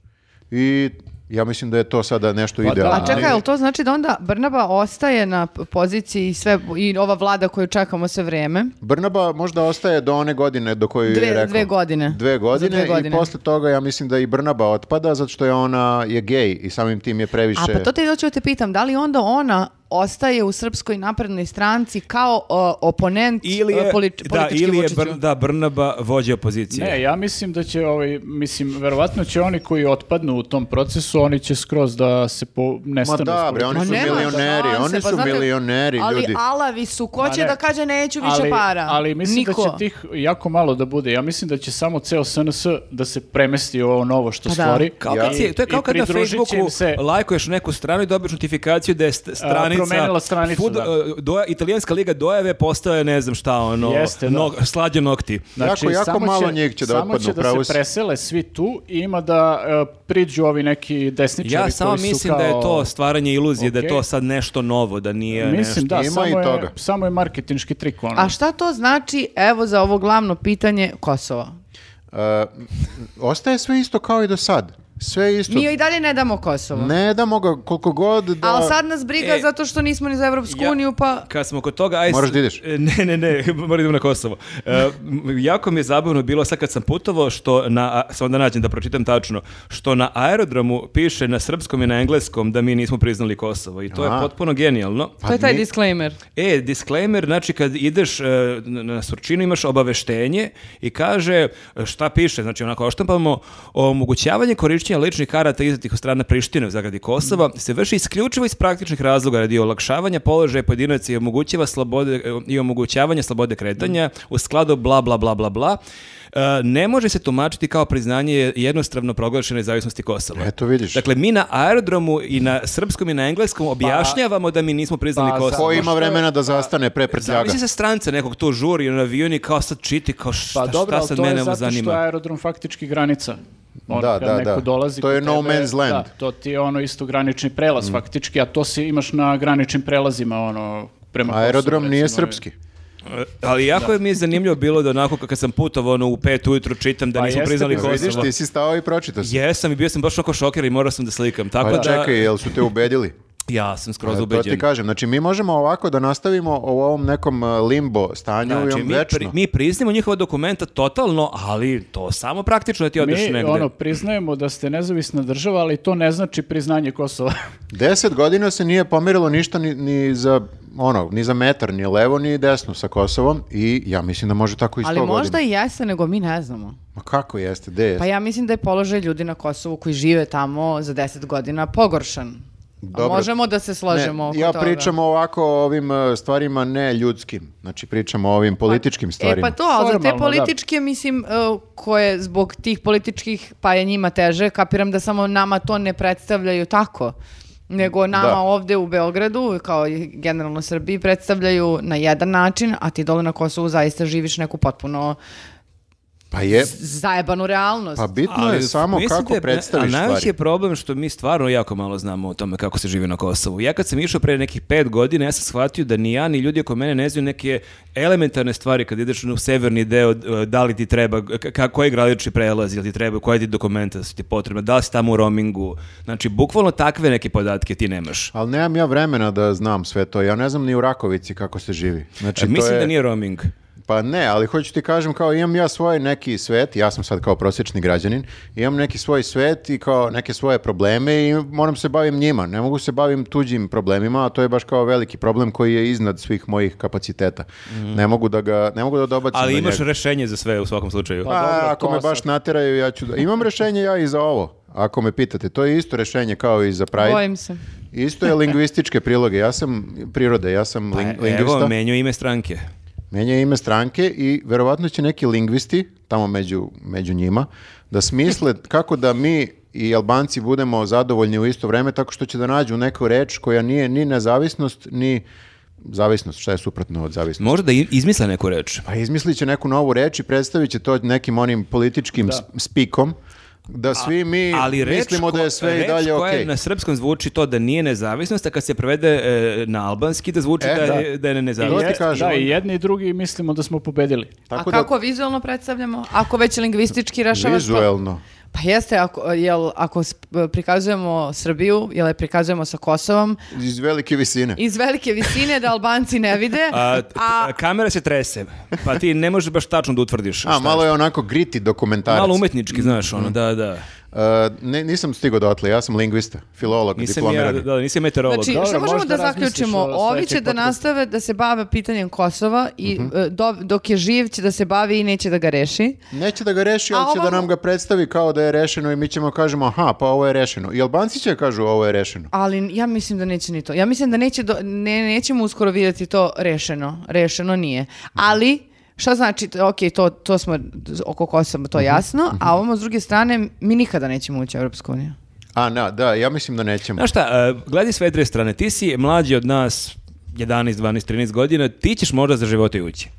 I ja mislim da je to sada nešto da. idealno. A čekaj, jel to znači da onda Brnaba ostaje na p- poziciji i sve i ova vlada koju čekamo sve vrijeme? Brnaba možda ostaje do one godine do koje Dve- je rekao. dve godine. Dve godine, Za dve godine. i posle toga ja mislim da i Brnaba otpada zato što je ona je gej i samim tim je previše... A pa to te hoću da te pitam, da li onda ona ostaje u srpskoj naprednoj stranci kao o, oponent Ili e, je, poli- da, politički ili je Vučiću? Brn- da, Brnaba vođa opozicije. Ne, ja mislim da će, ovaj, mislim, verovatno će oni koji otpadnu u tom procesu, oni će skroz da se po, Ma nestanu. iz da, bre, oni politike. Ma su nema milioneri, šanse, oni pa su znate, milioneri, ali ljudi. alavi su, ko Ma će ne. da kaže neću više para? Ali mislim Niko. da će tih jako malo da bude. Ja mislim da će samo ceo SNS da se premesti u ovo novo što Pa da. stvori. Kao Ja. kad si- to je kao I kad na pridružit će im Facebooku se- lajkuješ neku stranu i dobiješ notifikaciju da je st- stranica... promenila stranicu, da. e, doja- italijanska liga dojave postaje ne znam šta, ono, Jeste, da. nog- slađe nokti. Jako, jako Znači, samo malo njih će da samo otpadnu, će da pravo si. se presele svi tu i ima da e, priđu ovi neki desničari Ja koji samo su mislim kao... da je to stvaranje iluzije, da je to Okej. sad nešto novo, da nije Mislim, nešto... da, Ima samo, i je, toga. samo je marketinški trik. Ono. A šta to znači, evo za ovo glavno pitanje Kosova? E, ostaje sve isto kao i do sad. Sve isto. Mi joj i dalje ne damo Kosovo. Ne damo ga koliko god da... Ali sad nas briga E, zato što nismo ni za Evropsku ja- uniju, pa... Kad smo kod toga... Aj, s- Moraš da ideš. E, (laughs) Ne, ne, ne, moram idem na Kosovo. E, m, jako mi je zabavno bilo sad kad sam putovao, što na, a, samo da nađem da pročitam tačno, što na aerodromu piše na srpskom i na engleskom da mi nismo priznali Kosovo i to je Aha. potpuno genijalno. to je taj Pa mi- disclaimer. E, disclaimer, znači kad ideš e, na na surčinu imaš obaveštenje i kaže e, šta piše, znači onako oštampamo, omogućavanje korišćenja ličnih karata izdatih od strana Prištine u zagradi Kosova se vrši isključivo iz praktičnih razloga radi olakšavanja položaja pojedinaca i omogućava slobode e, i omogućavanja slobode kretanja u skladu bla bla bla bla bla. E, ne može se tumačiti kao priznanje jednostavno proglašene nezavisnosti Kosova. Eto, vidiš. Dakle, mi na aerodromu i na srpskom i na engleskom objašnjavamo da mi nismo priznali Pa, Kosovo. Ko Samo ima što- vremena da zastane pre prtljaga? Zamisli se stranca nekog to žuri na avioni kao sad čiti kao šta, Pa dobro, šta ali sad to je mene ovo zato što je zanima. aerodrom faktički granica. Ono, Da, kad da, neko da. Dolazi To kod je no tebe, man's land. Mm. Da, to ti je ono isto granični prelaz faktički, a to si imaš na graničnim prelazima ono, prema Kosovu, Aerodrom nije recimo. srpski. E, Ali jako je mi je zanimljivo bilo da onako kad sam putovao ono, u pet ujutru čitam da Pa nismo jeste, priznali pa Vidiš, Kosovo. ti si stao i pročitao si. Jesam i bio sam baš oko šoker i morao sam da slikam. Tako Pa da, čekaj, jel su te ubedili? ja sam skroz Pa, To ti ubeđen. kažem, znači mi možemo ovako da nastavimo u ovom nekom e, limbo stanju i Znači, on mi, večno. pri, mi priznimo njihova dokumenta totalno, ali to samo praktično da ti odeš Mi negde. ono, priznajemo da ste nezavisna država, ali to ne znači priznanje Kosova. Deset godina se nije pomirilo ništa ni, ni za ono, ni za metar, ni levo, ni desno sa Kosovom i ja mislim da može tako i sto Ali godina. možda i jeste, nego mi ne znamo. Ma kako jeste, gde jeste? Pa ja mislim da je položaj ljudi na Kosovu koji žive tamo za 10 godina pogoršan. A Dobro. Možemo da se Ne, složimo oko ja toga. pričam ovako o ovim e, stvarima ne ljudskim, znači pričamo o ovim političkim E stvarima. pa to, ali za te Formalno, da. političke, mislim, e, koje zbog tih političkih, pa je njima teže, kapiram da samo nama to ne predstavljaju tako, nego nama Da. ovde u Beogradu, kao i generalno Srbiji, predstavljaju na jedan način, a ti dole na Kosovu zaista živiš neku potpuno Pa je, zajebanu realnost. pa bitno je samo mislim kako da je- predstaviš A najveći stvari. je problem što mi stvarno jako malo znamo o tome kako se živi na Kosovu. Ja kad sam išao pre nekih pet godina, ja sam shvatio da ni ja ni ljudi oko mene ne znaju neke elementarne stvari kad ideš u severni deo, e, da li ti treba, k- ka- koji granični prelaz, jel ti treba, koje ti dokumenta su ti potrebne, da li si tamo u roamingu. Znači, bukvalno takve neke podatke ti nemaš. Ali nemam ja vremena da znam sve to. Ja ne znam ni u Rakovici kako se živi. Znači, E, to mislim je- da nije roaming. Pa ne, ali hoću ti kažem kao imam ja svoj neki svet, ja sam sad kao prosječni građanin, imam neki svoj svet i kao neke svoje probleme i moram se bavim njima. Ne mogu se bavim tuđim problemima, a to je baš kao veliki problem koji je iznad svih mojih kapaciteta. Ne mogu da ga, ne mogu da dobacim Ali do imaš njega. rešenje za sve u svakom slučaju. Pa, dobro, ako to me baš sad. nateraju, ja ću da... Imam rešenje ja i za ovo, ako me pitate. To je isto rešenje kao i za Pride. Bojim se. Isto je lingvističke priloge. Ja sam prirode, ja sam Pa, ling- evo, lingvista. menju ime stranke. Menja ime stranke i verovatno će neki lingvisti, tamo među, među njima, da smisle kako da mi i Albanci budemo zadovoljni u isto vreme tako što će da nađu neku reč koja nije ni nezavisnost, ni zavisnost, šta je suprotno od zavisnosti. Možda da i- izmisle neku reč. Pa izmislit će neku novu reč i predstavit će to nekim onim političkim s- spikom da svi mi ali reč mislimo da ko- je sve i reč dalje koja okej. je na srpskom zvuči to da nije nezavisnost, a kad se prevede e, na albanski da zvuči E, da, da. je, da je To ti nezavisnost. kažem. Da, i jedni i drugi mislimo da smo pobedili. Tako a da kako vizualno predstavljamo? Ako već lingvistički rašavaš... pa- vizuelno. Pa jeste, ako, jel, ako sp- prikazujemo Srbiju, jel je prikazujemo sa Kosovom, Iz velike visine. iz velike visine da Albanci ne vide, A, (laughs) a, t- kamera se trese, pa ti ne možeš baš tačno da utvrdiš. šta A, malo je onako griti dokumentarac. Malo umetnički, znaš, ono, da, da. Uh, ne, nisam stigao dotle, ja sam lingvista, filolog, Nisam ja, diplomirani. da, nisam meteorolog. Znači, Dobro, što možemo možda da razmisliš zaključimo? o Ovi sledećeg će da podcastu. nastave da se bave pitanjem Kosova i Mhm. e, do- dok je živ će da se bavi i neće da ga reši. Neće da ga reši, A ali će da ovamo- nam ga predstavi kao da je rešeno i mi ćemo kažemo, aha, pa ovo je rešeno. I Albanci će kažu ovo je rešeno. Ali ja mislim da neće ni to. Ja mislim da neće do- ne, nećemo uskoro vidjeti to rešeno. Rešeno nije. Ali, šta znači, t- ok, to, to smo oko Kosova, to je jasno, a ovamo s druge strane, mi nikada nećemo ući u Europsku uniju. A, na, da, ja mislim da nećemo. Znaš šta, e, gledaj sve dve strane, ti si mlađi od nas 11, 12, 13 godina, ti ćeš možda za života i ući.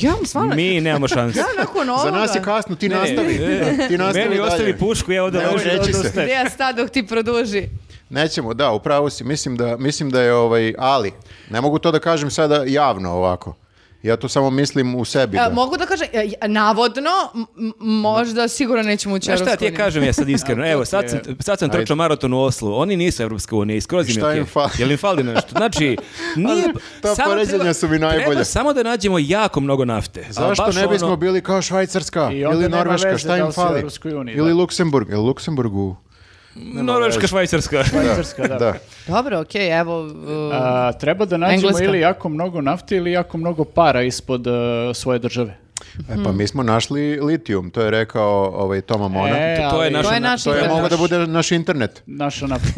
Ja vam stvarno... Mi nemamo (laughs) šanse. Ja nakon Za ovoga... nas je kasno, ti Ne, ne, nastavi. ne. ti nastavi Meni dalje. ostavi pušku, ja ovdje Ne može reći se. Gde ja stad dok ti produži? Nećemo, da, upravo si. Mislim da, mislim da je ovaj, ali, ne mogu to da kažem sada javno ovako. Ja to samo mislim u sebi. E, da. mogu da kažem, e, navodno, m- m- možda sigurno nećemo ući u Znaš šta ti Europsku ja uniju. kažem ja sad (laughs) iskreno, evo sad sam, sad sam trčao Ajde. maraton u Oslu, oni nisu Evropska unija i skroz im je Šta im okej. fali? Jel im fali nešto? (laughs) Znači, nije... pa, ta samo poređenja treba- su mi najbolja. Treba samo da nađemo jako mnogo nafte. A Zašto baš ne bismo ono- bili kao Švajcarska I onda ili nema Norveška, veze šta da im li si u fali? Europskoj uniji, ili da. Luksemburg, ili Luksemburgu. Norveška, Švajcarska. Švajcarska, da. Da. Dobro, okej, evo... Mm. uh, A, treba da nađemo Engleska. ili jako mnogo nafte ili jako mnogo para ispod e, svoje države. E, Hmm. pa mi smo našli litijum, to je rekao ovaj, Toma Mona. E, to je ali- naš- to je na- naš to je internet. mogao da bude naš internet. (laughs) naša nafta.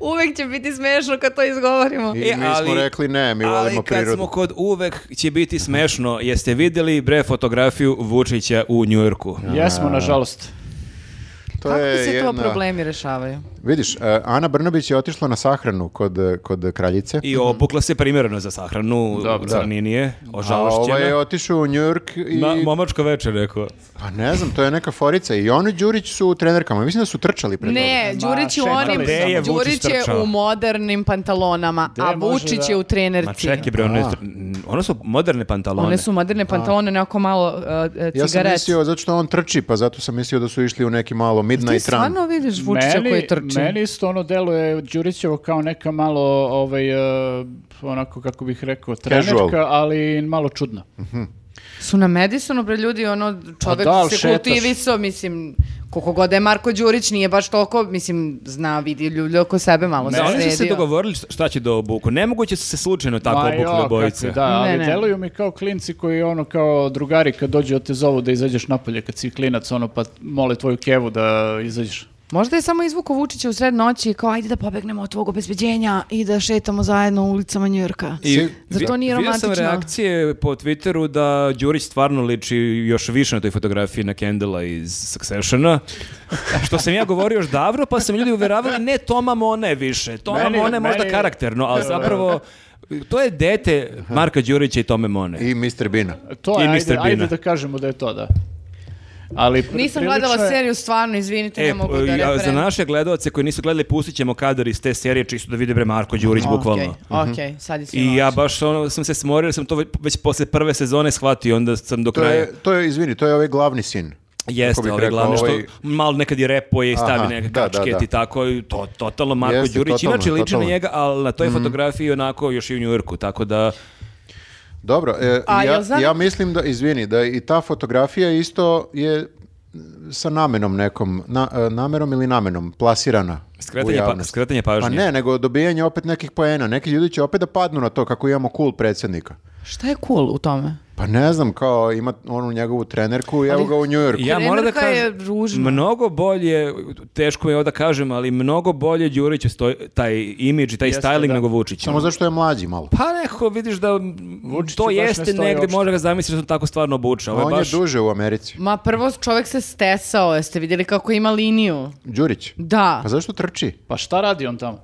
Uvek će biti smešno kad to izgovorimo. I E, mi ali- smo rekli ne, mi volimo Ali kad prirodu. smo kod uvek će biti smešno, jeste vidjeli bre fotografiju Vučića u Njujorku? Jesmo, nažalost. To Kako je se to jedna- problemi rešavaju? Vidiš, e, Ana Brnabić je otišla na sahranu kod, e, kod kraljice. I obukla se primjereno za sahranu, Dobro. crninije, A ožalošćena. ovaj je otišao u Njujork i... Ma- momačko večer, rekao. Pa ne znam, to je neka forica. I on i Đurić su u trenerkama. Mislim da su trčali pred Ne, Ma, Đurić je u čekaj, onim, gde je Vučić Đurić je trčao? u modernim pantalonama, Gde a može Vučić da- je u trenerci. Ma čekaj bre, one, ono su moderne pantalone. One su moderne pantalone, onako malo uh, noge. Ja sam cigaret. mislio, zato što on trči, pa zato sam mislio da su išli u neki malo Ti midnight run. stvarno vidiš Vučića koji trči. Meni isto ono deluje Đurićevo kao neka malo, ovaj, e, onako kako bih rekao, trenerka, Casual. ali malo čudna. Su na Madisonu, bre, ljudi, ono, čovek A da, ali se šetaš. kultivisao, mislim, koliko god da je Marko Đurić, nije baš toliko, mislim, zna, vidi ljudi oko sebe, malo Da, oni su se sredio. dogovorili šta će da obuku. Nemoguće su se slučajno tako Ma jo, obukli kakvi, obojice. Da, ali Ne, ne. deluju mi kao klinci koji ono kao drugari kad dođu od te zovu da izađeš napolje kad si klinac ono pa mole tvoju kevu da izađeš. Možda je samo izvuko Vučića u sred noći i kao, ajde da pobegnemo od tvog obezbeđenja i da šetamo zajedno ulicama Njujorka. I Zar to nije vidio sam romantično? reakcije po Twitteru da Đurić stvarno liči još više na toj fotografiji na Kendala iz Successiona. (laughs) Što sam ja govorio još davno, pa sam ljudi uveravali ne Toma Mone više. Toma Meni- Mone možda meni- karakterno, ali zapravo to je dete Marka Đurića i Tome Mone. I Mr. Bina. To je, I Mr. ajde, Bina. ajde da kažemo da je to, da. Ali pr- Nisam prilično gledala je- seriju, stvarno, izvinite, ne E, mogu da ja, referen. za naše gledaoce koji nisu gledali, pustit ćemo kadar iz te serije čisto da vide bre Marko Đurić, bukvalno. Ok, ok, sad je sve I ja lakše. baš ono, sam se smorio, jer sam to ve- već posle prve sezone shvatio, onda sam do To kraja... je, to je, izvini, to je ovaj glavni sin. kako Jeste, bih ovaj rekao, glavni što ovaj- malo nekad i repuje i stavi Aha, neke da, da, kačket da. i tako, i to, totalno Marko Jeste, Đurić, totalno, inače liči na totalno. njega, ali na toj Mhm. fotografiji onako još i u Njujorku, tako da Dobro, e, A, jel ja, znam- ja mislim da, izvini, da i ta fotografija isto je sa namenom nekom, na, e, namerom ili namenom, plasirana u skretanje, pa, javnost. skretanje pažnje. Pa ne, nego dobijanje opet nekih poena. Neki ljudi će opet da padnu na to kako imamo cool predsjednika. Šta je cool u tome? Pa ne znam, kao ima onu njegovu trenerku i evo ga u Njujorku. Ja moram da Trenerka je kažem, ružna. mnogo bolje, teško je ovo da kažem, ali mnogo bolje Đuriću stoji taj imidž i taj Jeste, styling da. nego Vučić. Samo zašto je mlađi malo. Pa nekako vidiš da m, Vučiću to baš ne jeste stoji negde, uopšte. možda ga zamisliš da on tako stvarno obuča. Ovo je On baš... je duže u Americi. Ma prvo čovjek se stesao, jeste vidjeli kako ima liniju? Đurić. Da. Pa zašto trči? Pa šta radi on tamo?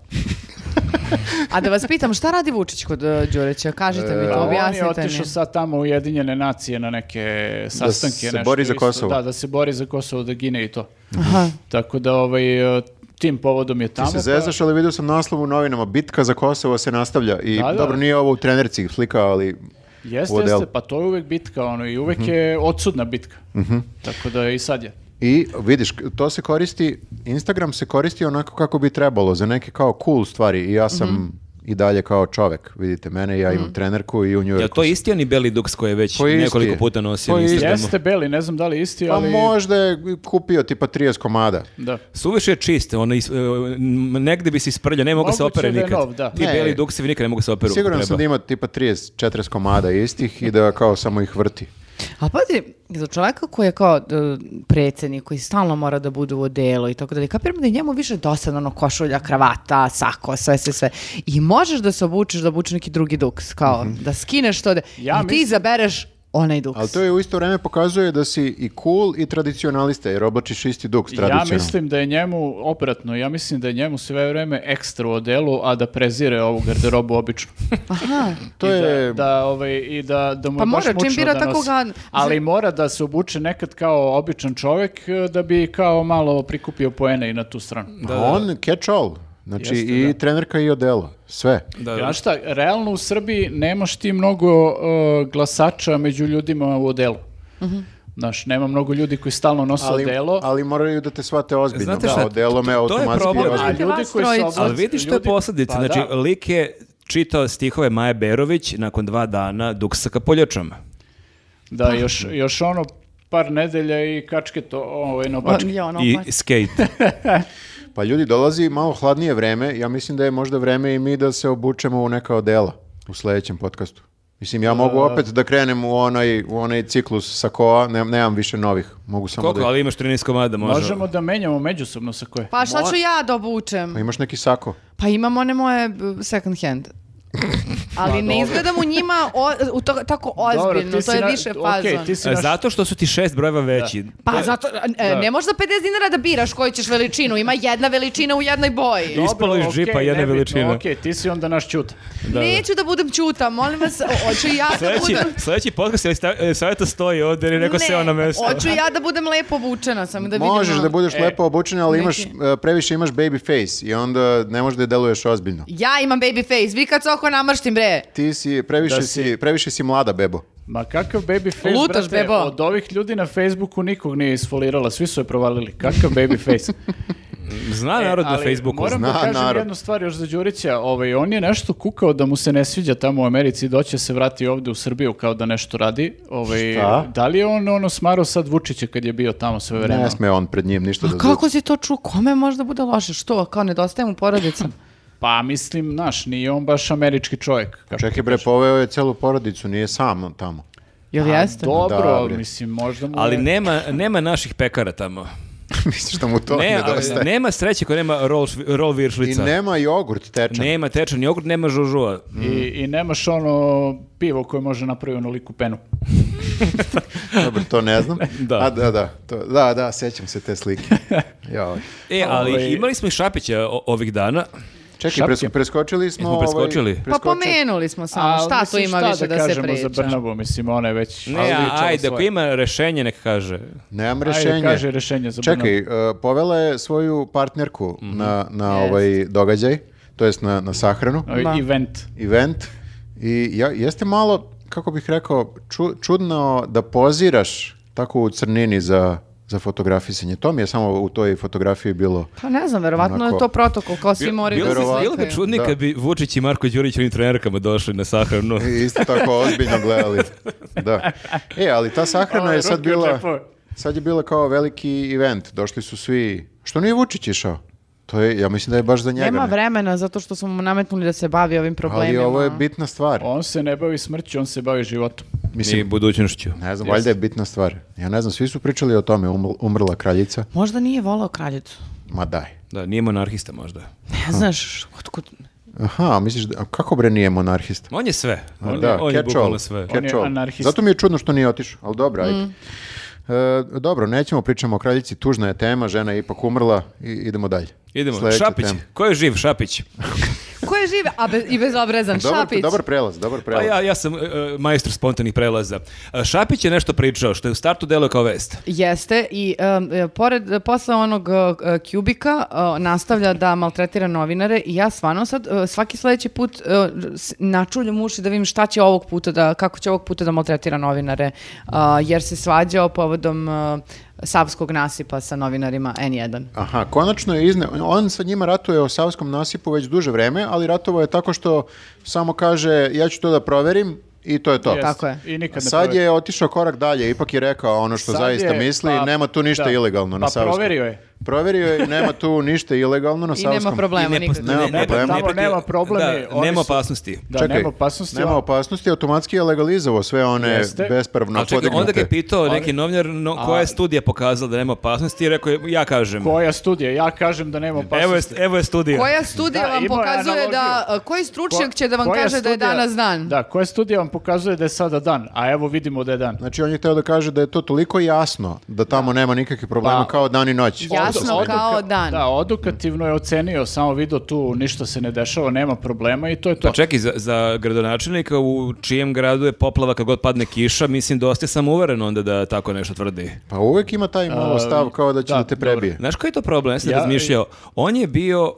A da vas pitam, šta radi Vučić kod uh, Đurića? Kažite mi E, to, Pa objasnite On je otišao mi. sad tamo u Ujedinjene nacije na neke sastanke. se nešto bori za isto. Kosovo. Da, da se bori za Kosovo, da gine i to. Aha. Tako da ovaj, e, tim povodom je tamo. Ti se pa- zezaš, ali vidio sam naslov u novinama. Bitka za Kosovo se nastavlja. I Da, da. dobro, nije ovo u trenerci slika, ali... Jeste, u odelu. Mhm. jeste, pa to je uvek bitka ono, i uvek je odsudna bitka. Tako da i sad je. I vidiš, to se koristi, Instagram se koristi onako kako bi trebalo, za neke kao cool stvari. I ja sam Mhm. i dalje kao čovek, vidite mene, ja imam trenerku i u Njujorku. Jel to isti oni beli duks koje je već To isti nekoliko je. puta nosio To na isti. Instagramu? Jeste Beli, ne znam da li je isti, Pa ali... možda je kupio tipa 30 komada. Da. Suviše je čist, ono, is- e, m, negde bi se isprljao, ne mogu se Moguće opere da je nikad. nov, da. Ti Ne. beli duksevi nikad ne mogu se operu. Siguran kako sam da treba. ima tipa 30, 40 komada istih i da kao samo ih vrti. A pazi, za čovjeka koji je kao d- predsjednik, koji stalno mora da bude u odelu i tako dalje, kapiram da je njemu više dosadno ono košulja, kravata, sako, sve, sve, sve. I možeš da se obučeš, da obučeš neki drugi duks, kao da skineš to, da, Ja i ti mislim- izabereš onaj duks. Ali to je u isto vreme pokazuje da si i cool i tradicionalista, jer oblačiš isti duks Ja tradicionalno. mislim da je njemu, obratno, ja mislim da je njemu sve vreme ekstra u odelu, a da prezire ovu garderobu obično. Aha. (laughs) To I je... Da, da, ovaj, i da, da mu Pa je baš mora, čim mučno bira da tako nosi. ga- Ali mora da se obuče nekad kao običan čovjek e, da bi kao malo prikupio poene i na tu stranu. A On catch all. Znači i trenerka i odelo. Sve. Da, da. Znaš šta, realno u Srbiji nemaš ti mnogo e, glasača među ljudima u odelu. Mhm. Znaš, nema mnogo ljudi koji stalno nose Ali, odelo. ali moraju da te shvate ozbiljno. Znate da, šta, odelo me to- to je automatski problem, je ozbiljno. ali- vas trojicu. oblače- Ali vidiš što je ljudi- posljedica, Pa znači da. lik je čitao stihove Maje Berović nakon dva dana duksa ka poljačama. Pa. Da, još, još ono par nedelja i kačke to ovaj, na opačke. Ja, ono, I pa- (laughs) skate. Pa ljudi, dolazi malo hladnije vreme. Ja mislim da je možda vreme i mi da se obučemo u neka odela u sledećem podcastu. Mislim, ja mogu opet da krenem u onaj, u onaj ciklus sakoa, ne, nemam više novih. Mogu samo Koliko, da... ali imaš 13 komada, može. Možemo da menjamo međusobno sa koje. Pa šta ću ja da obučem? Pa imaš neki sako. Pa imam one moje b- second (laughs) hand. Ali ne izgledam u njima o- u to, tako Dobro, ozbiljno, ti si to je na- više okej, fazon. ti si E, naš- Zato što su ti šest brojeva veći. Pa zato, e, ne možeš za 50 dinara da biraš koju ćeš veličinu, ima jedna veličina u jednoj boji. Dobro, Ispalo iz okej, džipa jedna nebitno, veličina. Okej, ti si onda naš čut. Neću da budem čuta, molim vas, o- hoću ja da Sljedeći, (laughs) budem... sljedeći podcast ili sta- e, savjeta stoji ovdje ili neko seo ono na mesto. hoću ja da budem lepo obučena, samo da vidim... Možeš ono- da budeš E, lepo obučena, ali imaš, neki- e, previše imaš baby face i onda ne možeš da deluješ ozbiljno. Ja imam baby face, vi kad se oko namrštim, bre. Ti si, previše, Da si- si... previše si mlada bebo. Ma kakav baby face, Lutaš, brate, bebo. od ovih ljudi na Facebooku nikog nije isfolirala, svi su je provalili. Kakav baby face. Zna narod na E, Ali Facebooku. Moram da Zna kažem narod. jednu stvar još za Đurića. Ovaj, on je nešto kukao da mu se ne sviđa tamo u Americi i doće se vrati ovde u Srbiju kao da nešto radi. Ovaj, Šta? Da li je on ono smaro sad Vučića kad je bio tamo sve vreme? Ne sme on pred njim ništa da Kako si to čuo? Kome možda bude loše? Što? Kao nedostaje mu porodica? Pa mislim, znaš, nije on baš američki čovjek. Kako Čekaj bre, poveo je celu porodicu, nije sam tamo. Jel Pa jeste? Dobro, Da, bre. mislim, možda mu Ali je- nema, nema naših pekara tamo. (laughs) Misliš da mu to Ne, ne, ali Oh, nedostaje? nema sreće koja nema rol, švi- rol I viršlica. nema jogurt tečan. Nema tečan jogurt, nema žužua. I, I nemaš ono pivo koje može napraviti onoliku penu. Dobro, to ne znam. (laughs) Da. A, da, da, to, da, (laughs) da, sećam se te slike. Joj. E, ali Ovaj- imali smo i Šapića o- ovih dana. Čekaj, Šapke. presko- preskočili smo... Jesmo preskočili? Ovaj, Pa Pa preskočili. pomenuli smo samo, Ali, šta tu mislim, ima šta više da, da se kažemo za priča? Brnabu, mislim, ona je već... Ne, a, pričala ajde, svoje. ako ima rešenje, nek kaže. Nemam Ajde, rešenje. kaže rešenje za Čekaj, Brnabu. e, povela je svoju partnerku Mhm. na, na ovaj događaj, to jest na, na sahranu, Da. Ovaj, Event. event. I ja, jeste malo, kako bih rekao, ču- čudno da poziraš tako u crnini za, za fotografisanje. To mi je samo u toj fotografiji bilo... Pa ne znam, verovatno je Onako- to protokol, kao svi moraju Bilo, da se Verovatno. slikaju. bilo bi čudni Da. E, kad bi Vučić i Marko Đurić u onim trenerkama došli na sahranu. I isto tako ozbiljno gledali. Da. E, ali ta sahrana Ovaj, je sad ruke u bila... džepove. Sad je bila kao veliki event. Došli su svi... Što nije Vučić išao? To je, ja mislim da je baš za njega. Nema ne? vremena zato što smo mu nametnuli da se bavi ovim Ali problemima. ovo je bitna stvar. On se ne bavi smrću, on se bavi životom. I budućnošću. Ne znam, valjda je bitna stvar. Ja ne znam, svi su pričali o tome, uml- umrla kraljica. Možda nije volao kraljicu. Ma daj. Da, nije monarhista možda. Ne znaš, otkud... Aha, misliš, da, a kako bre nije monarhista? On je sve. Ma On, da, je, on je catch all, bukvalno sve. catch On je all. anarhist. Zato mi je čudno što nije otišao, ali dobro, ajde. Mm. E, dobro, nećemo pričamo o kraljici, tužna je tema, žena je ipak umrla i idemo dalje. Idemo, Sljedeća Šapić. tema. Ko je živ, Šapić? Ko je žive? A bez, i bezobrazan, Dobar, Šapić. dobar prelaz, dobar Pa prelaz. ja, ja sam e, e, majstor spontanih prelaza. E, Šapić je nešto pričao, što je u startu delao kao vest. Jeste i em, e, pored e, posle onog e, Kubika e, nastavlja da maltretira novinare i ja stvarno sad e, svaki sledeći put e, s- načuljam uši da vidim šta će ovog puta da kako će ovog puta da maltretira novinare a, jer se svađao povodom e, Savskog nasipa sa novinarima N1. Aha, konačno je izne... On sa njima ratuje o Savskom nasipu već duže vreme, ali ratovao je tako što samo kaže ja ću to da proverim i to je to. Jest. Tako je. I nikad ne Sad proveri. je otišao korak dalje, ipak je rekao ono što Sad zaista je, misli, pa, nema tu ništa da. ilegalno na Pa Savskom. proverio je. Proverio je i nema tu ništa ilegalno na I Savskom. nema problema nikakvih. Nema problema. Tamo nema problema, Da, oni nema su- opasnosti. Da, Čekaj, nema opasnosti. Nema opasnosti, automatski je legalizovao sve one Jeste. bespravno Ali čekaj, onda ga je podignute. pitao neki novinar no, koja je studija pokazala da nema opasnosti i rekao je, ja kažem. Koja studija? Ja kažem da nema opasnosti. Evo je, evo je studija. Koja studija Da, vam imao je pokazuje da analogiju. e, koji Ko- stručnjak će da vam koja kaže da je studija- danas dan? Da, koja studija vam pokazuje da je sada dan, a evo vidimo da je dan. Znači on je hteo da kaže da je to toliko jasno da tamo nema nikakvih problema Pa- kao dan i noć. Jasno Što se- kao- dan. Da, odukativno je ocenio, samo vidio tu ništa se ne dešava, nema problema i to je to. Pa čekaj, za, za gradonačelnika u čijem gradu je poplava kad god padne kiša, mislim dosta je sam uveren onda da tako nešto tvrdi. Pa uvek ima taj malo stav kao da će da, da, te prebije. Znaš koji je to problem? Ja sam Ja- razmišljao. On je bio uh,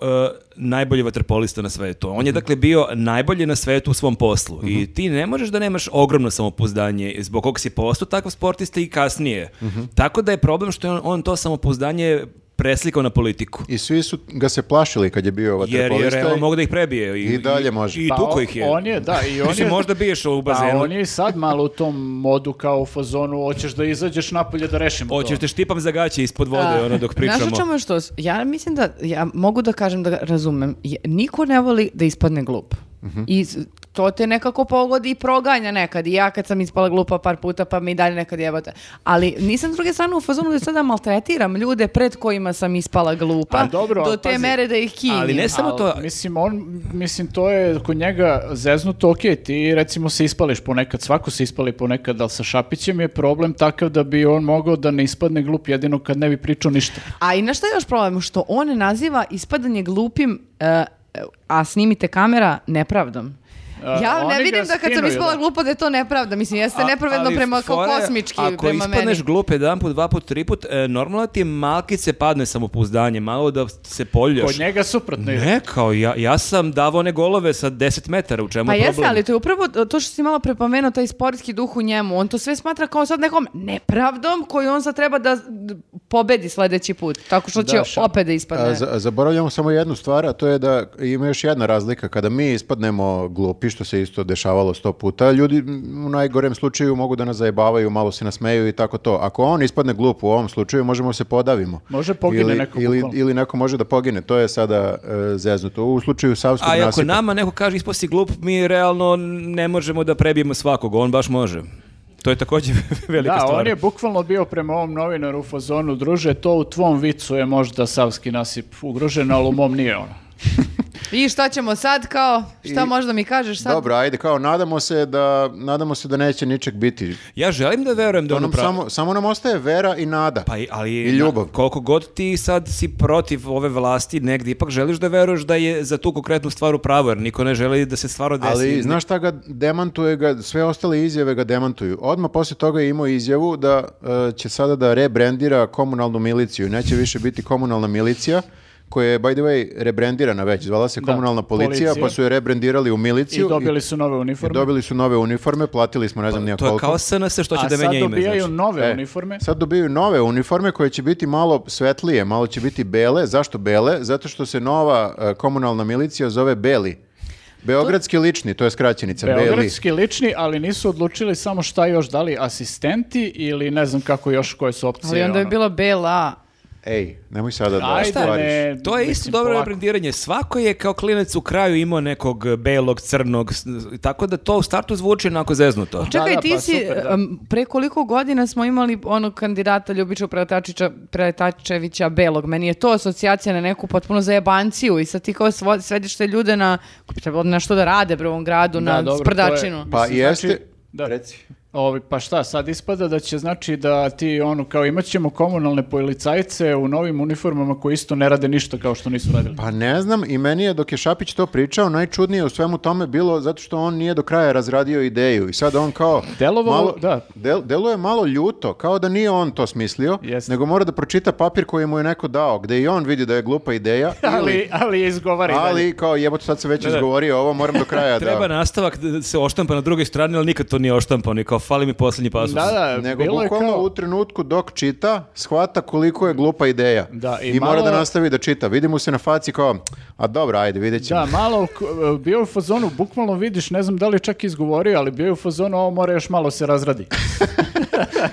najbolji vaterpolista na svetu. On Mhm. je dakle bio najbolji na svetu u svom poslu. I ti ne možeš da nemaš ogromno samopouzdanje zbog kog si postao takav sportista i kasnije. Mhm. Tako da je problem što je on, on to samopouzdanje preslikao na politiku. I svi su ga se plašili kad je bio Jer vaterpolista. je realno i- mogu da ih prebije. I, I dalje može. I, i Pa tukao on- ih je. On je, da, i (laughs) on Mislim, je... možda bi išao u Pa bazenu. on je i sad malo u tom modu kao u fazonu, hoćeš da izađeš napolje da rešimo Hoćeš to. te štipam za gaće ispod vode ono dok pričamo. Znaš u čemu je što? Ja mislim da, ja mogu da kažem da ga razumem, Je- niko ne voli da ispadne glup. Mhm. I s- to te nekako pogodi i proganja nekad. I ja kad sam ispala glupa par puta, pa mi i dalje nekad jebate. Ali nisam s druge strane u fazonu da sada maltretiram ljude pred kojima sam ispala glupa. A dobro, do ali te pazi, mere da ih kinim. ali ne samo Al, to, Mislim, on, mislim, to je kod njega zeznuto, ok, ti recimo se ispališ ponekad, svako se ispali ponekad, ali sa Šapićem je problem takav da bi on mogao da ne ispadne glup jedino kad ne bi pričao ništa. A i na šta je još problem? Što on naziva ispadanje glupim, e, a snimite kamera, nepravdom. A, Ja ne oni vidim ga da kad sam spinuju, ispala da. glupa da je to nepravda. Mislim, jeste A- nepravedno ali prema kao fora je, kosmički, Ako prema meni. ispadneš glup jedan put, dva put, tri put, e, normalno ti malkice padne samopouzdanje, malo da se poljuš. Kod njega suprotno ide. Ne, kao ja, ja sam davao one golove sa 10 metara, u čemu Pa je problem? jeste, ali to je upravo to što si malo prepomenuo, taj sportski duh u njemu. On to sve smatra kao sad nekom nepravdom koju on sad treba da d- pobedi sledeći put. Tako što će Da, šap- opet da Pa ispadne. A, za- zaboravljamo samo jednu stvar, a to je da ima još jedna razlika. Kada mi ispadnemo glupi, što se isto dešavalo sto puta, ljudi m, u najgorem slučaju mogu da nas zajebavaju, malo se nasmeju i tako to. Ako on ispadne glup u ovom slučaju, možemo da se podavimo. Može pogine ili, neko Ili, bukvalno. ili neko može da pogine. To je sada e, zeznuto. U slučaju Savskog A i ako nasipa. nama neko kaže ispo si glup, mi realno ne možemo da prebijemo svakog, on baš može. To je takođe (laughs) velika Da, stvar. on je bukvalno bio prema ovom novinaru u fazonu, druže, to u tvom vicu je možda savski nasip ugrožen, ali u mom nije ono. I šta ćemo sad kao? Šta I- možda mi kažeš sad? Dobro, ajde, kao nadamo se da, nadamo se da neće ničeg biti. Ja želim da verujem da To ono nam samo, samo nam ostaje vera i nada. Pa i- ali I ljubav. na- koliko god ti sad si protiv ove vlasti negdje, ipak želiš da veruješ da je za tu konkretnu stvar u pravu, jer niko ne želi da se stvar desi. Ali znaš šta ga demantuje ga, sve ostale izjave ga demantuju. Odmah poslije toga je imao izjavu da e, će sada da rebrandira komunalnu miliciju. Neće više biti komunalna milicija koja je, by the way, rebrandirana već. Zvala se komunalna policija, policija. pa su je rebrandirali u I miliciju. dobili i- su Pa, nove i uniforme. dobili su nove uniforme, platili smo ne znam nija To je koliko. kao SNS što će A da menja sad ime. dobijaju znači. nove E, uniforme. Sad dobiju nove uniforme koje će biti malo svetlije, malo će biti bele. Zašto bele? Zato što se nova e, komunalna milicija zove Beli. Beogradski lični, to je skraćenica, Beli. Beogradski lični, ali nisu odlučili samo šta još, da li asistenti ili ne znam kako još koje su opcije. Ali onda bi ono. bilo bela. Ej, nemoj sada da Ajde, ostvariš. ne. To je Mislim, isto dobro polako. rebrandiranje. Svako je kao klinec u kraju imao nekog belog, crnog, s- tako da to u startu zvuči onako zeznuto. Čekaj, da, ti pa si, super, da. em, pre koliko godina smo imali onog kandidata Ljubića Preletačića, Preletačevića Belog. Meni je to asocijacija na neku potpuno zajebanciju i sad ti kao svo- svediš te ljude na, treba na što da rade bre u ovom gradu, Da, na dobro, to je- sprdačinu. Pa Mislim, znači, jeste- da, Ovi, pa šta, sad ispada da će znači da ti ono, kao imat ćemo komunalne policajce u novim uniformama koji isto ne rade ništa kao što nisu radili. Pa ne znam, i meni je dok je Šapić to pričao, najčudnije u svemu tome bilo zato što on nije do kraja razradio ideju i sad on kao... Delovalo- malo, da. del- deluje malo ljuto, kao da nije on to smislio, Jeste. nego mora da pročita papir koji mu je neko dao, gde i on vidi da je glupa ideja, (laughs) ali, ali je izgovari. dalje. ali kao jebote sad se već izgovorio, ovo moram do (laughs) kraja Pa da... Treba nastavak da se oštampa na drugoj strani, ali nikad to nije oštampano i kao fali mi posljednji pasus. Da, da, Nego bilo je bukvalno kao... u trenutku dok čita, shvata koliko je glupa ideja. Da, i I, mora malo- da nastavi da čita. Vidi mu se na faci kao, a dobro, ajde, vidjet ćemo. Da, malo k- bio je u fazonu, bukvalno vidiš, ne znam da li je čak izgovorio, ali bio je u fazonu, ovo mora još malo (laughs) se razradi.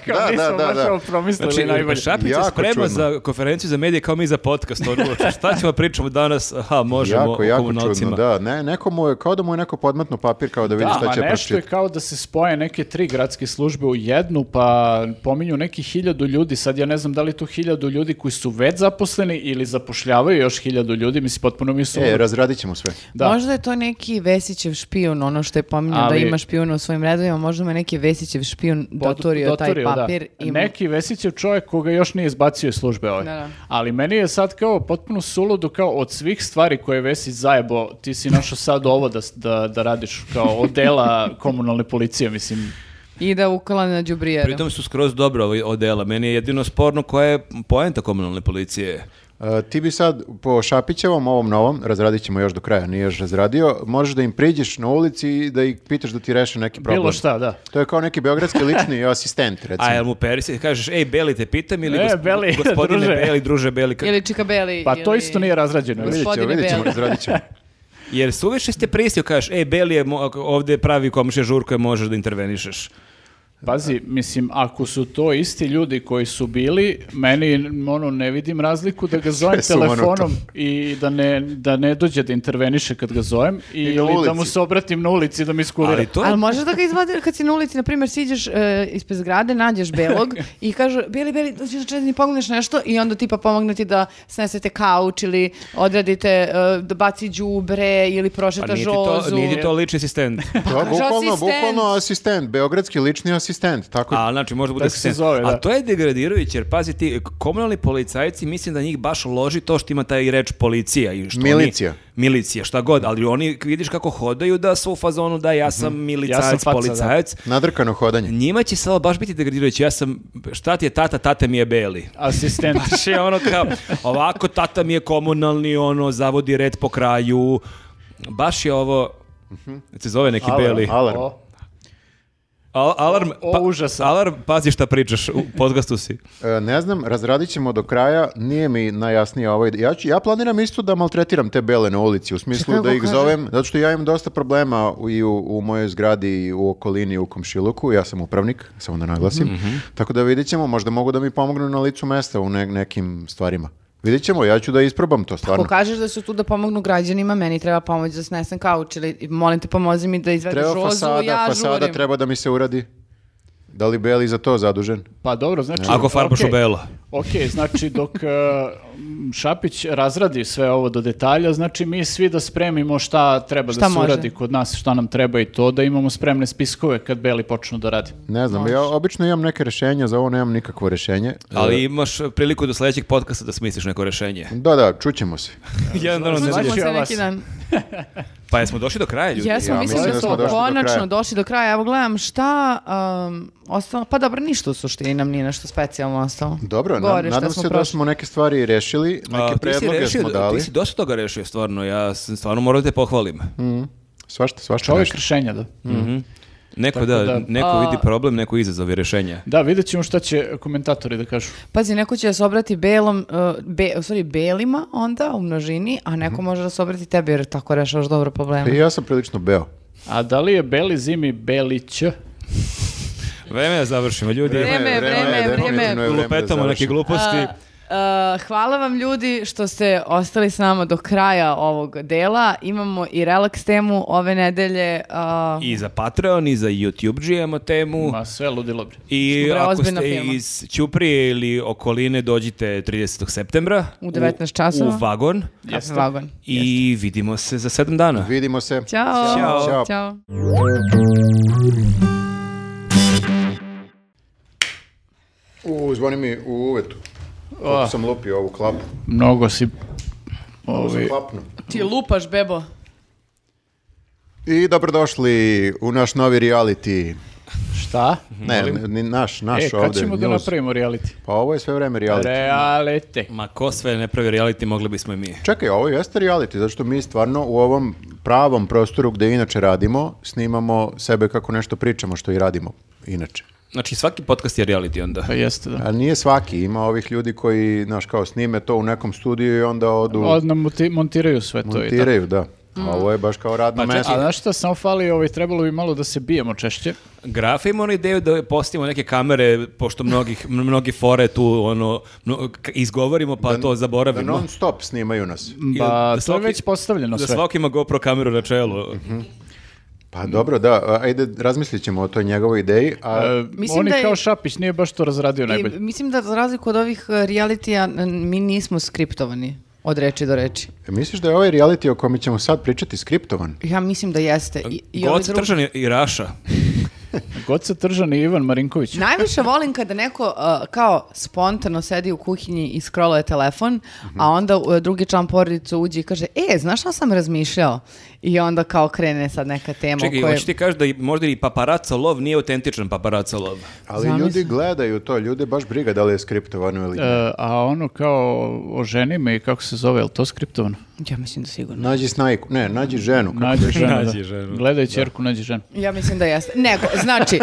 Kao Da, da, nismo da, baš da. ovo promislili Znači, najbolje. Šapić se Jako sprema čudno. za konferenciju za medije kao mi za podcast. Ono, šta ćemo pričamo danas? Aha, možemo Jako, o jako komunalcima. čudno, da. Ne, neko mu je, kao da mu je neko podmetno papir kao da vidi Da, šta ma će nešto je pročitati. kao da se spoje neke tri gradske službe u jednu, pa pominju neki hiljadu ljudi, sad ja ne znam da li je to hiljadu ljudi koji su već zaposleni ili zapošljavaju još hiljadu ljudi, mislim potpuno mi su... E, razradit ćemo sve. da. Možda je to neki Vesićev špijun, ono što je pominjao Ali- da ima špijuna u svojim redovima, možda mu je neki Vesićev špijun Pod- dotorio, taj doturio, da. papir. i- Neki Vesićev čovjek koga još nije izbacio iz službe ovaj. Da, da. Ali meni je sad kao potpuno suludo kao od svih stvari koje je Vesić zajebo, ti si našao sad ovo da, s- da, da radiš kao odela komunalne policije, mislim. I da ukala na đubrijere. Pritom su skroz dobro ovi odela. Meni je jedino sporno koja je poenta komunalne policije. E, ti bi sad po Šapićevom, ovom novom, razradit ćemo još do kraja, nije još razradio, možeš da im priđeš na ulici i da ih pitaš da ti reše neki problem. Bilo šta, da. To je kao neki beogradski (laughs) lični asistent, recimo. A jel mu peri se, kažeš, ej, Beli te pitam ili E, gos- Beli, (laughs) gospodine druže. Beli, druže Beli. ka- Ili čikabeli. Pa to ili- isto nije razrađeno. E, Vidjet ćemo, Gospodine vidjet ćemo, Beli. razradit (laughs) ćemo. Jer suviše ste prisio, kažeš, ej, Beli je mo- ovdje pravi komšija žurko je možeš da intervenišeš. Pazi, mislim, ako su to isti ljudi koji su bili, meni ono, ne vidim razliku da (laughs) ga zovem Sve ono sumanuto. telefonom i da ne, da ne dođe da interveniše kad ga zovem i, na ili da ulici. mu se obratim na ulici da mi skulira. Ali to je Ali možeš da ga izvadi kad si na ulici, na primjer, siđeš e, ispred zgrade, nađeš belog i kaže, beli, beli, dođi na četvrni, pomogneš nešto i onda tipa pomogne ti da snesete kauč ili odradite, e, da baci đubre ili prošeta Pa nije ti to, žozu. nije ti to lični (laughs) asistent. To je kaže bukvalno, asistent. bukvalno asistent, beogradski lični asistent. Tako, A, znači, možda bude Tako se asistent. zove, da. A to je degradirajuće, jer pazi ti, komunalni policajci, mislim da njih baš loži to što ima taj reč policija. I što oni- Milicija. milicija, šta god, ali oni vidiš kako hodaju da su u fazonu da ja sam milicajac, Mhm. Ja sam faca, da. policajac. nadrkano hodanje. Njima će sada baš biti degradirajući. Ja sam, šta ti je tata, tata mi je beli. Asistent. (laughs) Baš je ono kao, ovako tata mi je komunalni, ono, zavodi red po kraju. Baš je ovo, se zove neki beli. Mhm. Alarm. O, Al- alarm, pa, O, užasan. alarm, pazi šta pričaš, u podcastu si. E, Ne znam, razradit ćemo do kraja, nije mi najjasnije ovo. Ja, ću, ja planiram isto da maltretiram te bele na ulici, u smislu Kako da ih kaže? zovem, zato što ja imam dosta problema u, i u, u mojoj zgradi i u okolini u komšiluku, ja sam upravnik, samo da naglasim, Mhm. tako da vidit ćemo, možda mogu da mi pomognu na licu mesta u ne- nekim stvarima. Vidit ćemo, ja ću da isprobam to stvarno. Ako kažeš da su tu da pomognu građanima, meni treba pomoć da snesem kauč ili molim te pomozi mi da izvedeš Treba žozu, fasada, ja fasada žurim. treba da mi se uradi. Da li Beli za to zadužen? Pa dobro, znači... Ako farbaš u okej. belo. Ok, znači dok e, Šapić razradi sve ovo do detalja, znači mi svi da spremimo šta treba Šta da se može. uradi kod nas, šta nam treba i to, da imamo spremne spiskove kad Beli počnu da (laughs) radi. Ne znam, ja obično imam neke rješenja, za ovo nemam nikakvo rješenje. Ali imaš priliku do sljedećeg podcasta da smisliš neko rješenje. Da, da, čućemo se. Jedan dan ne Znači, Možemo znaš. znači, se ja neki vas- dan. Pa jesmo došli do kraja ljudi. Jesmo, ja mislim mislim da da smo smo došli do konačno kraja. došli do kraja. Evo gledam šta um, ostalo. Pa dobro, ništa u suštini nam nije nešto specijalno ostalo. Dobro, na- Govori šta nadam smo se da prošli. smo neke stvari rešili, A, neke ti si predloge rešio, smo dali. ti si dosta toga rešio stvarno, ja sam- stvarno moram da te pohvalim. Mm. Svašta, svašta Čovjek nešto. Mm. rješenja, da. Mhm. Neko da, da, neko Mhm. a- vidi problem, neko izazov i rješenja. Da, vidjet ćemo šta će komentatori da kažu. Pazi, neko će da se obrati belom, uh, be, u stvari belima onda u množini, a Mhm. neko može da se obrati tebi jer tako rešavaš dobro probleme. I E, ja sam prilično beo. A da li je Beli zimi Belić? Vreme je da završimo ljudi. Vreme. je, vreme je, definitivno vreme je. je vreme da Lupetamo neke završimo. gluposti. A, e, hvala vam ljudi što ste ostali s nama do kraja ovog dela. Imamo i relaks temu ove nedelje. a, I za Patreon, i za YouTube džijemo temu. Ma sve ludilo bre. I Dobra, ako ste ozbiljna firma. iz Ćuprije ili okoline, dođite 30. septembra. U 19 časova. U vagon. kafe vagon. I vidimo se za sedam dana. Vidimo se. Ćao. Ćao. Ćao. Ćao. U, zvoni mi u uvetu. Kako sam lupio ovu klapu. Mnogo si... Ovo sam Ovi, klapnu. Ti lupaš, bebo. I dobrodošli u naš novi reality. šta? Ne, ne, ni naš, Mhm. naš E, kad ovde. ćemo da news. napravimo reality? Pa ovo je sve vreme reality. Reality. Ma ko sve ne pravi reality, mogli bismo i mi. Čekaj, ovo jeste reality, zato što mi stvarno u ovom pravom prostoru gde inače radimo, snimamo sebe kako nešto pričamo što i radimo inače. Znači svaki podcast je reality onda. Pa jeste, da. A nije svaki, ima ovih ljudi koji, znaš, kao snime to u nekom studiju i onda odu, Odmah muti- montiraju sve to i tako. Znači, montiraju, da. Mm. A ovo je baš kao radno Pa čekaj, mesto. A znaš šta, samo fali, ovaj, trebalo bi malo da se bijemo češće. Graf ima onu ideju da postavimo neke kamere, pošto mnogih, mn- mnogi fore tu ono, mno- k- izgovorimo pa to Da zaboravimo. non stop snimaju nas. Mm. I Ba, da Pa, to je svaki- već postavljeno Da sve. svaki ima GoPro kameru na čelu. Pa dobro, da, a, ajde, razmislit ćemo o toj njegovoj ideji, a E, Mislim on je da je- kao Šapić, nije baš to razradio I najbolje. mislim da za razliku od ovih e, realitija n- mi nismo skriptovani od reči do reči. E, misliš da je ovaj reality o kome ćemo sad pričati skriptovan? Ja mislim da jeste. I, i ovi God drugi- Tržan i- i Raša. Goca Tržan i Ivan Marinković. (laughs) Najviše volim kada neko uh, kao spontano sedi u kuhinji i scrolluje telefon, Mhm. a onda uh, drugi član porodice uđe i kaže, e, znaš šta sam razmišljao? I onda kao krene sad neka tema Čekaj, o kojoj... hoćeš ti kažeš da i- možda i paparaca lov nije autentičan paparaca lov. Ali Zamisli. ljudi gledaju to, ljude baš briga da li je skriptovano ili ne. E, a ono kao o ženima i kako se zove, je li to skriptovano? Ja mislim da sigurno. Nađi snajku, ne, nađi ženu. kako Nađi ženu, da. Nađi ženu, Gledaj čerku, nađi ženu. Ja mislim da jeste. Nego, (laughs) znači,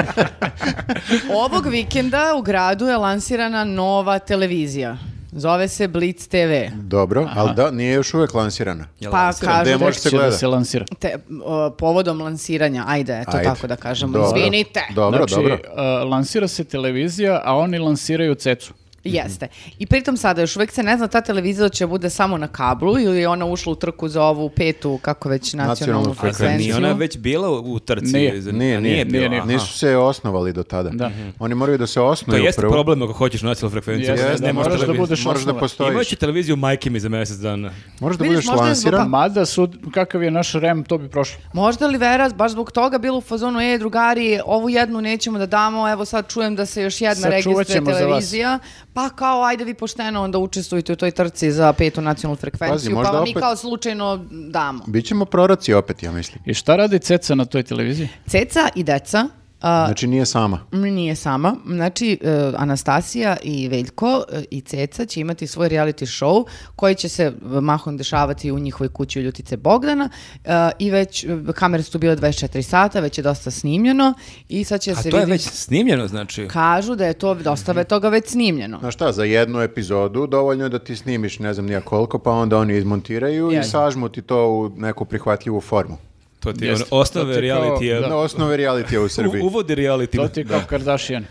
ovog vikenda u gradu je lansirana nova televizija. Zove se Blitz TV. Dobro, ali da, nije još uvek lansirana. Jel Pa lansirana? kažu Gde da- može se Će da gleda? se lansira. te, o, povodom lansiranja, ajde, to Ajde. tako da kažemo, Dobro. izvinite. Dobro, znači, dobro. e, lansira se televizija, a oni lansiraju cecu. Jeste. I pritom sada još uvek se ne zna ta televizija će bude samo na kablu ili je ona ušla u trku za ovu petu, kako već, nacionalnu, Nacionalnu A zar frekvenciju. frekvenciju. nije ona već bila u u trci? Nije. Zar- Nije, a nije, bila? nije. Aha. Nisu se osnovali do tada. Oni moraju da se To osnuju jeste prvo. problem ako hoćeš nacionalnu frekvenciju. Jeste, ne da, možeš moraš da televiziju. budeš Moraš da osnovan. postojiš. Imaće televiziju majke mi za mjesec dana. Moraš da Vidiš, budeš možda je zbog- lansiran. Mada, su, kakav je naš rem, to bi prošlo. Možda li Vera baš zbog toga bilo u fazonu, e, drugari, ovu jednu nećemo da damo, evo sad čujem da se još jedna Sačuvat registruje ćemo za vas. televizija, pa kao, ajde vi pošteno onda učestvujte u toj trci za petu nacionalnu frekvenciju, pa možda vam mi opet- kao slučajno damo. Bićemo proraci opet, ja mislim. I šta radi ceca na toj televiziji? Ceca i deca, a, Znači nije sama. Nije sama. Znači, e, Anastasija i Veljko e, i Ceca će imati svoj reality show koji će se e, mahom dešavati u njihovoj kući u Ljutice Bogdana e, i već e, kamere su tu bile 24 sata, već je dosta snimljeno i sad će A se to je vidjeti... već snimljeno, znači. Kažu da je to dosta ve- toga već snimljeno. Znaš šta, za jednu epizodu dovoljno je da ti snimiš ne znam nija koliko, pa onda oni izmontiraju i Jeste. sažmu ti to u neku prihvatljivu formu. To ti je Jeste. ono, osnove To ti je kao- realitija. Da. Na osnovi realitija u Srbiji. U- Uvodi reality. To ti je kao Kardashian.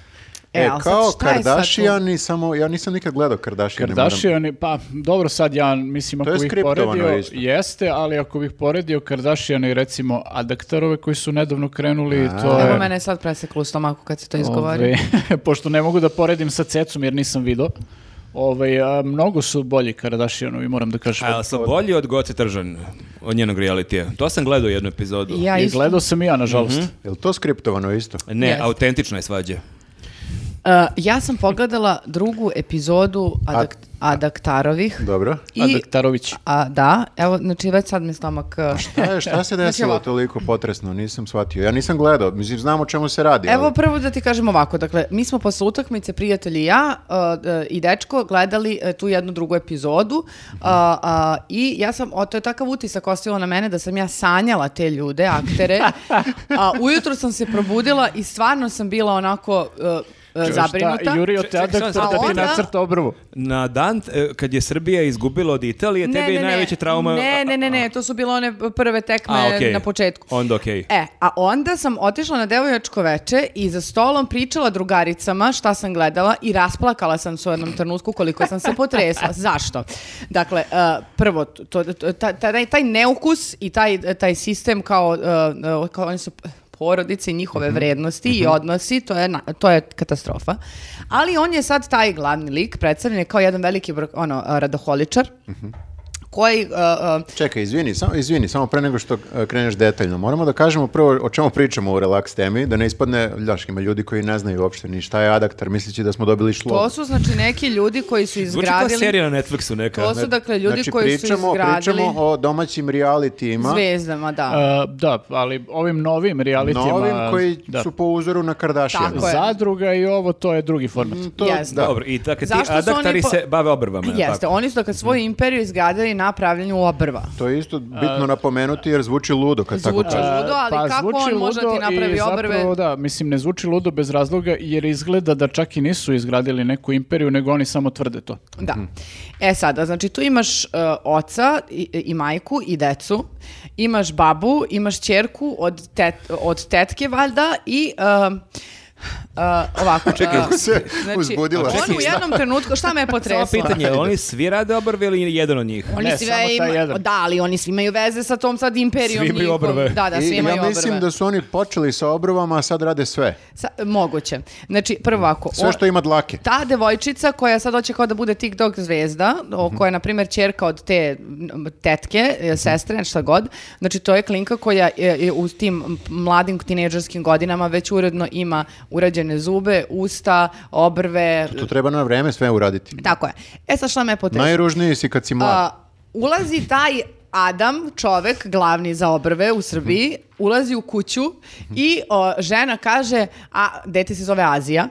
E, ali sad kao šta je sad tu? Kardashiani, samo, ja nisam nikad gledao Kardashiani. moram- Kardashiani, pa dobro sad ja mislim To ako je bih skriptovano poredio, isto. jeste, ali ako bih poredio Kardashiani recimo Adaktarove koji su nedavno krenuli, to Evo je... mene je sad preseklo u stomaku kad se to izgovori. Ovaj, (laughs) pošto ne mogu da poredim sa Cecom jer nisam video, ovaj, a, mnogo su bolji Kardashianovi, moram da kažem. Ali sam bolji od Goce Tržan, od njenog realitija. To sam gledao jednu epizodu. Ja I isto. Mhm. gledao sam i ja, nažalost. Jel to skriptovano isto? Ne, Jeste. autentična je svađa. Uh, ja sam pogledala drugu epizodu Adak- Adaktarovih. Dobro. I- e, Adaktarović. A, da, evo, znači već sad mi stomak... uh, Šta, je, Pa, (laughs) šta se desilo ovako. toliko potresno? Nisam shvatio. Ja nisam gledao. Mislim, znam o čemu se radi. Evo ali- prvo da ti kažem ovako, dakle, mi smo posle utakmice, prijatelji i ja uh, uh, i dečko, gledali uh, tu jednu drugu epizodu Mhm. uh, uh, i ja sam, o, to je takav utisak ostavilo na mene da sam ja sanjala te ljude, (laughs) aktere, a ujutro sam se probudila i stvarno sam bila onako uh, uh, zabrinuta. Šta, Jurio te Čekaj, čekaj, Adaktor sad- da A ti onda- nacrta obrvu. Na dan e, kad je Srbija izgubila od Italije, tebi je najveća trauma... Ne, ne, ne, ne, to su bile one prve tekme A, okej. na početku. Onda okej. E, a onda sam otišla na devojačko veče i za stolom pričala drugaricama šta sam gledala i rasplakala sam se u jednom trenutku koliko sam se (laughs) potresla. Zašto? Dakle, e, prvo, to, to- ta- taj, taj neukus i taj, taj sistem kao, e, kao oni su porodice i njihove Mhm. vrednosti i odnosi, to je, na- to je katastrofa. Ali on je sad taj glavni lik, predstavljen je kao jedan veliki bro- ono, e, radoholičar, Mhm. koji e, e, Čekaj, izvini, samo, izvini, samo pre nego što e, kreneš detaljno. Moramo da kažemo prvo o čemu pričamo u relaks temi, da ne ispadne, ljaš, ima ljudi koji ne znaju uopšte ni šta je adaktar, misleći da smo dobili šlo. To su znači neki ljudi koji su Zvuči kao izgradili serija na Netflixu neka. To su dakle ljudi znači, koji su pričamo, izgradili pričamo o domaćim realitijima, zvezdama, da. A, E, da, ali ovim novim realitijama... novim koji da. su po uzoru na Kardashian. Tako je. Zadruga i ovo, to je drugi format. Mm, To, Jeste. da. Dobro, i tako ti Zašto su oni adaktari po- se bave obrvama. jel Jeste, tako? oni su dakle svoju imperiju izgradili na pravljenju obrva. To je isto bitno napomenuti jer zvuči ludo kad tako Zvuči kažeš. ludo, ali Pa, kako zvuči on može da ti ludo i napravi obrve? Zapravo, da, mislim, ne zvuči ludo bez razloga, jer izgleda da čak i nisu izgradili neku imperiju, nego oni samo tvrde to. Mhm. Da. E sada, znači tu imaš e, oca i, i majku i decu, imaš babu, imaš ćerku od, tet, od tetke valjda i... e, e, ovako. Čekaj, se uzbudila. On u jednom trenutku, šta me je Samo potreslo? (laughs) pitanje, oni svi rade obrve ili jedan od njih? Oni Ne, svi samo taj ima- jedan. Da, ali oni svi imaju veze sa tom sad imperijom. Svi imaju njihovom. obrve. Da, da, I svi imaju ja mislim obrve. da su oni počeli sa obrovama, a sad rade sve. Sa- moguće. Znači, prvo ovako. Sve o- što ima dlake. Ta devojčica koja sad hoće kao da bude TikTok zvezda, o, Mhm. koja je, na primjer, čerka od te m, tetke, e, sestre, šta god, znači to je klinka koja je, je u tim mladim tinejdžerskim godinama već uredno ima urađene zube, usta, obrve, To treba na vreme sve uraditi. tako je. E sad šta me potreslo? Najružniji si kad si mlad. A, ulazi taj Adam, čovek, glavni za obrve u Srbiji, ulazi u kuću i o, žena kaže, a dete se zove Azija,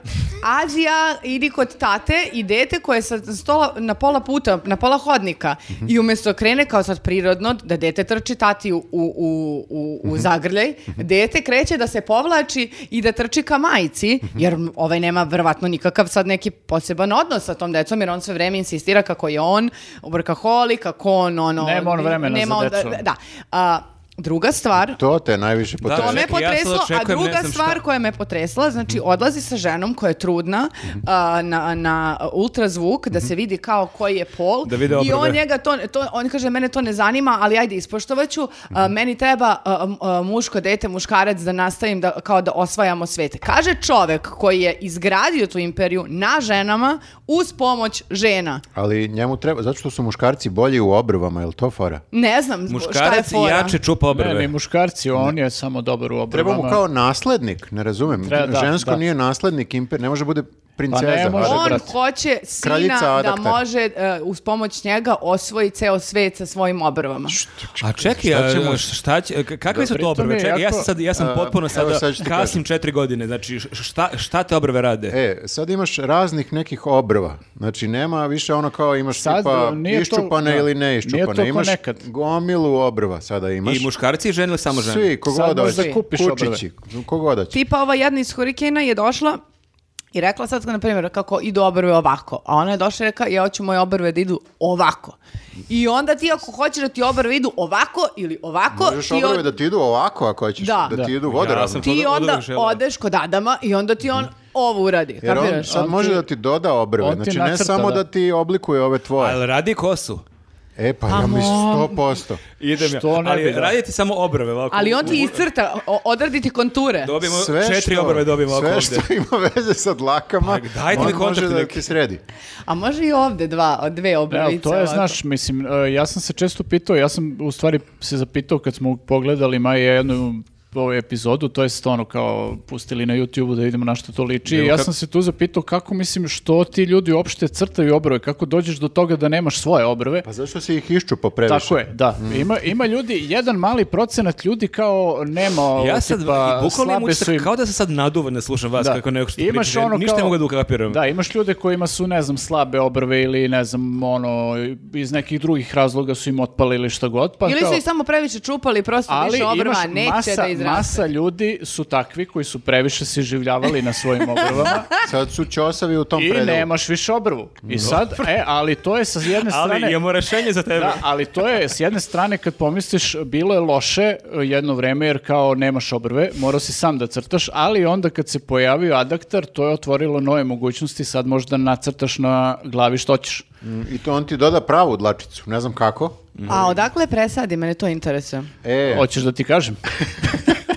Azija idi kod tate i dete koje je sa stola, na pola puta, na pola hodnika i umjesto krene kao sad prirodno da dete trči tati u, u, u, u- Mhm. u zagrljaj, dete kreće da se povlači i da trči ka majici, Mhm. jer ovaj nema verovatno nikakav sad neki poseban odnos sa tom decom, jer on sve vreme insistira kako je on obrkaholi, kako on ono... Nema on vremena za on- decu. Da. A, druga stvar, To te najviše to Da, potrebno. me je čekaj, ja sad potreslo, a očekujem, ne druga znam stvar šta. Mhm. koja me potresla, znači odlazi sa ženom koja je trudna a, na, na ultrazvuk da se vidi kao koji je pol Mhm. Da vide i on obrve. njega to, to, on kaže mene to ne zanima, ali ajde ispoštovaću, Mhm. a, meni treba a, m- a, muško dete, muškarac da nastavim da, kao da osvajamo svet. Kaže čovek koji je izgradio tu imperiju na ženama uz pomoć žena. Ali njemu treba, zato što su muškarci bolji u obrvama, je li to fora? Ne znam šta je Muškarac i fora. jače čupa Ne, obrve. ni muškarci, on je samo dobar u obrvama. Treba mu kao naslednik, ne razumem. Treba, da, Žensko da. nije naslednik imper, ne može bude princeza. Pa ne može, ali- On brate. hoće sina Kraljica da adaktar. može e, uz pomoć njega osvoji ceo svet sa svojim obrvama. A čekaj, Šta a, ćemo- šta će, k- kakve su Pritom to obrve? je Čekaj, ja jako- sam, sad, ja sam potpuno sada, evo sad ću ti kasnim četiri godine, znači š- šta, šta te obrve rade? E, sad imaš raznih nekih obrva. Znači, nema više ono kao imaš Sad, tipa nije to- iščupane da. ili ne Nije iščupane. to ko imaš nekad. gomilu obrva sada imaš. I muškarci i žene ili samo žene? Svi, kogoda. Sad možda hoće. kupiš Kučići, kogoda će. Tipa ova jedna iz Hurikena je došla i rekla sad, na primjer, kako idu obrve ovako. A ona je došla i rekla, ja hoću moje obrve da idu ovako. I onda ti ako hoćeš da ti obrve idu ovako ili ovako, (laughs) Možeš ti, on- obrve da ti idu ovako ako hoćeš, Da. da, ti idu Ja vodoravno. sam to ti od- od onda uvek želeo. odeš kod Adama i onda ti on ovo uradi. Jer on kapiraš? sad On može ti- da ti doda obrve. on ti Znači, ne nacrta, samo da. da. ti oblikuje ove pa. tvoje. Ali radi kosu. E pa, ja mislim 100%. Idem Što ja. ne Ali bi, da. raditi samo obrve ovako. Ali on ti iscrta, o- odradi ti konture. Dobijemo Sve četiri što- obrve dobijemo ovako Sve ovde. što ima veze sa dlakama, Pa, dajte mi on kontakt može da neki. ti sredi. A može i ovde dva, dve Ne, ali obravice. to je, ovako. znaš, mislim, e, ja sam se često pitao, ja sam u stvari se zapitao kad smo pogledali Maja jednu ovu epizodu, to jest ono kao pustili na YouTube-u da vidimo na što to liči. Nego ja kako- sam se tu zapitao kako mislim što ti ljudi uopšte crtaju obrve, kako dođeš do toga da nemaš svoje obrve. Pa zašto si ih iščupa previše? Tako je, da. Mm. Ima, ima ljudi, jedan mali procenat ljudi kao nema, Ja sad, tipa, i bukvalno imam slabe Pa, su utisak im- kao da se sad naduvan ne slušam vas Da. kako neko što Imaš pričate, ono ništa ne kao- mogu da ukapiram. Da, imaš ljude kojima su, ne znam, slabe obrve ili, ne znam, ono, iz nekih drugih razloga su im otpali ili šta god. Pa Ili kao- su ih samo previše čupali, prosto ali više obrva, imaš neće masa, da izraste. masa ljudi su takvi koji su previše se življavali na (laughs) svojim obrvama (laughs) Sad su ćosavi u tom i predelu. nemaš više obrvu. I sad, e, ali to je sa jedne strane... Ali imamo rešenje za tebe. Da, ali to je, s jedne strane, kad pomisliš, bilo je loše e, jedno vreme, jer kao nemaš obrve, morao si sam da crtaš, ali onda kad se pojavio adaktar, to je otvorilo nove mogućnosti, sad možda nacrtaš na glavi što ćeš. Mm, I to on ti doda pravu dlačicu, ne znam kako. A odakle presadi, mene to interesuje. E, Hoćeš da ti kažem?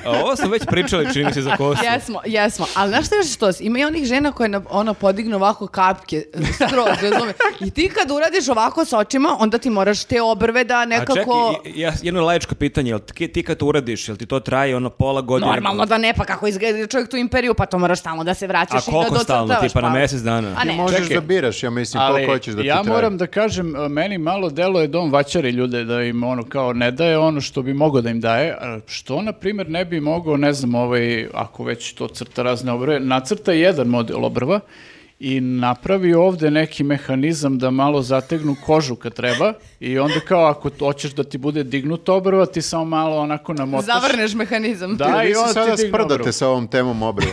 A ovo smo već pričali, čini mi se, za kosu. Jesmo, jesmo. Ali znaš šta je još što? Ima i onih žena koje na- ono podignu ovako (laughs) kapke, skroz, razumeš? I ti kad uradiš ovako s očima, onda ti moraš te obrve da A čekaj, nekako... i- ja, jedno laičko pitanje, jel ti, ti kad to uradiš, jel ti to traje ono pola godine? Normalno da ne, pa kako izgleda čovjek tu imperiju, pa to moraš stalno da se A vraćaš i da koliko stalno, docrtavaš, tipa na mesec dana? A ti ne, možeš čekaj. da biraš, ja mislim, Ali koliko hoćeš da ti ja traje. moram da kažem, e, meni malo delo je dom vaćari ljude, da im ono kao ne daje ono što bi mogao da im daje, a što na primjer ne bi mogao, ne znam, ovaj, ako već to crta razne obrve, nacrta jedan model obrva i napravi ovde neki mehanizam da malo zategnu kožu kad treba i onda kao ako to- hoćeš da ti bude dignuta obrva, ti samo malo onako (laughs) namotaš. zavrneš mehanizam. Da. Da, i vi se onda ti sada digne sprdate obrvu. sa ovom temom obrva.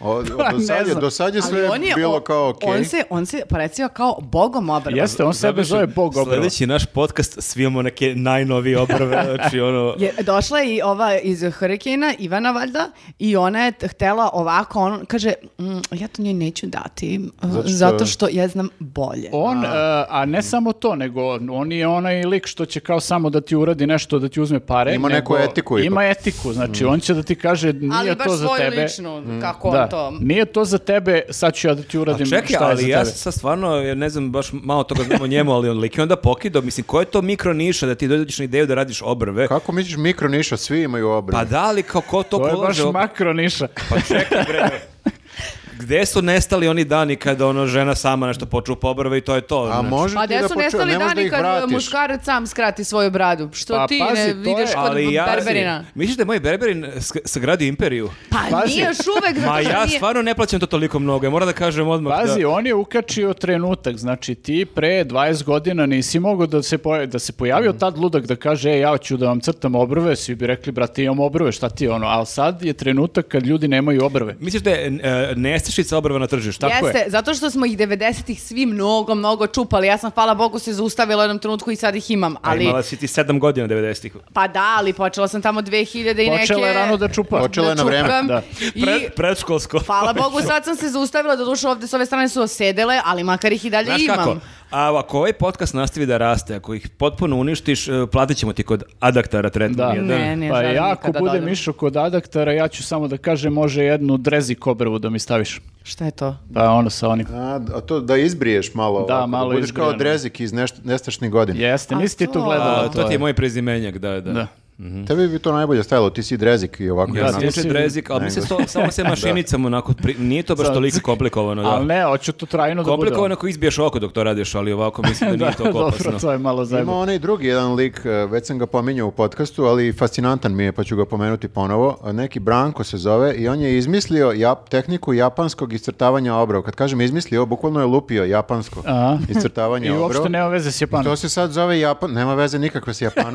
O, Pa, do, ne sad je, znam. do sad je sve bilo kao okej. On se, on se parecio kao bogom obrva. Jeste, on sebe Završi- zove Bog obrva. Sljedeći naš podcast, svi imamo neke najnovije obrve, (laughs) znači ono... Je, došla je i ova iz Hurricane, Ivana valjda, i ona je t- htela ovako, on kaže, "Mm, ja to njoj neću dati, uh, Zato zato što- što, ja znam bolje. On, e, a, ne samo to, nego on, on je onaj lik što će kao samo da ti uradi nešto, da ti uzme pare. Ima nego- neku etiku ipak. Ima etiku, znači on će da ti kaže nije Ali baš to za svoju tebe. Mm. ličnu, kako da, on to... nije to za tebe, sad ću ja da ti A Pa uradim čekaj, šta je za ali ja tebe. sad stvarno, jer ne znam, baš malo toga znam o njemu, ali on lik je onda pokidao, mislim, ko je to mikro niša da ti dođeš na ideju da radiš obrve? Kako misliš mikro niša, svi imaju obrve. Pa da, ali kao ko to To je baš polaže ob- makro niša. Pa čekaj, bre. Gde su nestali oni dani kada ono žena sama nešto počupa obrve i to je to? A znači? može Pa ti da da su poču, nestali ne možeš da dani ih kad e, vratiš. muškarac sam skrati svoju bradu. Što Pa, ti pazi, ne to je- vidiš kod Ali ja, Berberina? misliš da je moj Berberin sk- sagradio imperiju? Pa Pazi. nije još uvek, zato Ma što ja nije... stvarno ne plaćam to toliko mnogo, ja moram da kažem odmah Pazi, da... on je ukačio trenutak, znači ti pre 20 godina nisi mogao da se pojavi, da se pojavio tad ludak da kaže e, ja ću da vam crtam obrve, svi bi rekli brate imam obrve, šta ti je ono, ali sad je trenutak kad ljudi nemaju obrve. Misliš da je e, nestašica obrva na tržištu? Tako je. Jeste, zato što smo ih 90-ih svi mnogo, mnogo čupali. Ja sam, hvala Bogu, se zaustavila u jednom trenutku i sad ih imam. Ali... Ali, imala si ti sedam godina 90-ih. pa da, ali počela sam tamo 2000 i neke... Počela Pa je rano da čupa. Počela je na vreme. čupkam Da. I, Pred, predškolsko. (laughs) hvala Bogu, sad sam se zaustavila, doduše ovde s ove strane su osedele, ali makar ih i dalje Znaš imam. kako? A ako ovaj podcast nastavi da raste, ako ih potpuno uništiš, e, platit ćemo ti kod adaktara Da. tretman. Ne, ne, pa želim ja ako nikada da budem odem. išao kod adaktara, ja ću samo da kažem može jednu drezik obrvu da mi staviš. Šta je to? Pa ono sa onim. A, a to da izbriješ malo. ovako, malo budeš kao izbrijano. drezik iz nešt, nestašnih godina. Jeste, A nisi ti to- to gledala. A, to ti je moj prezimenjak, da, da. Da. Tebi bi to najbolje stajalo, ti si drezik i ovako. Ja Da, sam ti inače si- drezik, ali mislim to samo (laughs) se mašinicom onako, pri- nije to baš Sad- toliko komplikovano, da. Ali ne, hoću to trajno da bude. Komplikovano ako izbiješ oko dok to radiš, ali ovako mislim (laughs) da Da, nije toliko dobro, opasno. to je malo Ima zajebo. onaj drugi jedan lik, e, već sam ga pominjao u podcastu, ali fascinantan mi je, pa ću ga pomenuti ponovo. E, Neki Branko se zove i on je izmislio jap, tehniku japanskog iscrtavanja obrova. Kad kažem izmislio, bukvalno je lupio japansko Aha. iscrtavanje (laughs) I obrova. uopšte nema veze s Japanom. To se sad zove Japan, nema veze nikakve s Japanom.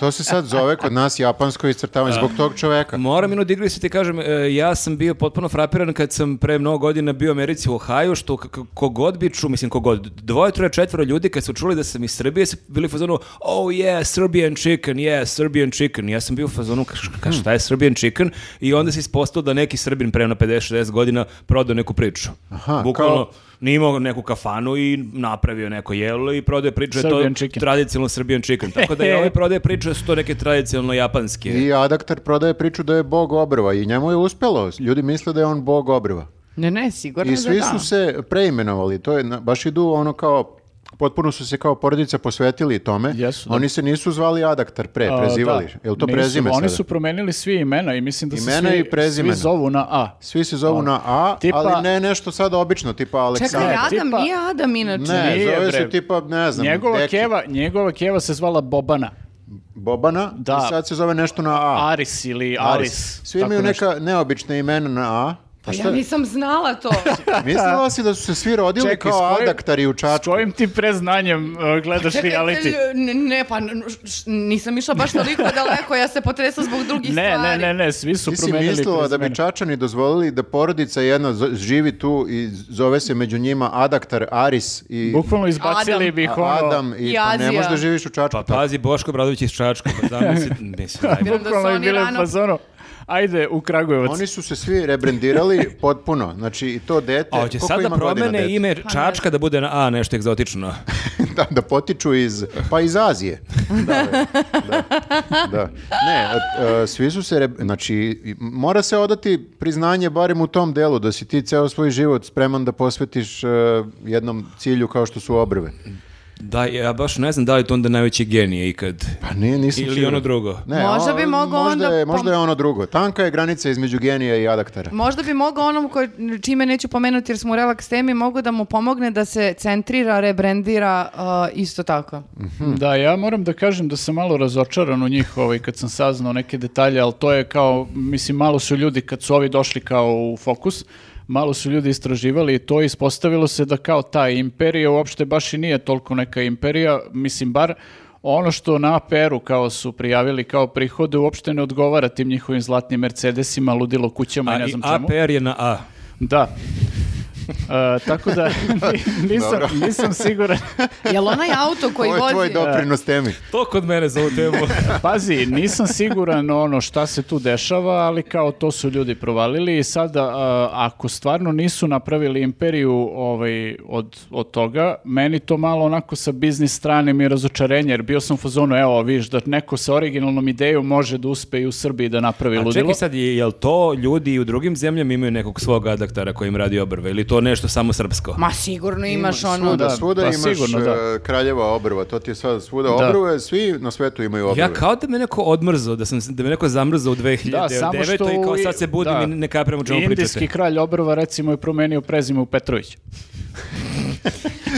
To se sad zove zove kod nas japansko iscrtavanje zbog tog čoveka. Moram jednu digresiju ti kažem, e, ja sam bio potpuno frapiran kad sam pre mnogo godina bio u Americi u Ohio, što k- k- kogod bi čuo, mislim kogod, dvoje, troje, četvoro ljudi kad su čuli da sam iz Srbije, su bili u fazonu, oh yeah, Serbian chicken, yeah, Serbian chicken. Ja sam bio u fazonu, ka, ka- šta je Serbian chicken? I onda se ispostavilo da neki Srbin pre na 50-60 godina prodao neku priču. Aha, Bukvalno, kao- nije imao neku kafanu i napravio neko jelo i prodaje priču. da je Serbian to chicken. Tradicionalno Serbian chicken. Tako da je ovaj prodaje priču da su to neke tradicionalno japanske. I adaktar prodaje priču da je bog obrva i njemu je uspelo. Ljudi misle da je on bog obrva. Ne, ne, Pa sigurno I da svi da. su se preimenovali. To je, na- baš idu ono kao Potpuno su se kao porodica posvetili tome. Jesu, da. Oni se nisu zvali adaktar pre, A, prezivali. da. Je li to Nisu, prezime Oni sada? su promenili svi imena i mislim da se Imena svi, i prezimena. svi zovu na A. Svi se zovu na A, Ono, Tipa- ali ne nešto sada obično, tipa Aleksandar. Čekaj, Adam, tipa- nije Adam inače. Ne, Nije, zove se bre. tipa, ne znam, njegova, Deki, keva, njegova keva se zvala Bobana. Bobana, Da. i sad se zove nešto na A. Aris ili Aris. Svi tako imaju nešto. neka neobična imena na A. Pa Pa ja šta? nisam znala (laughs) to. Mislila si da su se svi rodili Čekaj, kao s kojim- adaktari u S Čačku? kojim ti preznanjem uh, gledaš Pa reality? Ne, ne, pa n- š- nisam išla baš toliko daleko, ja se potresla zbog drugih Ne, ne, stvari. ne, ne, svi su Ti si promenili mislila da bi prezimena. Čačani dozvolili da porodica jedna z- živi tu i zove se među njima adaktar Aris i Bukvalno izbacili Adam. bih ono... Adam i, I pa ne Azija. možeš da živiš u Čačku. Pa tako. pazi, Boško Bradović iz Čačka, pa (laughs) zamisli, mislim, ajmo. Obzirom da su Bukvalno je oni bilo rano- pa zono, ajde u Kragujevac. Oni su se svi (laughs) rebrendirali potpuno. Znači i to dete, A hoće koliko sad da ima godina promene dete? ime Pa ne Čačka da bude na A nešto egzotično. (laughs) da, da potiču iz, pa iz Azije. da, da, da. Ne, e, e, svi su se, re- znači, i- mora se odati priznanje barem u tom delu, da si ti ceo svoj život spreman da posvetiš e, jednom cilju kao što su obrve. Da, ja baš ne znam da li je to onda najveći genije ikad. Pa nije, nisam Ili siguran. ono drugo. Ne, Možda bi mogao možda onda Je, pom- možda je ono drugo. Tanka je granica između genija i adaktara. Možda bi mogao onom koji, čime neću pomenuti jer smo u relaks temi, mogu da mu pomogne da se centrira, rebrendira uh, isto tako. Da, ja moram da kažem da sam malo razočaran u njih ovaj, kad sam saznao neke detalje, ali to je kao, mislim, malo su ljudi kad su ovi došli kao u fokus, malo su ljudi istraživali i to i ispostavilo se da kao ta imperija uopšte baš i nije toliko neka imperija, mislim, bar ono što na APR-u kao su prijavili kao prihode uopšte ne odgovara tim njihovim zlatnim Mercedesima, ludilo kućama i A ne i znam čemu. APR je na A. Da. E, tako da nisam, Dobro. nisam siguran. Jel onaj auto koji Ovo je tvoj vozi... doprinos temi. To kod mene za ovu (laughs) temu. Pazi, nisam siguran ono šta se tu dešava, ali kao to su ljudi provalili i sada a, ako stvarno nisu napravili imperiju ovaj, od, od toga, meni to malo onako sa biznis strane mi je razočarenje, jer bio sam u fazonu, evo, viš, da neko sa originalnom idejom može da uspe i u Srbiji da napravi A ludilo. čekaj sad, je- jel to ljudi i u drugim zemljama imaju nekog svog adaktara koji im radi obrve? Ili to nešto samo srpsko? Ma sigurno imaš ono... Svuda, da, svuda pa imaš sigurno, da. e, kraljeva obrva, to ti je sad svuda Da. obrve, svi na svetu imaju obrve. Ja kao da me neko odmrzao, da, sam, da me neko zamrzao u 2009. Da, samo što... i kao u- sad se budim da. i ne kapiram o čemu Indijski pričate. kralj obrva recimo je promenio prezime u Petrović. (laughs)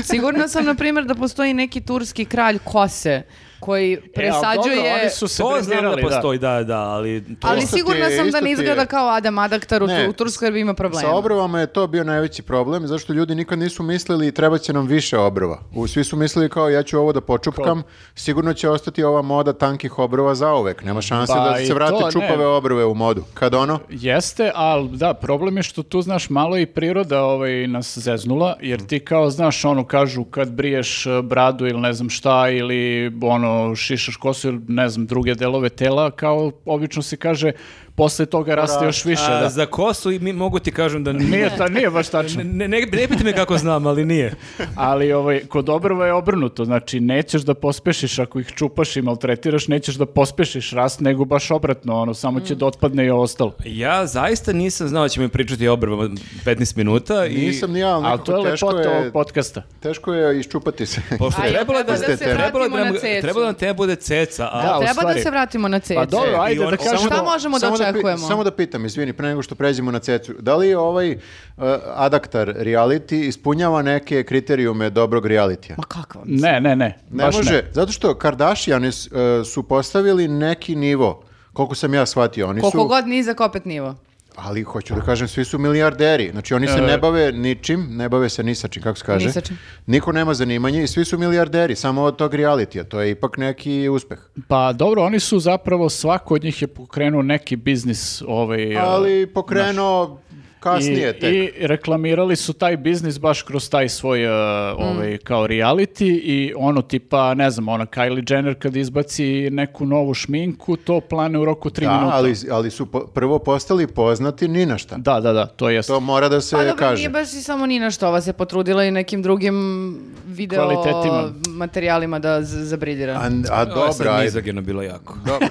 Sigurna sam, na primjer, da postoji neki turski kralj kose koji E, ali dobro, presađuje... oni su se To znam da brendirali, postoji, da, da, ali... To... Ali Isto ti je- sigurna sam isto da ti ne je- izgleda kao Adam Adaktar u, Ne. u Turskoj jer bi ima problema. Sa obrvama je to bio najveći problem, zašto ljudi nikad nisu mislili treba će nam više obrva. U, svi su mislili kao ja ću ovo da počupkam, sigurno će ostati ova moda tankih obrva zauvek, nema šanse Pa da i se vrate to, ne. čupave obrve u modu. Kad ono, Jeste, ali da, problem je što tu, znaš, malo i priroda ovaj, nas zeznula, jer ti kao, znaš, ono, kažu kad briješ eh, bradu ili ne znam šta, ili ono, šišaš kosu ili ne znam, druge delove tela, kao, obično se kaže, posle toga raste još više, A, da. Za kosu i mi, mogu ti kažem da nije. Nije, ta, nije baš tačno. Ne, ne, ne, ne pitaj me kako znam, ali nije. Ali ovaj, kod obrva je obrnuto, znači nećeš da pospešiš ako ih čupaš i maltretiraš, nećeš da pospešiš rast, nego baš obratno, ono, samo će Mm. da otpadne i ovo ostalo. Ja zaista nisam znao da će mi pričati o obrvama 15 minuta i... nisam ni ja, ali Ali nekako to je teško, lepota je, ovog podcasta. teško je iščupati se. Pošto Ajde, trebalo da, treba da se trebalo vratimo da, nam- na cecu. trebalo da nam te bude ceca, a Da, u Treba stvari. da se vratimo na cecu. Pa dobro, E, ajde i da oni- kažemo... Šta možemo da samo pi- očekujemo? samo da pitam, izvini, pre nego što pređemo na cecu, da li ovaj uh, adaktar reality ispunjava neke kriterijume dobrog realitija? Ma kakva? Ne, ne, ne. Ne baš može, zato što Kardashiani s- e, su postavili neki nivo, koliko sam ja shvatio, oni Koliko su god nizak opet nivo. Ali hoću da kažem, svi su milijarderi. Znači E. oni se ne bave ničim, ne bave se nisačim, kako se kaže. Ni sa čim. Niko nema zanimanje i svi su milijarderi, samo od tog realitija. To je ipak neki uspeh. Pa dobro, oni su zapravo, svako od njih je pokrenuo neki biznis. Ovaj, Ali e, pokrenuo kasnije I, tek. I reklamirali su taj biznis baš kroz taj svoj e, Mm. ovaj, kao reality i ono tipa, ne znam, ona Kylie Jenner kad izbaci neku novu šminku, to plane u roku 3 Da, minuta. ali, ali su po- prvo postali poznati ni na šta. Da, da, da, to jest. To mora da se Pa dobro, kaže. nije baš i samo ni na što, ova se potrudila i nekim drugim video Kvalitetima. materijalima da z- zabriljira. A, a Ovo je dobro, sad ajde. mizogino bilo jako. (laughs) Dobro.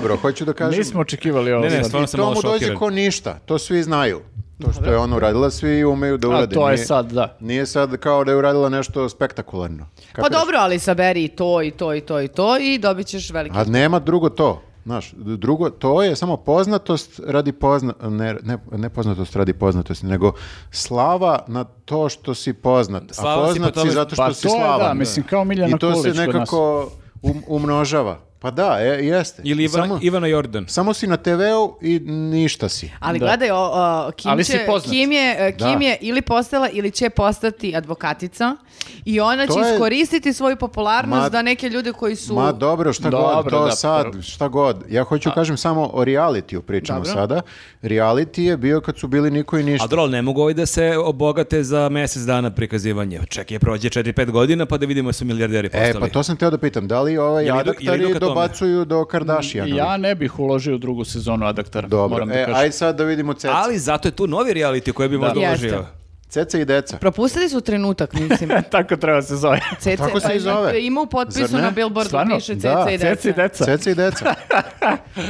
dobro, hoću da kažem. Nismo očekivali ovo. Ne, ne, sad. stvarno sam to malo mu dođe šokiran. ko ništa, to svi znaju. To što je ona uradila, svi umeju da urade. A to je Nije- sad, da. Nije sad kao da je uradila nešto spektakularno. pa Kapiraš? dobro, ali saberi i to, i to, i to, i to i dobit ćeš veliki... A nema drugo to. Znaš, d- drugo, to je samo poznatost radi pozna, ne, ne, ne poznatost radi poznatosti, nego slava na to što si poznat. Slava a si poznat po si tome- zato što Pa si to je, slavan. da, mislim, kao Miljana I to Kulić se kod nas. nekako um- umnožava. Pa da, e, jeste. Ili Ivana, samo, Ivana Jordan. samo si na TV-u i ništa si. Ali Da. gledaj, o, o, Kim, Ali će- si poznat. Kim je, e, Kim Da. je ili postala ili će postati advokatica i ona To će je- iskoristiti svoju popularnost Ma- da neke ljude koji su... Ma dobro, šta god, Dobro, to da, sad, prvo. šta god. Ja hoću kažem samo o realitiju pričamo Dobro. sada. Reality je bio kad su bili niko i A ništa. dobro, ali ne mogu ovi da se obogate za mjesec dana prikazivanje. Čekaj, prođe 4-5 godina pa da vidimo da su milijarderi postali. E, pa to sam teo da pitam, da li ovaj Jel idu- jel idu adaktari ka tome? dobacuju do Kardashiana? Ja ne bih uložio u drugu sezonu Adaktara. Dobro, moram da e, kažem. aj sad da vidimo Ceca. Ali zato je tu novi reality koji bi možda Jeste. uložio. Ceca i deca. Propustili su trenutak, (laughs) mislim. Tako treba se zove. Cece, Tako se pa i zove. Ima u potpisu Zar ne? na billboardu Stvarno? piše Cece Da. i Ceci i deca. deca. Ceca i (laughs) deca.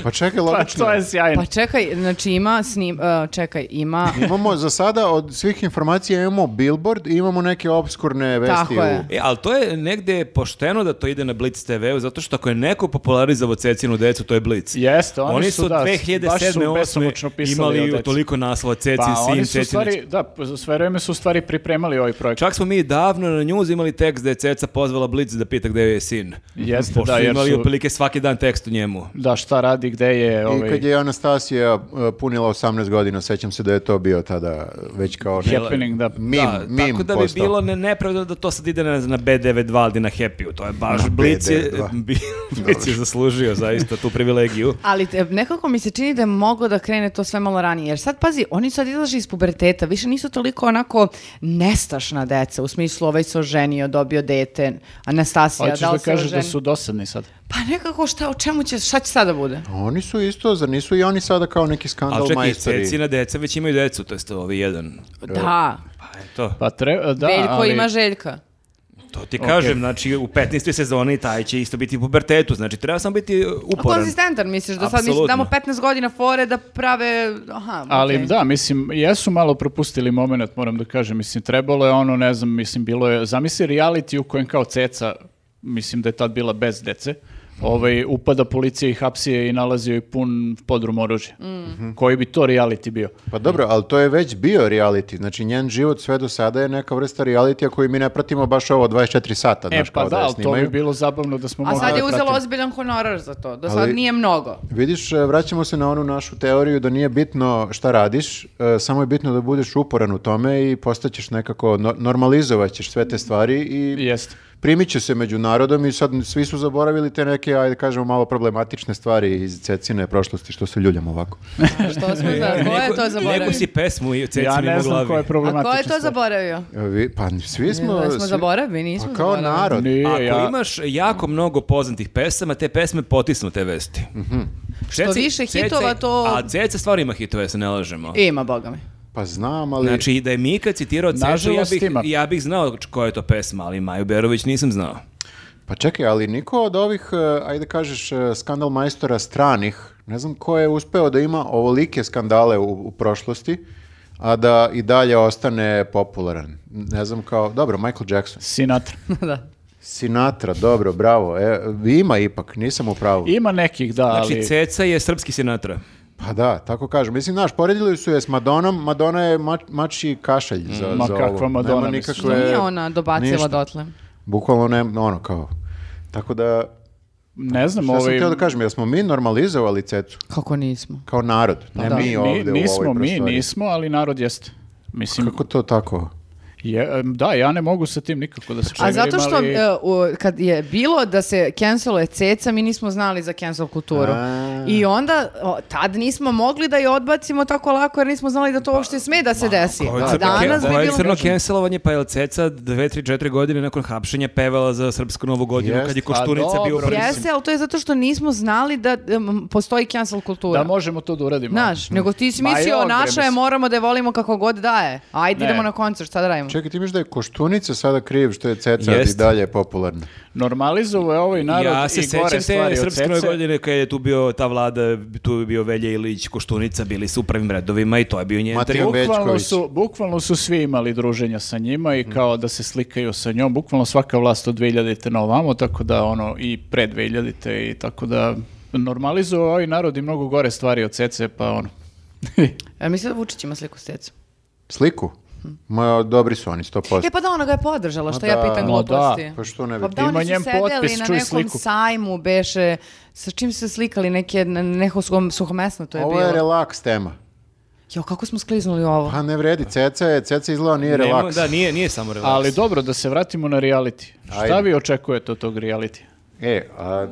Pa čekaj, Pa logično. to je. je sjajno. Pa čekaj, znači ima snim... e, čekaj, ima... Imamo za sada od svih informacija imamo billboard i imamo neke obskurne vesti. Tako je. u- E, ali to je negdje pošteno da to ide na Blitz TV-u, zato što ako je neko popularizovao Cecinu decu, to je Blitz. Jeste, oni oni su, su, da, baš su 2007. besomučno 8. pisali o imali deci. toliko naslova Cecin, Pa sin, oni su Cecin. u stvari, da, p- sve vreme su u stvari pripremali ovaj projekat. Čak smo mi davno na njuz imali tekst da je Ceca pozvala Blitz da pita gdje joj je sin. Jeste, Pošto da, su jer imali su- otprilike svaki dan tekst u njemu. Da, šta radi, gde je... Ovaj... I kad je Anastasija uh, punila 18 godina, sećam se da je to bio tada uh, već kao ne- Happening, da. mim, da, mim tako da bi postao. bilo ne, nepravedno da to sad ide na, na B92 ili na Happy-u. To je baš Na (laughs) Blitz je, B92. bi- Blitz je (laughs) zaslužio zaista tu privilegiju. Ali te- nekako mi se čini da je moglo da krene to sve malo ranije. Jer sad, pazi, oni sad izlaže iz puberteta, više nisu toliko onako nestašna deca, u smislu ovaj se oženio, dobio dete, Anastasija, Pa, Hoćeš da da li se kažeš da oženi- su dosadni sad? Pa nekako šta, o čemu će, šta će sada bude? Oni su isto, zar nisu i oni sada kao neki skandal Ali čekaj, majstori? Cecina deca već imaju decu, to je ovi jedan. Da, Pa eto, Pa treba, da, Veljko E, ali... ima Željka. to ti kažem, znači u 15. sezoni taj će isto biti u pubertetu, znači treba samo biti uh, uporan. Konzistentan misliš, da sad mislim Apsolutno. damo 15 godina fore da prave, aha, Ali okej. da, mislim, jesu malo propustili moment, moram da kažem, mislim, trebalo je ono, ne znam, mislim, bilo je, zamisli reality u kojem kao ceca, mislim da je tad bila bez dece, ovaj, upada policija i hapsi je i nalazi joj pun podrum oružja. Mm. Koji bi to reality bio? Pa dobro, ali to je već bio reality. Znači, njen život sve do sada je neka vrsta realitija koju mi ne pratimo baš ovo 24 sata, E, znaš, pa kao da, da je ali to bi snimaju. bilo zabavno da smo A mogli sad da je uzela pratimo. ozbiljan honorar za to, do sad Ali- nije mnogo. Vidiš, e, vraćamo se na onu našu teoriju da nije bitno šta radiš, e, samo je bitno da budeš uporan u tome i postaćeš nekako, no, normalizovat ćeš sve te stvari i Jeste. primit će se među narodom i sad svi su zaboravili te neke, ajde kažemo, malo problematične stvari iz cecine prošlosti što se ljuljamo ovako. (laughs) Što smo za, ko je to zaboravio? Neku E, si pesmu i Cecinu Ja ne u znam glavi. ko je A problematičan. ko je to zaboravio? E, Vi, pa svi smo... Ne, smo svi- zaboravili, nismo Pa kao zaboravili. narod. Nije, Ako ja- imaš jako mnogo poznatih pesama, te pesme potisnu te vesti. Mhm. Što više hitova, to- A Ceca stvarno ima hitove, ja se ne lažemo. Ima, boga (laughs) mi. Pa znam, ali... Znači, da je Mika citirao Cecu, ja Nažalost, bih, ima. ja bih znao koja je to pesma, ali Maju Berović nisam znao. Pa čekaj, ali niko od ovih, eh, ajde kažeš, eh, skandal majstora stranih, ne znam ko je uspeo da ima ovolike skandale u, u prošlosti, a da i dalje ostane popularan. Ne znam kao, dobro, Michael Jackson. Sinatra. da. Sinatra, dobro, bravo. E, ima ipak, nisam u pravu. Ima nekih, da, ali... Znači, Ceca je srpski Sinatra. Pa da, tako kažem. Mislim, znaš, poredili su je s Madonom, Madonna je mač, mači kašalj za, Ma za kakva ovo. Madonna, Nema mislim. Što nikakve- nije ona dobacila ništa. dotle? Bukvalno ne, ono kao. Tako da, Ne znam, Šta sam ovaj... htio da kažem, jel smo mi normalizovali cecu? Kako nismo? Kao narod, ne da. mi ovdje Ni- nismo, u ovoj mi prostoriji. nismo, ali narod jeste. Mislim, Kako to tako? je, em, da, ja ne mogu sa tim nikako da se A pomirim, zato što ali- e, u- kad je bilo da se canceluje ceca, mi nismo znali za cancel kulturu. A. I onda o, tad nismo mogli da je odbacimo tako lako jer nismo znali da to uopšte sme da se desi. Pa Ovo je A crno- danas ovo bi je bilo... crno cancelovanje, pa je Ceca 2-3-4 godine nakon hapšenja pevala za srpsku novu godinu Jest, kad je a Koštunica bio u dobro, prvi- Jeste, ali to je zato što nismo znali da em, postoji cancel kultura. Da možemo to da uradimo. Znaš, nego ti si Ma je mislio, ogre, naša je, mislim. moramo da je volimo kako god daje. Ajde, Ne. idemo na koncert, šta da radimo? Čekaj, ti miš da je Koštunica sada kriv što je ceca i Jest. dalje popularna. Normalizovo je ovaj narod Ja se i gore sećam stvari te od srpske nove srce. godine kad je tu bio ta vlada, tu je bio Velja Ilić, Koštunica, bili su u prvim redovima i to je bio njen Matija trijumf. Bečković. Bukvalno su, bukvalno su svi imali druženja sa njima Mm. i kao da se slikaju sa njom. Bukvalno svaka vlast od 2000-te na ovamo, tako da ono i pre 2000-te i tako da normalizuju ovaj narod i mnogo gore stvari od cece, pa ono. Ja mislim E, da Vučić ima sliku s cecom. Sliku? Ma, dobri su oni, 100%. E pa da, ona ga je podržala, što Ma ja da. pitam Ma gluposti. da, Pa što ne bi? Pa da, Ima oni njen su sedeli potpis, na čuj nekom sliku. sajmu, beše, sa čim su se slikali, neke, na neko suhom- suhomesno to je Ovo bilo. je relaks tema. Jo, kako smo skliznuli u ovo? Pa ne vredi, ceca je, ceca izgleda nije Nemo- relaks. Da, nije, nije samo relaks. Ali dobro, da se vratimo na reality. Šta Ajde. vi očekujete od tog reality? E, a,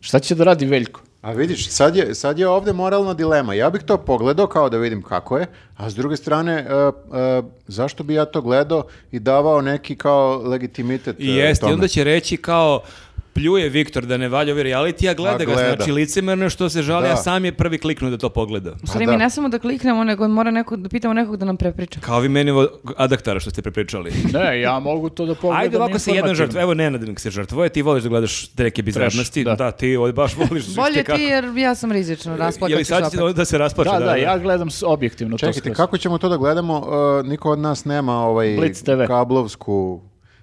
Šta će da radi Veljko? a vidiš, sad je, sad je ovde moralna dilema. Ja bih to pogledao kao da vidim kako je, a s druge strane, e, e, zašto bi ja to gledao i davao neki kao legitimitet I e, jest, i tome? onda će reći kao pljuje Viktor da ne valja ovi reality, a gleda, A ga, gleda. znači licemerno je što se žali, Da. a sam je prvi kliknuo da to pogleda. U stvari, da. mi ne samo da kliknemo, nego mora neko, da pitamo nekog da nam prepriča. Kao vi meni vo- adaktara što ste prepričali. Ne, ja mogu to da pogledam Ajde ovako se jedna informativno. žrtva, evo Nenad nek se žrtvoje, ti voliš da gledaš te neke bizarnosti, da. da. ti ovdje baš voliš Bolje kako. ti jer ja sam rizično, Je li rasplakaću se sad opet. će da se rasplače? Da, da, ja gledam s- objektivno to Čekajte, skroz. kako ćemo to da gledamo? E, niko od nas nema ovaj Blitz TV. kablovsku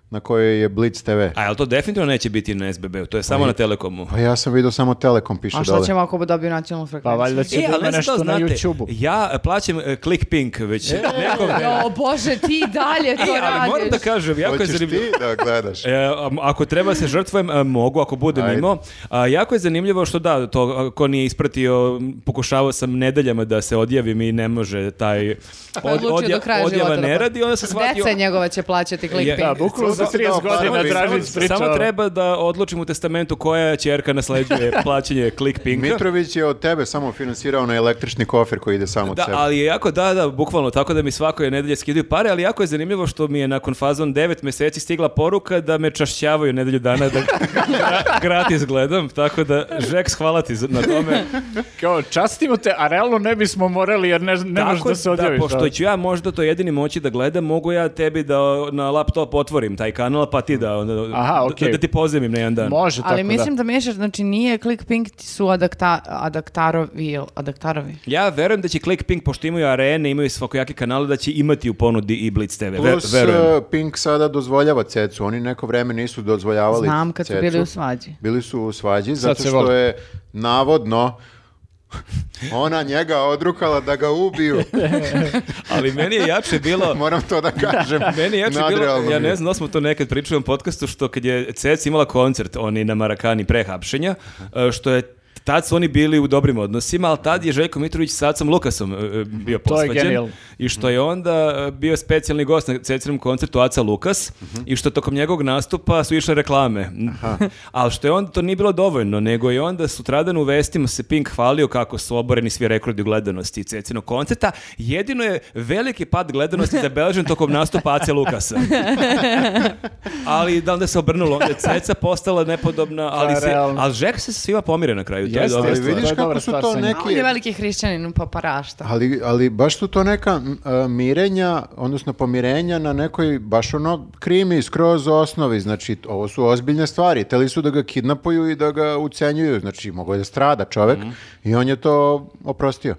na kojoj je Blitz TV. A jel to definitivno neće biti na SBB-u, to je samo na Telekomu. E, Pa ja sam vidio samo Telekom piše A šta dole. ćemo ako bo dobio nacionalnu Pa frekvenciju? valjda E, će da ali ne znam ima da nešto li na znate, YouTube-u. Ja e, plaćam e, ClickPink već neko vreme. O Bože, ti dalje to E, Ali radiš. moram da kažem, jako je Hoćeš zanimljivo. ti da (laughs) gledaš? E, am- ako treba se žrtvujem, e, mogu, ako budem Ajde. imao. A, jako je zanimljivo što da, to, ko nije ispratio, m, pokušavao sam nedeljama da se odjavim i ne može taj od, Odlučio do kraja odjava života da ne pla- pa- radi, onda sam shvatio... Deca njegova će plaćati clickbait. da, Bukvalno za Samo si 30 dao par godina minuta. traži Samo- priča. Samo treba da odlučim u testamentu koja ćerka nasleđuje plaćanje ClickPinka. Mitrović je od tebe samo finansirao na električni kofer koji ide samo od Da, sebe. ali je jako, da, da, bukvalno, tako da mi svako je nedelje skidaju pare, ali jako je zanimljivo što mi je nakon fazon 9 meseci stigla poruka da me čašćavaju nedelju dana da (laughs) gra- gratis gledam, tako da, Žeks, hvala ti za- na tome. Kao, častimo te, a realno ne bismo morali jer ne, ne možeš Tako da se odjaviš. Da, pošto ću ja možda to jedini moći da gledam, mogu ja tebi da na laptop otvorim taj kanal, pa ti da, onda, Aha, da- okej. da, ti pozemim na jedan dan. Može, tako Ali mislim da. da. miješaš, znači nije ClickPink ti su adakta, adaktarovi, jel, adaktarovi. Ja verujem da će ClickPink, pošto imaju arene, imaju svakojake kanale, da će imati u ponudi i Blitz TV. Ver- Plus, verujem. e, Pink sada dozvoljava cecu. Oni neko vreme nisu dozvoljavali Znam kad su cecu. bili u svađi. Bili su u svađi zato se što vole. je navodno ona njega odrukala da ga ubiju. Ali meni je jače (laughs) bilo... Moram to da kažem. Meni je jače bilo, Nadrealno ja mi je. ne znam da smo to nekad pričali u ovom podcastu, što kad je Cec imala koncert, oni na Marakani pre hapšenja, e, što je Tad su oni bili u dobrim odnosima, ali tad je Željko Mitrović s Acom Lukasom e, e, bio To je posvađen. genijalno. I što je onda e, bio specijalni gost na Cecinom koncertu Aca Lukas Mhm. i što tokom njegovog nastupa su išle reklame. (laughs) ali što je onda, to nije bilo dovoljno, nego je onda sutradan u vestima se Pink hvalio kako su oboreni svi rekordi u gledanosti Cecinog koncerta. Jedino je veliki pad gledanosti zabeležen tokom nastupa Aca Lukasa. ali da onda se obrnulo, onda je (laughs) Ceca postala nepodobna, ali, Pa, se, realno. ali Žek se svima pomire na kraju. To je Jeste, dobra Ali stvar. vidiš To je kako dobra su stvar to sa njim. neki... A on je veliki hrišćanin, pa parašta. Ali, ali baš su to neka m, e, mirenja, odnosno pomirenja na nekoj baš ono krimi skroz osnovi. Znači, ovo su ozbiljne stvari. Teli su da ga kidnapuju i da ga ucenjuju. Znači, mogo je da strada čovek i on je to oprostio.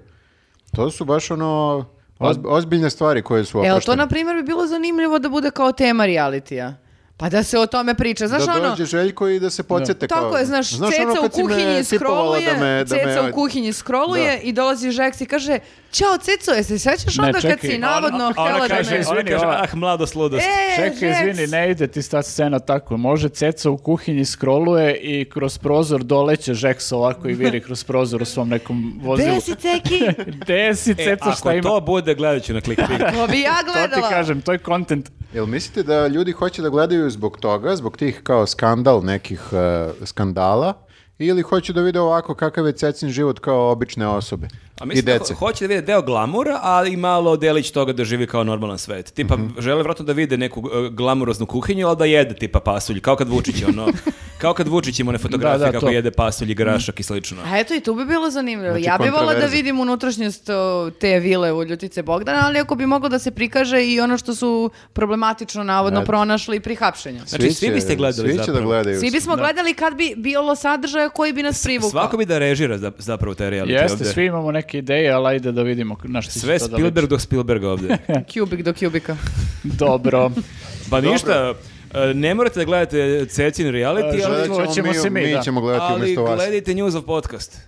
To su baš ono ozb- ozbiljne stvari koje su Evo, to oproštene. na primjer bi bilo zanimljivo da bude kao tema realitija. Pa da se o tome priča. Znaš da ono... dođe Željko i da se podsjete. kao- Tako je, znaš, ceca ono u kad si me kuhinji tipovala scrolluje, da me- da me- ceca u kuhinji scrolluje Da. i dolazi Žeks i kaže, čao ceco, jesi se sećaš Ne, onda kad čekaj, si a ona- navodno a ona htjela da kaže, me... ona Kaže, ova- ah, mladost, ludost. E, Čekaj, Žeks." izvini, ne ide ti ta scena tako. Može ceca u kuhinji skroluje i kroz prozor doleće Žeks ovako i viri kroz prozor u svom nekom vozilu. Gde si, (laughs) ceki? Gde si E, ceca ako šta ima? to bude, gledat ću na clickbait. (laughs) To bi ja To ti gledala. kažem, to je content. Jel mislite da ljudi hoće da gledaju zbog toga, zbog tih kao skandal nekih e, skandala, ili hoće da vide ovako kakav je cecin život kao obične osobe A i mislim da dece? ho- hoće da vide deo glamura, ali i malo delić toga da živi kao normalan svet. Tipa, Mhm. žele vratno da vide neku e, glamuroznu kuhinju, ali da jede tipa pasulj, kao kad Vučić, (laughs) ono, kao kad Vučić ima one fotografije Da, da, kako to. Mhm. jede pasulj i grašak i slično. A eto i tu bi bilo zanimljivo. Znači, ja bi volila da kontroverza. vidim unutrašnjost o, te vile u Ljutice Bogdana, ali ako bi moglo da se prikaže i ono što su problematično navodno Eto. pronašli pri hapšenju. Znači, svi će- biste gledali Svi će da zapravo. gledaju. Svi bismo gledali kad bi bilo sadržaja koji bi nas privukao. Svako bi da režira za- zapravo taj reality Jeste, ovde. svi imamo neke ideje, ali ajde da vidimo na što će Sve to da Spielberg liči. do Spielberga ovde. Kubik do kubika. Dobro. Pa ništa, e, ne morate da gledate Cecin reality, E, ali, Gledat ćemo Hoćemo mi, se mi, da. mi ćemo gledati ali umjesto vas. gledajte News of Podcast.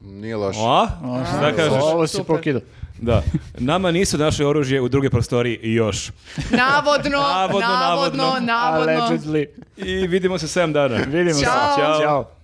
Nije loše. A? (laughs) Šta kažeš? Ovo si Super. pokidao. Da. Nama nisu naše oružje u druge prostoriji još. Navodno, (laughs) Navodno, navodno, navodno, navodno. navodno. Allegedly. I vidimo se 7 dana. Vidimo se. Ćao. Ćao.